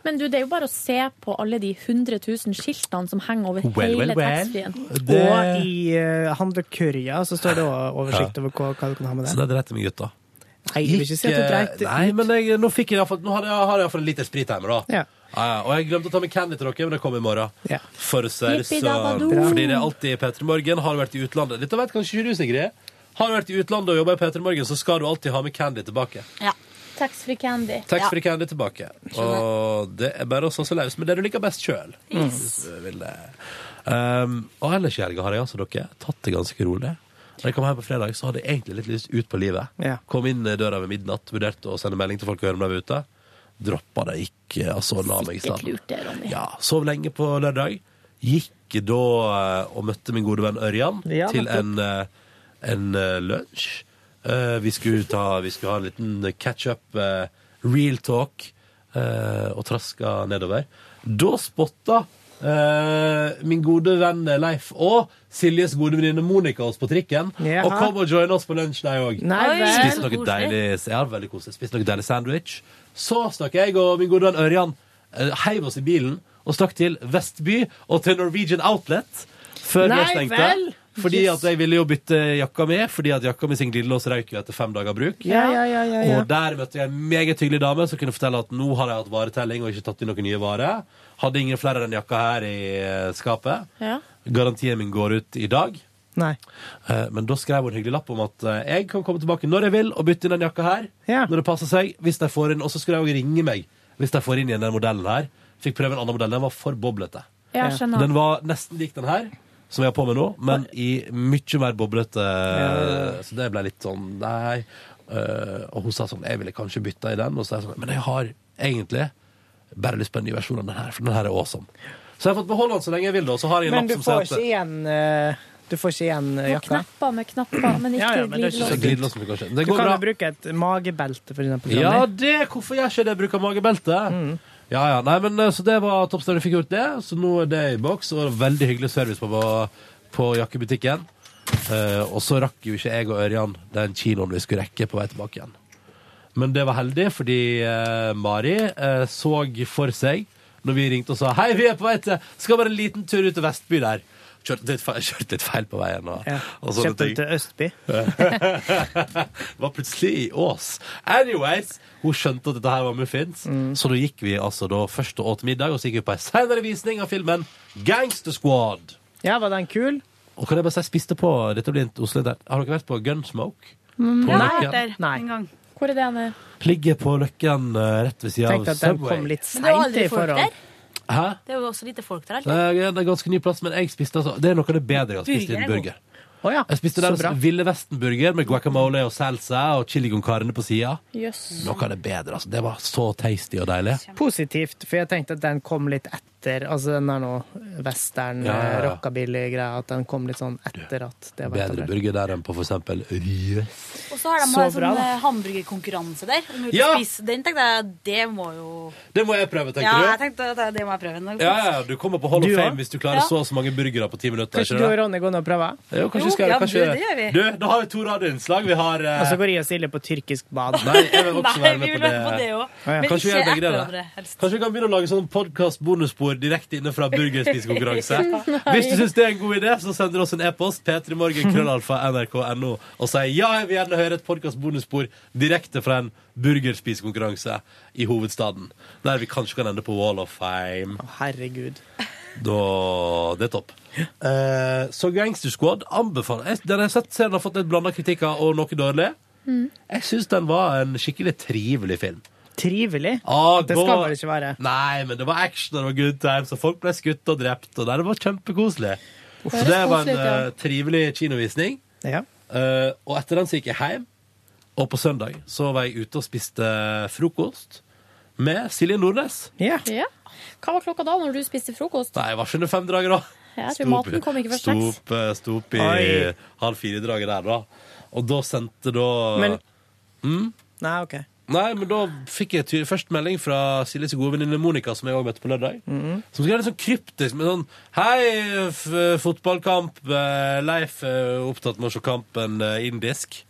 B: Men du, det er jo bare å se på alle de 100 000 skiltene som henger over
A: Well, well,
B: hele
A: well.
B: taxfree-en.
A: Det-
E: Og i uh, handlekurja så står det også oversikt
A: Ja.
E: over hva, hva du kan ha med
A: Så
E: deg.
A: det dreit jeg meg ut, da.
E: Nei, jeg vil ikke si at du dreit det.
A: Nei, men jeg, nå, fikk jeg, i hvert fall- nå har jeg, har jeg i hvert fall en liter sprit hjemme, da.
E: Ja.
A: Ja, ja, og jeg glemte å ta med candy til dere, men det kommer i morgen.
E: Ja.
A: For ser, så,
E: Yippee-dabadoo.
A: fordi det er alltid P3 Morgen. Har du vært i utlandet Dette vet kanskje ikke du, Sigrid. Har du vært i utlandet og jobba i P3 Morgen, så skal du alltid ha med candy tilbake.
B: Ja. Taxfree candy.
A: Taxfree candy tilbake. Og det er bare å sasse løs med det du liker best sjøl.
B: Yes.
A: Um, og ellers i helga har jeg altså dere tatt det ganske rolig. Da jeg kom her på fredag, så hadde jeg egentlig litt lyst ut på livet.
E: Ja.
A: Kom inn eh, døra ved midnatt, vurderte å sende melding til folk og høre om de var ute. Droppa det ikke, altså la meg i
B: Sikkert
A: stand.
B: lurt det, Ronny.
A: Ja, sov lenge på lørdag. Gikk da eh, og møtte min gode venn Ørjan
B: Ja,
A: til
B: nettopp.
A: en, eh, en eh, lunsj. Eh, vi, skulle ta, vi skulle ha en liten catch-up, eh, real talk, eh, og traska nedover. Da spotta eh, min gode venn Leif og Siljes gode venninne Monica oss på trikken.
E: Jaha.
A: Og kom og joina oss på lunsj, de òg.
E: Nei Oi. vel.
A: Spiste noe
E: Koselig.
A: deilig ja, veldig koselig. Spiste noe deilig sandwich. Så stakk jeg og min gode venn Ørjan eh, heiv oss i bilen og stakk til Vestby og til Norwegian Outlet før
E: Nei
A: det stengte.
E: vel!
A: Fordi
E: Yes.
A: at jeg ville jo bytte jakka mi, fordi at jakka mi sin glidelås røyk jo etter fem dager bruk.
E: Ja, ja, ja, ja, ja.
A: Og der møtte jeg en meget hyggelig dame som kunne fortelle at nå har jeg hatt varetelling og ikke tatt inn noen nye varer. Hadde ingen flere enn jakka her i eh, skapet.
E: Ja.
A: Garantien min går ut i dag.
E: Nei.
A: Eh, Men da skrev hun en hyggelig lapp om at eh, jeg kan komme tilbake når jeg vil og bytte inn den jakka her. Når det passer seg, hvis de får inn, Og så skulle jeg jo ringe meg hvis de får inn igjen den modellen her. Fikk prøve en annen modell. Den var for boblete.
B: Ja, skjønner.
A: Den var nesten lik den her, som jeg har på med nå, men i mye mer boblete. eh, Så det ble litt sånn Nei. Eh, Og hun sa sånn Jeg ville kanskje bytta i den. Og så er jeg sånn Men jeg har egentlig bare lyst på en ny versjon av den her, for den her er awesome. Så jeg har fått beholde den så lenge jeg vil, da. og Så har jeg en lapp
E: Men du
A: som sier
E: får
A: at
E: ikke igjen, eh, du får ikke igjen eh, jakka.
B: Knapper med
A: Mm.
B: knapper, men ikke
E: Ja, ja, men det er ikke
B: glidelås.
E: så
A: Glidelåsen blir kanskje- Det
E: du
A: går
E: kan
A: bra.
E: jo bruke et magebelte, for eksempel.
A: Ja,
E: Ronny.
A: det, hvorfor gjør ikke det? Bruker magebelte. Ja, ja, nei, men eh, Så det var toppstøvelen jeg fikk gjort det. Så nå er det i boks, og veldig hyggelig service på, på, på jakkebutikken. Eh, og så rakk jo ikke jeg og Ørjan den kiloen vi skulle rekke på vei tilbake igjen. Men det var heldig, fordi eh, Mari eh, så for seg når vi ringte og sa Hei, vi er på vei til Skal bare en liten tur ut til Vestby der. Kjørte litt feil, kjørte litt feil på veien. Og,
E: Ja.
A: og sånne
E: Kjøpte eh,
A: ting.
E: den til Østby.
A: var plutselig i Ås. Anyways, hun skjønte at dette her var muffins, så da gikk vi altså da først og åt middag, og så gikk vi på en senere visning av filmen Gangster Squad.
E: Ja, var den kul?
A: Og kan jeg bare si, jeg spiste på dette blir en Oslo der. Har dere vært på Gunsmoke?
B: Mm,
A: På
B: ja,
A: Løkken?
B: der, en gang. Hvor er det han er?
A: Ligger på Løkken eh, rett ved sida av
E: Tenkte at den
A: Subway.
E: kom litt
G: Det var
E: seint
G: aldri
E: i
G: folk
E: forhold.
G: der.
A: Hæ?
G: Det var også lite folk der.
A: Det
G: Alltid.
A: er det er ganske ny plass, men jeg spiste altså Det er noe av det bedre jeg har spist i en
G: Burger er god.
A: burger. Jeg spiste
T: så
A: deres
T: bra.
A: Ville Vesten-burger med guacamole og salsa og chili con carne på sida.
E: Jøss.
A: Noe av det bedre, altså. Det var så tasty og deilig.
E: Positivt, for jeg tenkte at den kom litt etter. Altså den der nå western, eh,
A: Ja, ja, ja.
E: rockabilly-greia, at den kom litt sånn etter at det var
A: Bedre
E: etablert.
A: burger der enn på for eksempel Røs.
J: Og så har de
E: Så
J: har
E: bra,
J: sånn
E: da.
J: eh, hamburgerkonkurranse der. Om ja!
A: Ja!
J: Spise. Den tenkte jeg, det må jo
A: Det må jeg prøve, tenker
J: Ja, jeg
A: du?
J: tenkte at det må jeg prøve. en dag.
A: Ja, ja, ja, du kommer på Hall of
E: Du
A: Fame
E: òg?
A: hvis du klarer
J: Ja.
A: så og så mange burgere på ti minutter.
E: Kanskje
A: ikke
E: du og
A: det?
E: Ronny går ned og prøver?
A: Jo, kanskje vi skal
J: ja,
A: kanskje...
J: du, det gjør vi.
A: Du, da har vi to radioinnslag. Vi har eh,
E: Og så går jeg og Silje på tyrkisk bad.
A: Nei, jeg vil også
J: Nei,
A: være
J: vi
A: med
J: vil
A: på det.
J: være på det også.
A: Ja, ja.
J: Men
A: Kanskje vi
J: ikke
A: gjør begge
J: etter
A: deler.
J: hverandre, helst.
A: Kanskje vi kan begynne å lage sånn podkast-bonusspor direkte inne fra burgerspisekonkurranse.
J: Nei.
A: Hvis du syns det er en god idé, så sender du oss en e-post p3morgen.krøllalfa.nrk.no og sier ja, jeg vil gjerne høre et podkast-bonusspor direkte fra en burgerspisekonkurranse i hovedstaden. Der vi kanskje kan ende på Wall of Fame.
E: Herregud.
A: Da, det er topp. Eh, så Gangster Squad anbefaler jeg. Den har jeg sett serien har fått litt blanda kritikker og noe dårlig.
E: Mm.
A: Jeg syns den var en skikkelig trivelig film.
E: Trivelig?
A: Ah,
E: Det skal vel ikke være.
A: Nei, men det var action og det var good times, og folk ble skutt og drept, og det var kjempekoselig.
E: Uff.
A: Så det var en
E: Koselig, ja.
A: eh, trivelig kinovisning.
E: Ja.
A: Eh, og etter den så gikk jeg hjem, og på søndag så var jeg ute og spiste frokost med Silje Nordnes.
B: Ja. Hva var klokka da, når du spiste frokost?
A: Nei, jeg var ikke under fem drager da.
B: Ja, jeg tror
A: Sto opp-
B: maten kom ikke først
A: sto
B: seks.
A: opp, eh, Sto opp i
E: Oi.
A: halv fire-draget der, da. Og da sendte da
E: Men-
A: mm?
E: Nei, OK.
A: Nei, men da fikk jeg ty først melding fra Siljes gode venninne Monica, som jeg òg møtte på lørdag.
B: Mhm.
A: Som skrev litt sånn kryptisk med sånn Hei, f fotballkamp. eh, Leif er opptatt med å se kampen eh, indisk.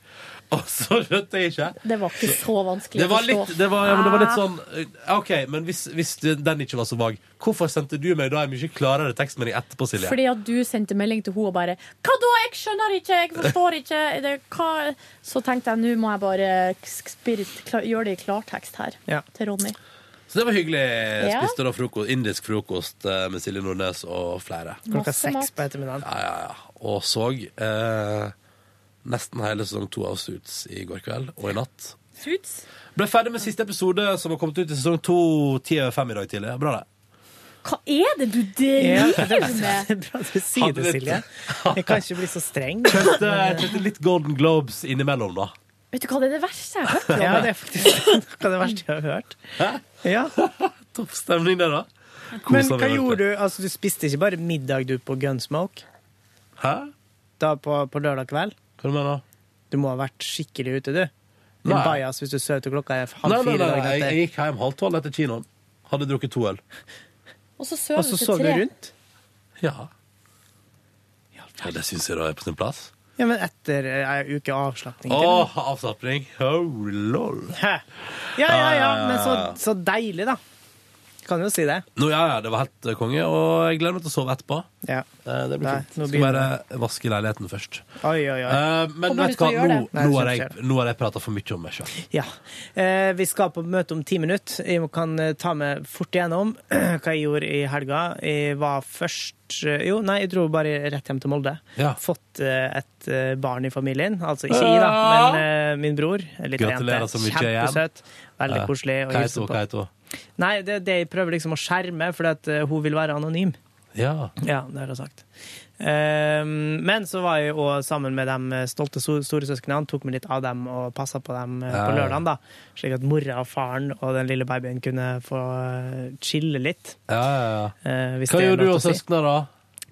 A: Og så skjønte jeg ikke.
B: Det var ikke så vanskelig
A: Det var
B: å Ah. forstå.
A: litt, det var, ja, men det var litt sånn eh, OK, men hvis, hvis den ikke var så vag, hvorfor sendte du meg da en mye klarere tekstmelding etterpå, Silje?
B: Fordi at du sendte melding til henne og bare 'Hva da? Jeg skjønner ikke! Jeg forstår ikke!' Det, hva? Så tenkte jeg nå må jeg bare sk- spirit, kla- gjøre det i klartekst her
A: Ja.
B: til Ronny.
A: Så det var hyggelig.
B: Ja.
A: Spiste da frokost, indisk frokost eh, med Silje Nordnes og flere.
E: Klokka seks på ettermiddagen.
A: Ja, ja, ja. Og så eh, nesten hele sesong to av Suits i går kveld og i natt.
B: Suits?
A: Ble ferdig med siste episode, som har kommet ut i sesong to ti over fem i dag tidlig. Bra, det.
B: Hva er det du driver med?
E: Bra at du sier det, Silje. Jeg kan ikke bli så streng.
A: Kjøpte, kjøpte litt Golden Globes innimellom, da.
B: Vet du hva, det er det verste jeg har hørt.
E: Ja, det er faktisk noe av det verste jeg har hørt. Ja.
A: Topp stemning der, da.
E: Men
A: Kosa meg
E: hva
A: ordentlig.
E: gjorde du? Altså, du spiste ikke bare middag du på Gunsmoke?
A: Hæ?
E: Da på, på lørdag kveld?
A: Hva du mener
E: du? må ha vært skikkelig ute, du. Din
A: Nei.
E: bajas hvis du sover til klokka er halv
A: Nei, nei,
E: fire
A: nei,
E: dagen
A: jeg,
E: etter.
A: jeg gikk hjem halv tolv etter kinoen. Hadde drukket to øl.
B: Og så
E: Og så sov du rundt?
A: Ja. Ja, det syns jeg da er på sin plass.
E: Ja, men etter eh, ei uke avslapning. til.
A: Åh, avslapping. Oh, lol.
E: Hæ. Ja, ja, ja,
A: Ja, ja, ja,
E: men så,
A: ja.
E: så deilig, da. Kan jo si det.
A: Nå, ja, ja, det var helt eh, konge, og jeg gleder meg til å sove etterpå.
E: Ja.
A: Eh, Det blir
E: Nei,
A: fint.
E: nå
A: Skal
E: begynner
A: bare vaske leiligheten først.
E: Oi, oi, oi.
A: Eh, men vet du hva, nå,
E: Nei,
A: nå, har
E: skjer
A: jeg,
E: det.
A: nå har jeg prata for mye om meg sjøl.
E: Ja. Eh, vi skal på møte om ti minutter. Jeg kan eh, ta med fort igjennom hva jeg gjorde i helga. Jeg var først eh, Jo, nei, jeg dro bare rett hjem til Molde.
A: Ja.
E: Fått eh, et eh, barn i familien. Altså ikke jeg, da, men eh, min bror. En liten
A: Gratulerer
E: jente.
A: så mye igjen.
E: Kjempesøt. Veldig
A: Ja.
E: koselig å
A: Hva
E: hilse
A: heter hun,
E: på.
A: hva heter hun?
E: Nei, det er det jeg prøver liksom å skjerme, fordi at eh, hun vil være anonym.
A: Ja.
E: Ja, det har jeg sagt. Ehm, men så var jeg jo sammen med de stolte so- storesøsknene, tok meg litt av dem og passa på dem eh, på
A: Ja, ja.
E: lørdagen, da. Slik at mora og faren og den lille babyen kunne få eh, chille litt.
A: Ja, ja, ja.
E: eh, hvis
A: Hva
E: det er
A: gjorde du
E: lov
A: og
E: til å si.
A: søsknene da?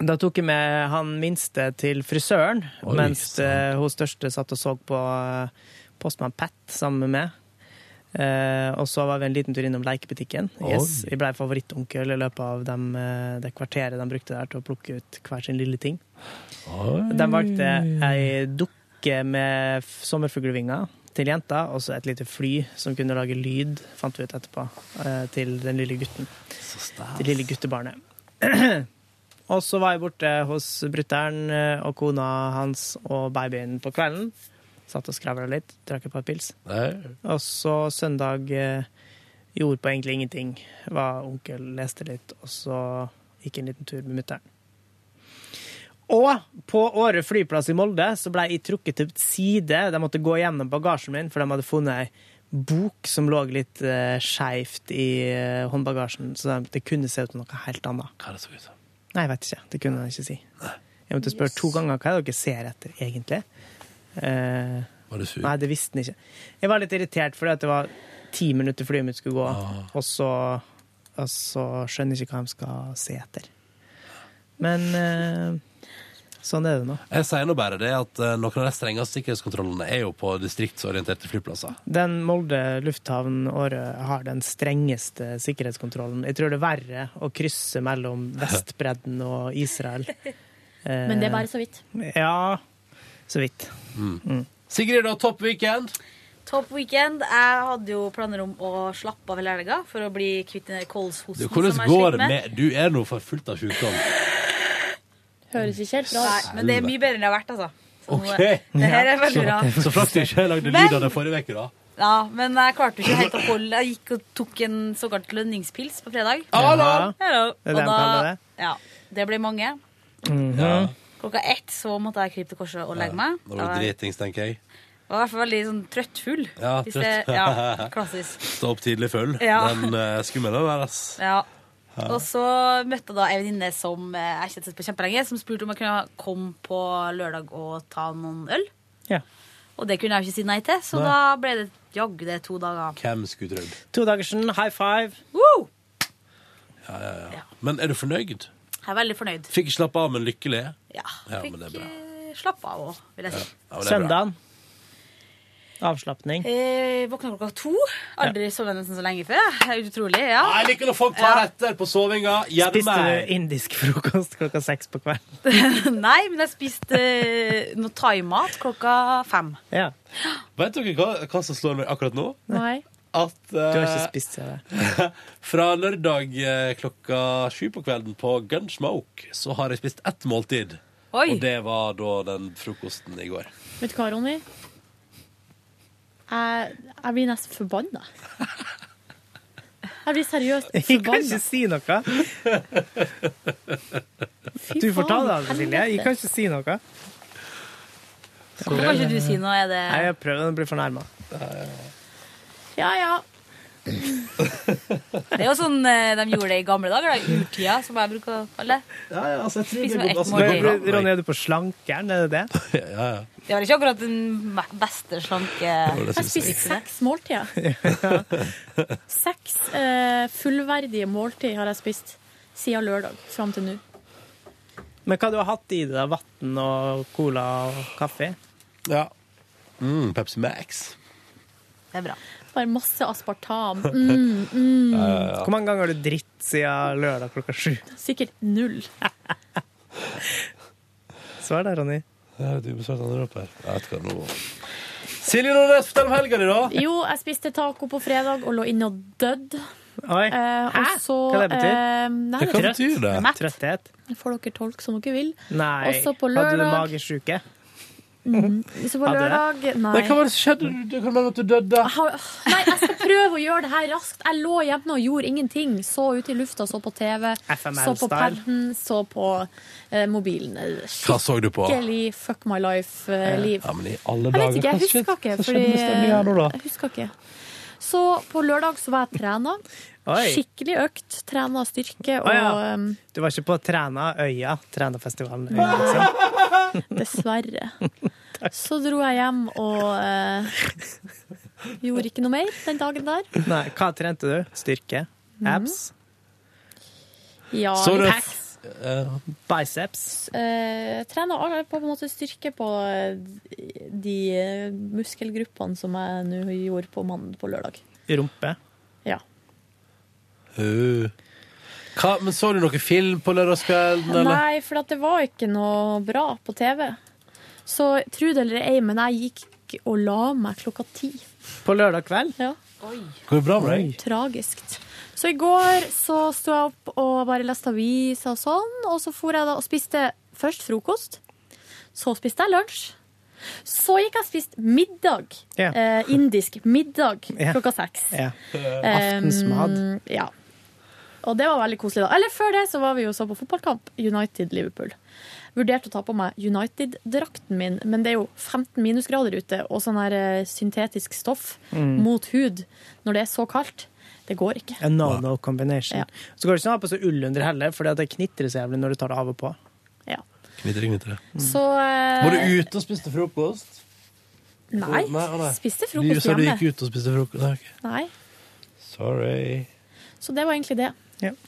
E: Da tok jeg med han minste til frisøren,
A: Oi,
E: mens eh, hun største satt og så på eh, Postmann Pat sammen med meg. Eh, og så var vi en liten tur innom lekebutikken. Yes,
A: Oi.
E: jeg ble favorittonkel i løpet av dem, eh, det kvarteret de brukte der til å plukke ut hver sin lille ting. De valgte ei dukke med f- sommerfuglvinger til jenta, og så et lite fly som kunne lage lyd, fant vi ut etterpå, eh, til den lille gutten. Det lille guttebarnet. og så var jeg borte hos brutter'n eh, og kona hans og babyen på kvelden. Satt og skravla litt, drakk et par pils. Og så søndag eh, gjorde på egentlig ingenting. Var onkel, leste litt, og så gikk en liten tur med mutter'n. Og på Åre flyplass i Molde så ble jeg trukket til side. De måtte gå gjennom bagasjen min, for de hadde funnet ei bok som lå litt uh, skeivt i eh, håndbagasjen, så de- det kunne se ut som noe helt annet.
A: Hva er det så ut som?
E: Nei, jeg vet ikke. Det kunne jeg ikke si. Jeg måtte spørre to ganger hva er det dere ser etter, egentlig. Eh,
A: Var du sur?
E: Nei, det visste han ikke. Jeg var litt irritert fordi at det var ti minutter flyet mitt skulle gå,
A: Ah.
E: og, så, og så skjønner jeg ikke hva de skal se etter. Men eh, sånn er det nå.
A: Jeg sier nå bare det at eh, noen av de strengeste sikkerhetskontrollene er jo på distriktsorienterte flyplasser.
E: Den Molde lufthavn Åre har den strengeste sikkerhetskontrollen. Jeg tror det er verre å krysse mellom Vestbredden og Israel.
B: Men det er bare så vidt.
E: Ja, så vidt.
A: Sigrid, da, topp weekend?
G: Topp weekend. Jeg hadde jo planer om å slappe av hele helga for å bli kvitt den der kolshosten.
A: Du, hvordan
G: som jeg
A: går
G: sliter
A: det med Du er nå for fullt av sjukdom.
B: Høres ikke helt bra ut.
G: Nei, men det er mye bedre enn det har vært, altså. Så nå-
A: OK!
G: Det her er veldig bra.
A: Så, så flaks du ikke lagde lyd av det forrige uke, da.
G: Ja, men jeg klarte jo ikke helt å holde Jeg gikk og tok en såkalt lønningspils på fredag.
E: Hallo!
G: Hello.
E: Det er det
G: Og
E: de kaller det?
G: Ja. Det ble mange.
E: Mhm.
G: Klokka ett så måtte jeg krype til korset og legge meg.
A: Da var du dritings, tenker jeg.
G: Jeg var i hvert fall veldig sånn trøttfull.
A: Ja,
G: Hvis
A: trøtt.
G: det- ja, klassisk.
A: Stå opp tidlig full.
G: Ja.
A: Den uh, skummel å være, ass.
G: Ja.
A: Ja.
G: Og så møtte jeg da ei venninne som eh, jeg ikke hadde sett på kjempelenge, som spurte om jeg kunne komme på lørdag og ta noen øl.
E: Ja.
G: Og det kunne jeg jo ikke si nei til, så
E: Nei.
G: da ble det jaggu det to dager.
A: Hvem skulle trodd?
E: To Dagersen, high five.
G: Woo!
A: Ja, ja, ja. Men er du fornøyd?
G: Jeg er veldig fornøyd.
A: Fikk ikke slappe av, men lykkelig?
G: Ja,
A: Ja,
G: fikk
A: men det er bra.
G: eh, slappe av òg, vil jeg si.
A: Ja, men det er bra.
E: Søndagen. Avslapning.
G: Eh, Våkna klokka to. Aldri sovet nesten så lenge før. jeg. Det er Utrolig. ja.
A: Jeg liker når folk tar etter på sovinga. Gjerne
E: Spiste
A: meg.
E: du indisk frokost klokka seks på kvelden?
G: Nei, men jeg spiste eh, noe thaimat klokka fem.
E: Ja.
A: Vet dere hva, hva som slår meg akkurat nå?
G: Nei.
A: At
E: Du
A: eh,
E: har ikke spist siden det?
A: fra lørdag eh, klokka sju på kvelden på Gunsmoke så har jeg spist ett måltid.
B: Oi.
A: Og det var da den frokosten i går.
B: Vet du hva, Ronny? Jeg, jeg blir nesten forbanna. Jeg blir seriøst
E: Jeg kan
B: forbanna.
E: ikke si noe. Du får ta det, Cecilie. Jeg kan ikke si noe.
G: Hvorfor kan ikke du si noe? Er det
E: Nei, jeg prøver å bli fornærma.
B: Ja, ja.
G: Det er jo sånn eh, de gjorde det i gamle dager, da. Urtida, som jeg bruker å kalle det.
A: Ja, ja, altså, jeg tror
G: Spis
A: det
G: med
A: går-
G: ett
A: altså, det går bra.
E: Ronny, er du på slankeren? Er det det?
A: Ja, ja.
G: Det var ikke akkurat den me- beste slanke
A: Jo, det
B: Jeg spiser seks måltider. Seks eh, fullverdige måltid har jeg spist siden lørdag fram til nå.
E: Men hva du har hatt i deg? da? Vann og cola og kaffe?
A: Ja. Mm, Pepsi Max.
G: Det er bra.
B: Bare masse aspartam. Mm, mm.
E: Hvor mange ganger har du dritt siden lørdag klokka sju?
B: Sikkert null.
E: Svar der, Ronny.
A: Ja, du besvarte andre opp her. Jeg vet hva det nå var. Silje Nordnes, fortell om helga di, da.
B: Jo, jeg spiste taco på fredag og lå inne og Eh, døde.
E: Oi.
B: Hæ?
E: Hva det betyr?
B: eh, nei,
E: Hva
B: det-
E: betyr det?
B: Mett.
E: Trøtthet?
B: Det får dere tolke som dere vil.
E: Nei.
B: Og så på
E: Hadde du
B: lørdag-
E: magesjuke?
B: Mm. Så på
E: Hadde det?
B: lørdag Nei.
E: Nei, hva var
A: det som skjedde? Du kan melde at du døde.
B: Ah, Nei, jeg skal prøve å gjøre det her raskt. Jeg lå hjemme og gjorde ingenting. Så ut i lufta, så på TV, så på
A: FML-style.
B: padden, så på eh, mobilen. Hva
A: Hva så du på?
B: Skikkelig fuck my life-liv.
A: Ja, men i alle
B: jeg vet
A: dager, hva
B: ikke, jeg
A: skjedde-
B: husker ikke.
A: hva skjedde
B: Fordi,
A: med stemningen her nå, da?
B: jeg husker ikke. Så på lørdag så var jeg trena.
E: Oi.
B: Skikkelig økt. Trena styrke og um,
E: Å ja.
B: em,
E: Du var ikke på Træna Øya, Trænafestivalen? Øya, liksom.
B: Dessverre. Så dro jeg hjem og eh, gjorde ikke noe mer den dagen der.
E: Nei, hva trente du? Styrke? Abs?
B: Ja,
E: Så du-
B: litt-
E: Biceps?
B: eh, trener alle på en måte styrke på eh, de eh, muskelgruppene som jeg nå gjorde på mandag på lørdag.
E: Rumpe?
B: Ja.
A: Uh. Hva, men så du noen film på lørdagskvelden, eller?
B: Nei, for at det var ikke noe bra på TV. Så tro det eller ei, men jeg gikk og la meg klokka ti.
E: På lørdag kveld?
B: Ja.
A: Går det bra med deg?
B: Tragisk. Så i går så sto jeg opp og bare leste aviser og sånn, og så for jeg da og spiste først frokost, så spiste jeg lunsj, så gikk jeg og spiste middag,
E: Ja.
B: eh, indisk middag,
E: Ja.
B: klokka seks.
E: Ja.
B: Eh, Um, ja. Og det var veldig koselig. da. Eller før det så var vi jo så på fotballkamp. United-Liverpool. Vurderte å ta på meg United-drakten min, men det er jo 15 minusgrader ute og sånn her eh, syntetisk stoff
E: Mm.
B: mot hud når det er så kaldt. Det går ikke.
E: A no-no combination.
B: Ja.
E: Så går det ikke an å ha på seg ull under heller, for det knitrer så jævlig når du tar det av og på.
B: Ja.
U: Knitre, knitre.
B: Så eh,
A: Var Mm. du ute og spiste frokost?
B: Nei.
A: Å, å, nei.
B: Spiste
A: Du
B: frokost
A: sa du
B: hjemme.
A: gikk ut og spiste frokost. Nei, ok.
B: Nei.
A: Sorry.
B: Så det var egentlig det.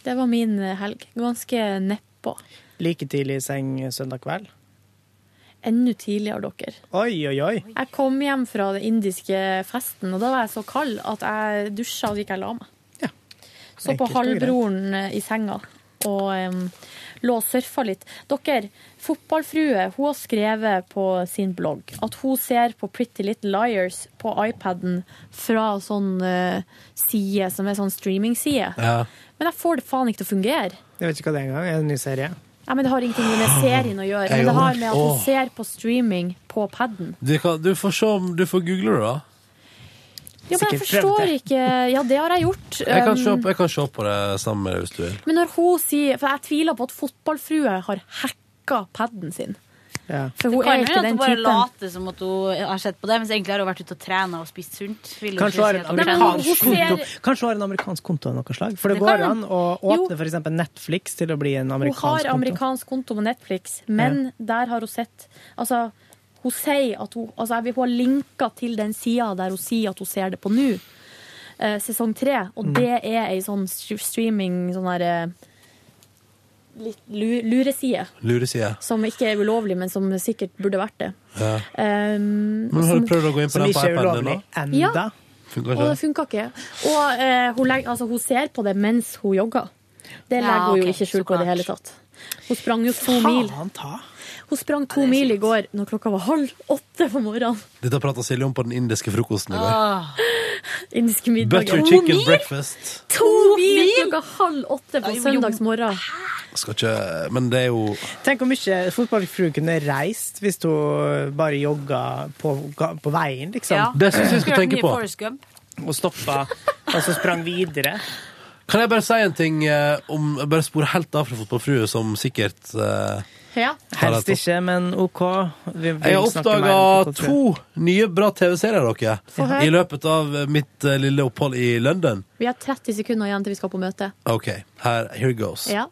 B: Det var min eh, helg. Ganske nedpå.
E: Like tidlig i seng søndag kveld.
B: Enda tidligere, dere.
E: Oi, oi, oi.
B: Jeg kom hjem fra den indiske festen, og da var jeg så kald at jeg dusja og så gikk jeg og la meg. Så på
G: Enkelt og greit.
B: halvbroren eh, i senga og em, lå og surfa litt. Dere, fotballfrue hun har skrevet på sin blogg at hun ser på Pretty Little Liars på iPaden fra sånn eh, side som er sånn streamingside.
E: Ja.
B: Men jeg får det faen ikke til å fungere.
E: Jeg vet ikke hva det er engang. En ny serie.
B: Nei, men Det har ingenting med serien å gjøre,
A: Jeg
B: men det har
A: òg.
B: med at hun
A: Åh.
B: ser på streaming på paden.
A: Du, kan, du får se om du får google det, da.
B: Ja, men jeg
A: Sikkert prøvd
B: forstår ikke Ja, det har jeg gjort.
A: Jeg kan, se,
B: Um,
A: på- jeg kan se på det sammen med deg hvis du vil.
B: Men når hun sier For jeg tviler på at fotballfrue har hacka paden sin. For hun er
G: det kan jo
B: ikke
G: hende at
B: den
G: hun bare
B: typen.
G: later som at hun har sett på det, mens egentlig har hun vært ute og trena og spist sunt. Vil hun
E: Kanskje hun har en
G: ikke si at hun-
E: amerikansk
G: Nei, men hun
E: konto
G: ser-
E: Kanskje hun har en amerikansk konto av noe slag? For det
B: Det kan
E: går an å
B: hun.
E: åpne f.eks. Netflix til å bli
B: Hun
E: en
B: har
E: amerikansk konto.
B: amerikansk konto med Netflix, men der har hun sett Altså, hun sier at hun Altså, jeg vil- hun har linka til den sida der hun sier at hun ser det på nå. eh, sesong tre. Og
G: Mm.
B: det er ei sånn str- streaming sånn der eh, litt lu- lureside.
A: Lureside.
B: Som ikke er ulovlig, men som sikkert burde vært det.
A: Ja.
B: Um,
A: Men har du prøvd å gå inn på
E: Som
A: den
E: ikke er
A: iPaden din,
E: ulovlig
A: da?
B: Ja.
A: Funker
B: Og det
A: ikke?
B: funka ikke. Og eh, hun, legger, altså, hun ser på det mens hun jogger. Det
G: Ja,
B: legger hun
G: ok,
B: jo ikke skjul på i det hele tatt. Hun sprang jo to mil.
E: Faen ta!
B: Hun sprang to mil i går når klokka var halv åtte på morgenen.
A: Dette prata Silje om på den indiske frokosten i går.
B: Ah. Indiske middager.
A: Butter chicken breakfast.
B: To mil klokka halv åtte på
E: jo.
B: søndags morgen.
A: Skal ikke Men det er jo
E: Tenk hvor mye fotballfrue kunne reist hvis hun bare jogga på, ga- på veien, liksom.
G: Ja.
A: Det synes jeg vi skal
G: Skulle vært
A: tenke
G: mye
A: på.
G: Forrest Gump.
E: Og stoppa, og så sprang videre.
A: Kan jeg bare si en ting eh, om jeg Bare spore helt av fra Fotballfrue, som sikkert eh,
B: Ja.
E: Helst ikke, men OK. Vi vil
A: Jeg har
E: snakke mer om
A: oppdaga
E: fotballfrue.
A: to nye bra TV-serier, dere.
B: Få høre.
A: I løpet av mitt eh, lille opphold i London.
B: Vi har 30 sekunder igjen til vi skal på møte.
A: OK, her here goes.
B: Ja.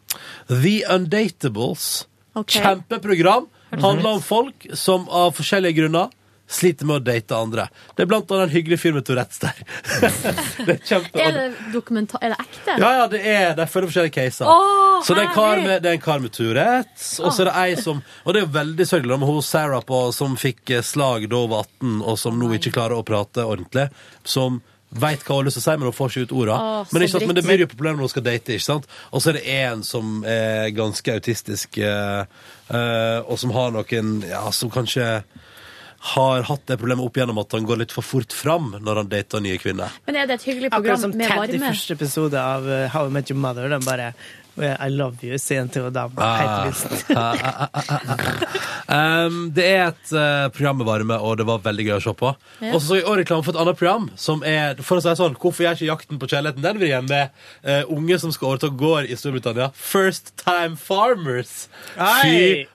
A: The Undatables.
B: Ok.
A: Kjempeprogram.
B: Hørtes
A: Handler
B: ut.
A: om folk som av forskjellige grunner sliter med å date andre. Det er blant annet en hyggelig fyr med Tourettes der. det er
B: Er
A: kjempe...
B: det, dokumenta er det ekte?
A: Ja, ja, det er De følger forskjellige caser.
B: Åh,
A: så det er, en kar
B: herlig!
A: med, det er en kar med Tourettes, og så er det ei som Og det er jo veldig sørgelig da, med hun Sarah på, som fikk eh, slag da hun var 18, og som nå ikke klarer å prate ordentlig. Som veit hva hun har lyst til å si, men hun får ikke ut orda.
U: Åh, så
A: men, ikke sant, men det
U: dritt.
A: blir jo problemer når hun skal date, ikke sant? Og så er det en som er ganske autistisk, eh, eh, og som har noen Ja, som kanskje har hatt det problemet opp gjennom at han går litt for fort fram når han dater nye kvinner.
B: Men er det et hyggelig
E: Akkurat
B: program
E: som
B: med
E: Ted i
B: varme?
E: første episode av uh, How I Met Your Mother. Den bare I love you, sier han til dama.
A: Ah.
E: Helt lyst.
A: Ah, ah, ah, ah. um, det er et eh, program med varme, og det var veldig gøy å se på.
U: Ja.
A: Og så så jeg også reklame for et annet program, som er for å si det sånn, Hvorfor gjør ikke Jakten på kjærligheten den igjen med eh, unge som skal overta gård i Storbritannia? First Time Farmers.
E: Ei!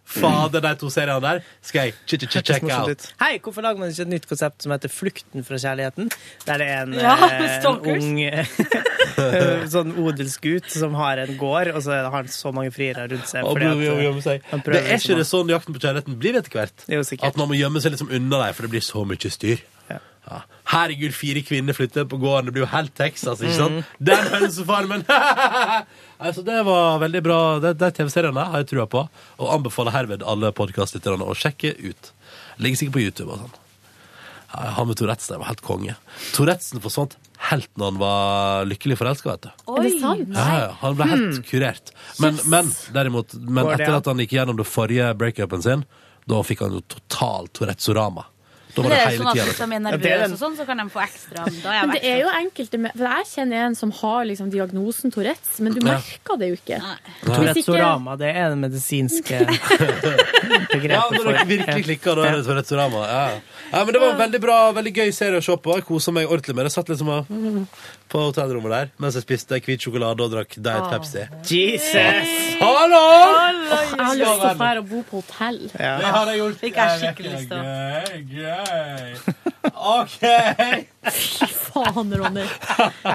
A: Fy fader, de to seriene der skal jeg ch ch ch
E: Hørtes
A: check
E: morsomt
A: out.
E: ut. Hei, hvorfor lager man ikke et nytt konsept som heter Flukten fra kjærligheten? Der det er en,
A: Ja,
E: eh, en
A: stalkers.
E: ung eh, sånn odelsgutt som har en gård, og så har han så mange friere rundt seg.
A: Og
E: fordi at,
A: prøver å
E: eh,
A: gjemme seg.
E: han prøver
A: Det er
E: liksom
A: ikke det
E: å-
A: sånn Jakten på kjærligheten blir etter hvert. At man må gjemme seg liksom unna dem, for det blir så mye styr. Ja. Herregud, fire kvinner flytter på gården. Det blir jo helt Texas. ikke sant?
U: Mhm.
E: Mm.
A: Den hønsefarmen! altså, det var veldig bra. De, de TV-seriene har jeg trua på, og anbefaler herved alle podkastlytterne å sjekke ut. Ligger sikkert på YouTube og sånn. Ja, Han med Tourettes der var helt konge. Tourettesen forsvant helt når han var lykkelig forelska, vet du.
B: Er det sant?
A: Ja, ja, han ble helt kurert. Men, men derimot, men
U: Går det
A: etter
U: an?
A: at han gikk gjennom det forrige breakupen sin, da fikk han jo totalt Tourettesorama. Da var
G: Men
A: det
G: det er jo
A: hele altså. liksom.
G: sånn
A: tida.
G: at hvis de er nervøse og sånn, så kan de få ekstra. Da er
B: Men
G: jeg
B: det er jo enkelte med- For Jeg kjenner en som har liksom diagnosen Tourettes, men du
E: Ja.
B: merker det jo ikke. Hvis ikke-
E: Tourettesorama, det er det medisinske
A: Ja,
E: begrepet
A: når dere virkelig klikker, da er det Tourettesorama. Ja. ja, men det var en veldig bra, veldig gøy serie å se på. Jeg kosa meg ordentlig med det. Satt liksom og på hotellrommet der mens jeg spiste hvit sjokolade og drakk Diet
B: Åh.
A: Pepsi.
E: Jesus!
A: Hallo!
B: Jeg har lyst til å fære og bo på hotell.
A: Ja. Det har jeg
B: gjort. Fikk jeg skikkelig lyst til.
V: OK!
B: Fy faen, Ronny.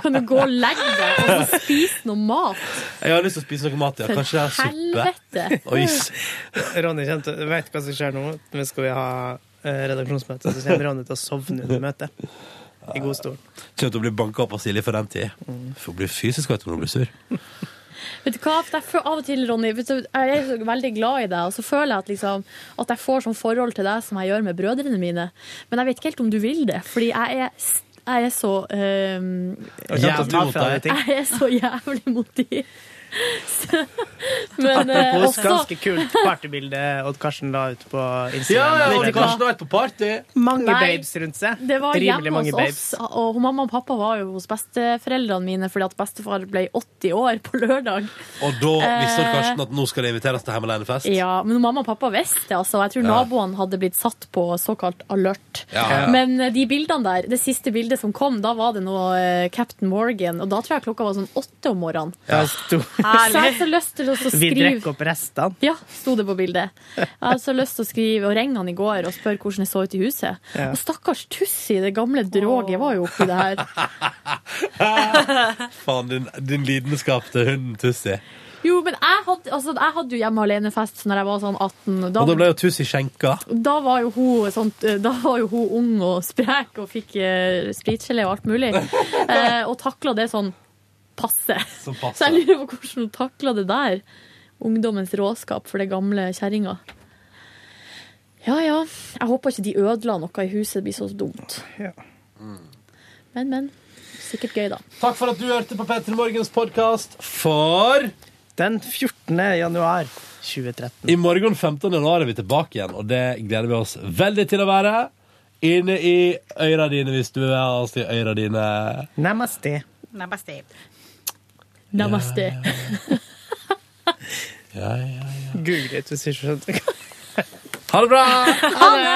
B: Kan du gå og legge deg og så spise noe mat?
A: Jeg har lyst til å spise noe mat, ja.
B: For
A: Kanskje det er suppe.
B: helvete.
A: Oi, s-
E: Ronny kjente, vet hva som skjer nå. Men skal vi ha eh, redaksjonsmøte, så kommer Ronny til å sovne under møtet. I godstolen.
A: Kommer til å bli banka opp av Silje for den tid. Får bli fysisk, vet du, når hun blir sur.
B: Vet du hva, For jeg føler av og til, Ronny, vet du, jeg er så veldig glad i deg, og så føler jeg at, liksom, at jeg får sånn forhold til deg som jeg gjør med brødrene mine. Men jeg vet ikke helt om du vil det, fordi jeg er, jeg er så øhm,
E: Og kjente å ta fra deg ting.
B: Jeg er så jævlig mot de. Så- Men eh,
E: Apropos
B: også
E: ganske kult partybilde Odd Karsten la ut på Instagram.
V: Ja, ja, Odd
E: Vet du hva?
V: Karsten har vært på party!
E: Mange
B: Nei.
E: babes rundt seg.
B: Det var
E: Rimelig
B: hjemme
E: mange
B: hos oss,
E: babes.
B: og mamma og pappa var jo hos besteforeldrene mine fordi at bestefar ble 80 år på lørdag.
A: Og da visste
B: Eh.
A: Karsten at nå skal det inviteres til hjemmealenefest.
B: Ja, Men mamma og pappa visste det, altså. Jeg tror
A: Ja.
B: naboene hadde blitt satt på såkalt alert.
A: Ja, ja, ja.
B: Men eh, de bildene der, det siste bildet som kom, da var det noe eh, Captain Morgan, og da tror jeg klokka var sånn åtte om morgenen.
E: Ja. Sto,
B: Så jeg har så lyst til å så
E: vi
B: skrive
E: drikker opp restene.
B: Ja, sto det på bildet. Jeg har så lyst til å skrive og ringe han i går og spørre hvordan det så ut i huset.
E: Ja.
B: Og stakkars Tussi, det gamle droget, var jo oppi det her.
A: Faen, din, din lidenskap til hunden Tussi.
B: Jo, men jeg hadde, altså, jeg hadde jo hjemme alene-fest når jeg var sånn 18. og Da,
A: Og da ble jo Tussi skjenka.
B: da, var jo hun, sånt, da var jo hun ung og sprek og fikk eh, spritgelé og alt mulig. Eh, og takla det sånn passe.
A: Så passe.
B: Så jeg lurer på hvordan hun takla det der. Ungdommens råskap for det gamle kjerringa. Ja ja. Jeg håper ikke de ødela noe i huset. Det blir så dumt. Men, men. Sikkert gøy, da.
V: Takk for at du hørte på Petter Morgens podkast for
E: Den 14. januar 2013.
A: I morgen 15. januar er vi tilbake igjen, og det gleder vi oss veldig til å være. Inne i øyra dine, hvis du vil ha oss i øyra dine.
E: Namaste.
G: Namaste.
B: Namaste.
A: Ja, ja.
E: Google it hvis du ikke skjønte.
A: Ha det bra!
B: Ha det!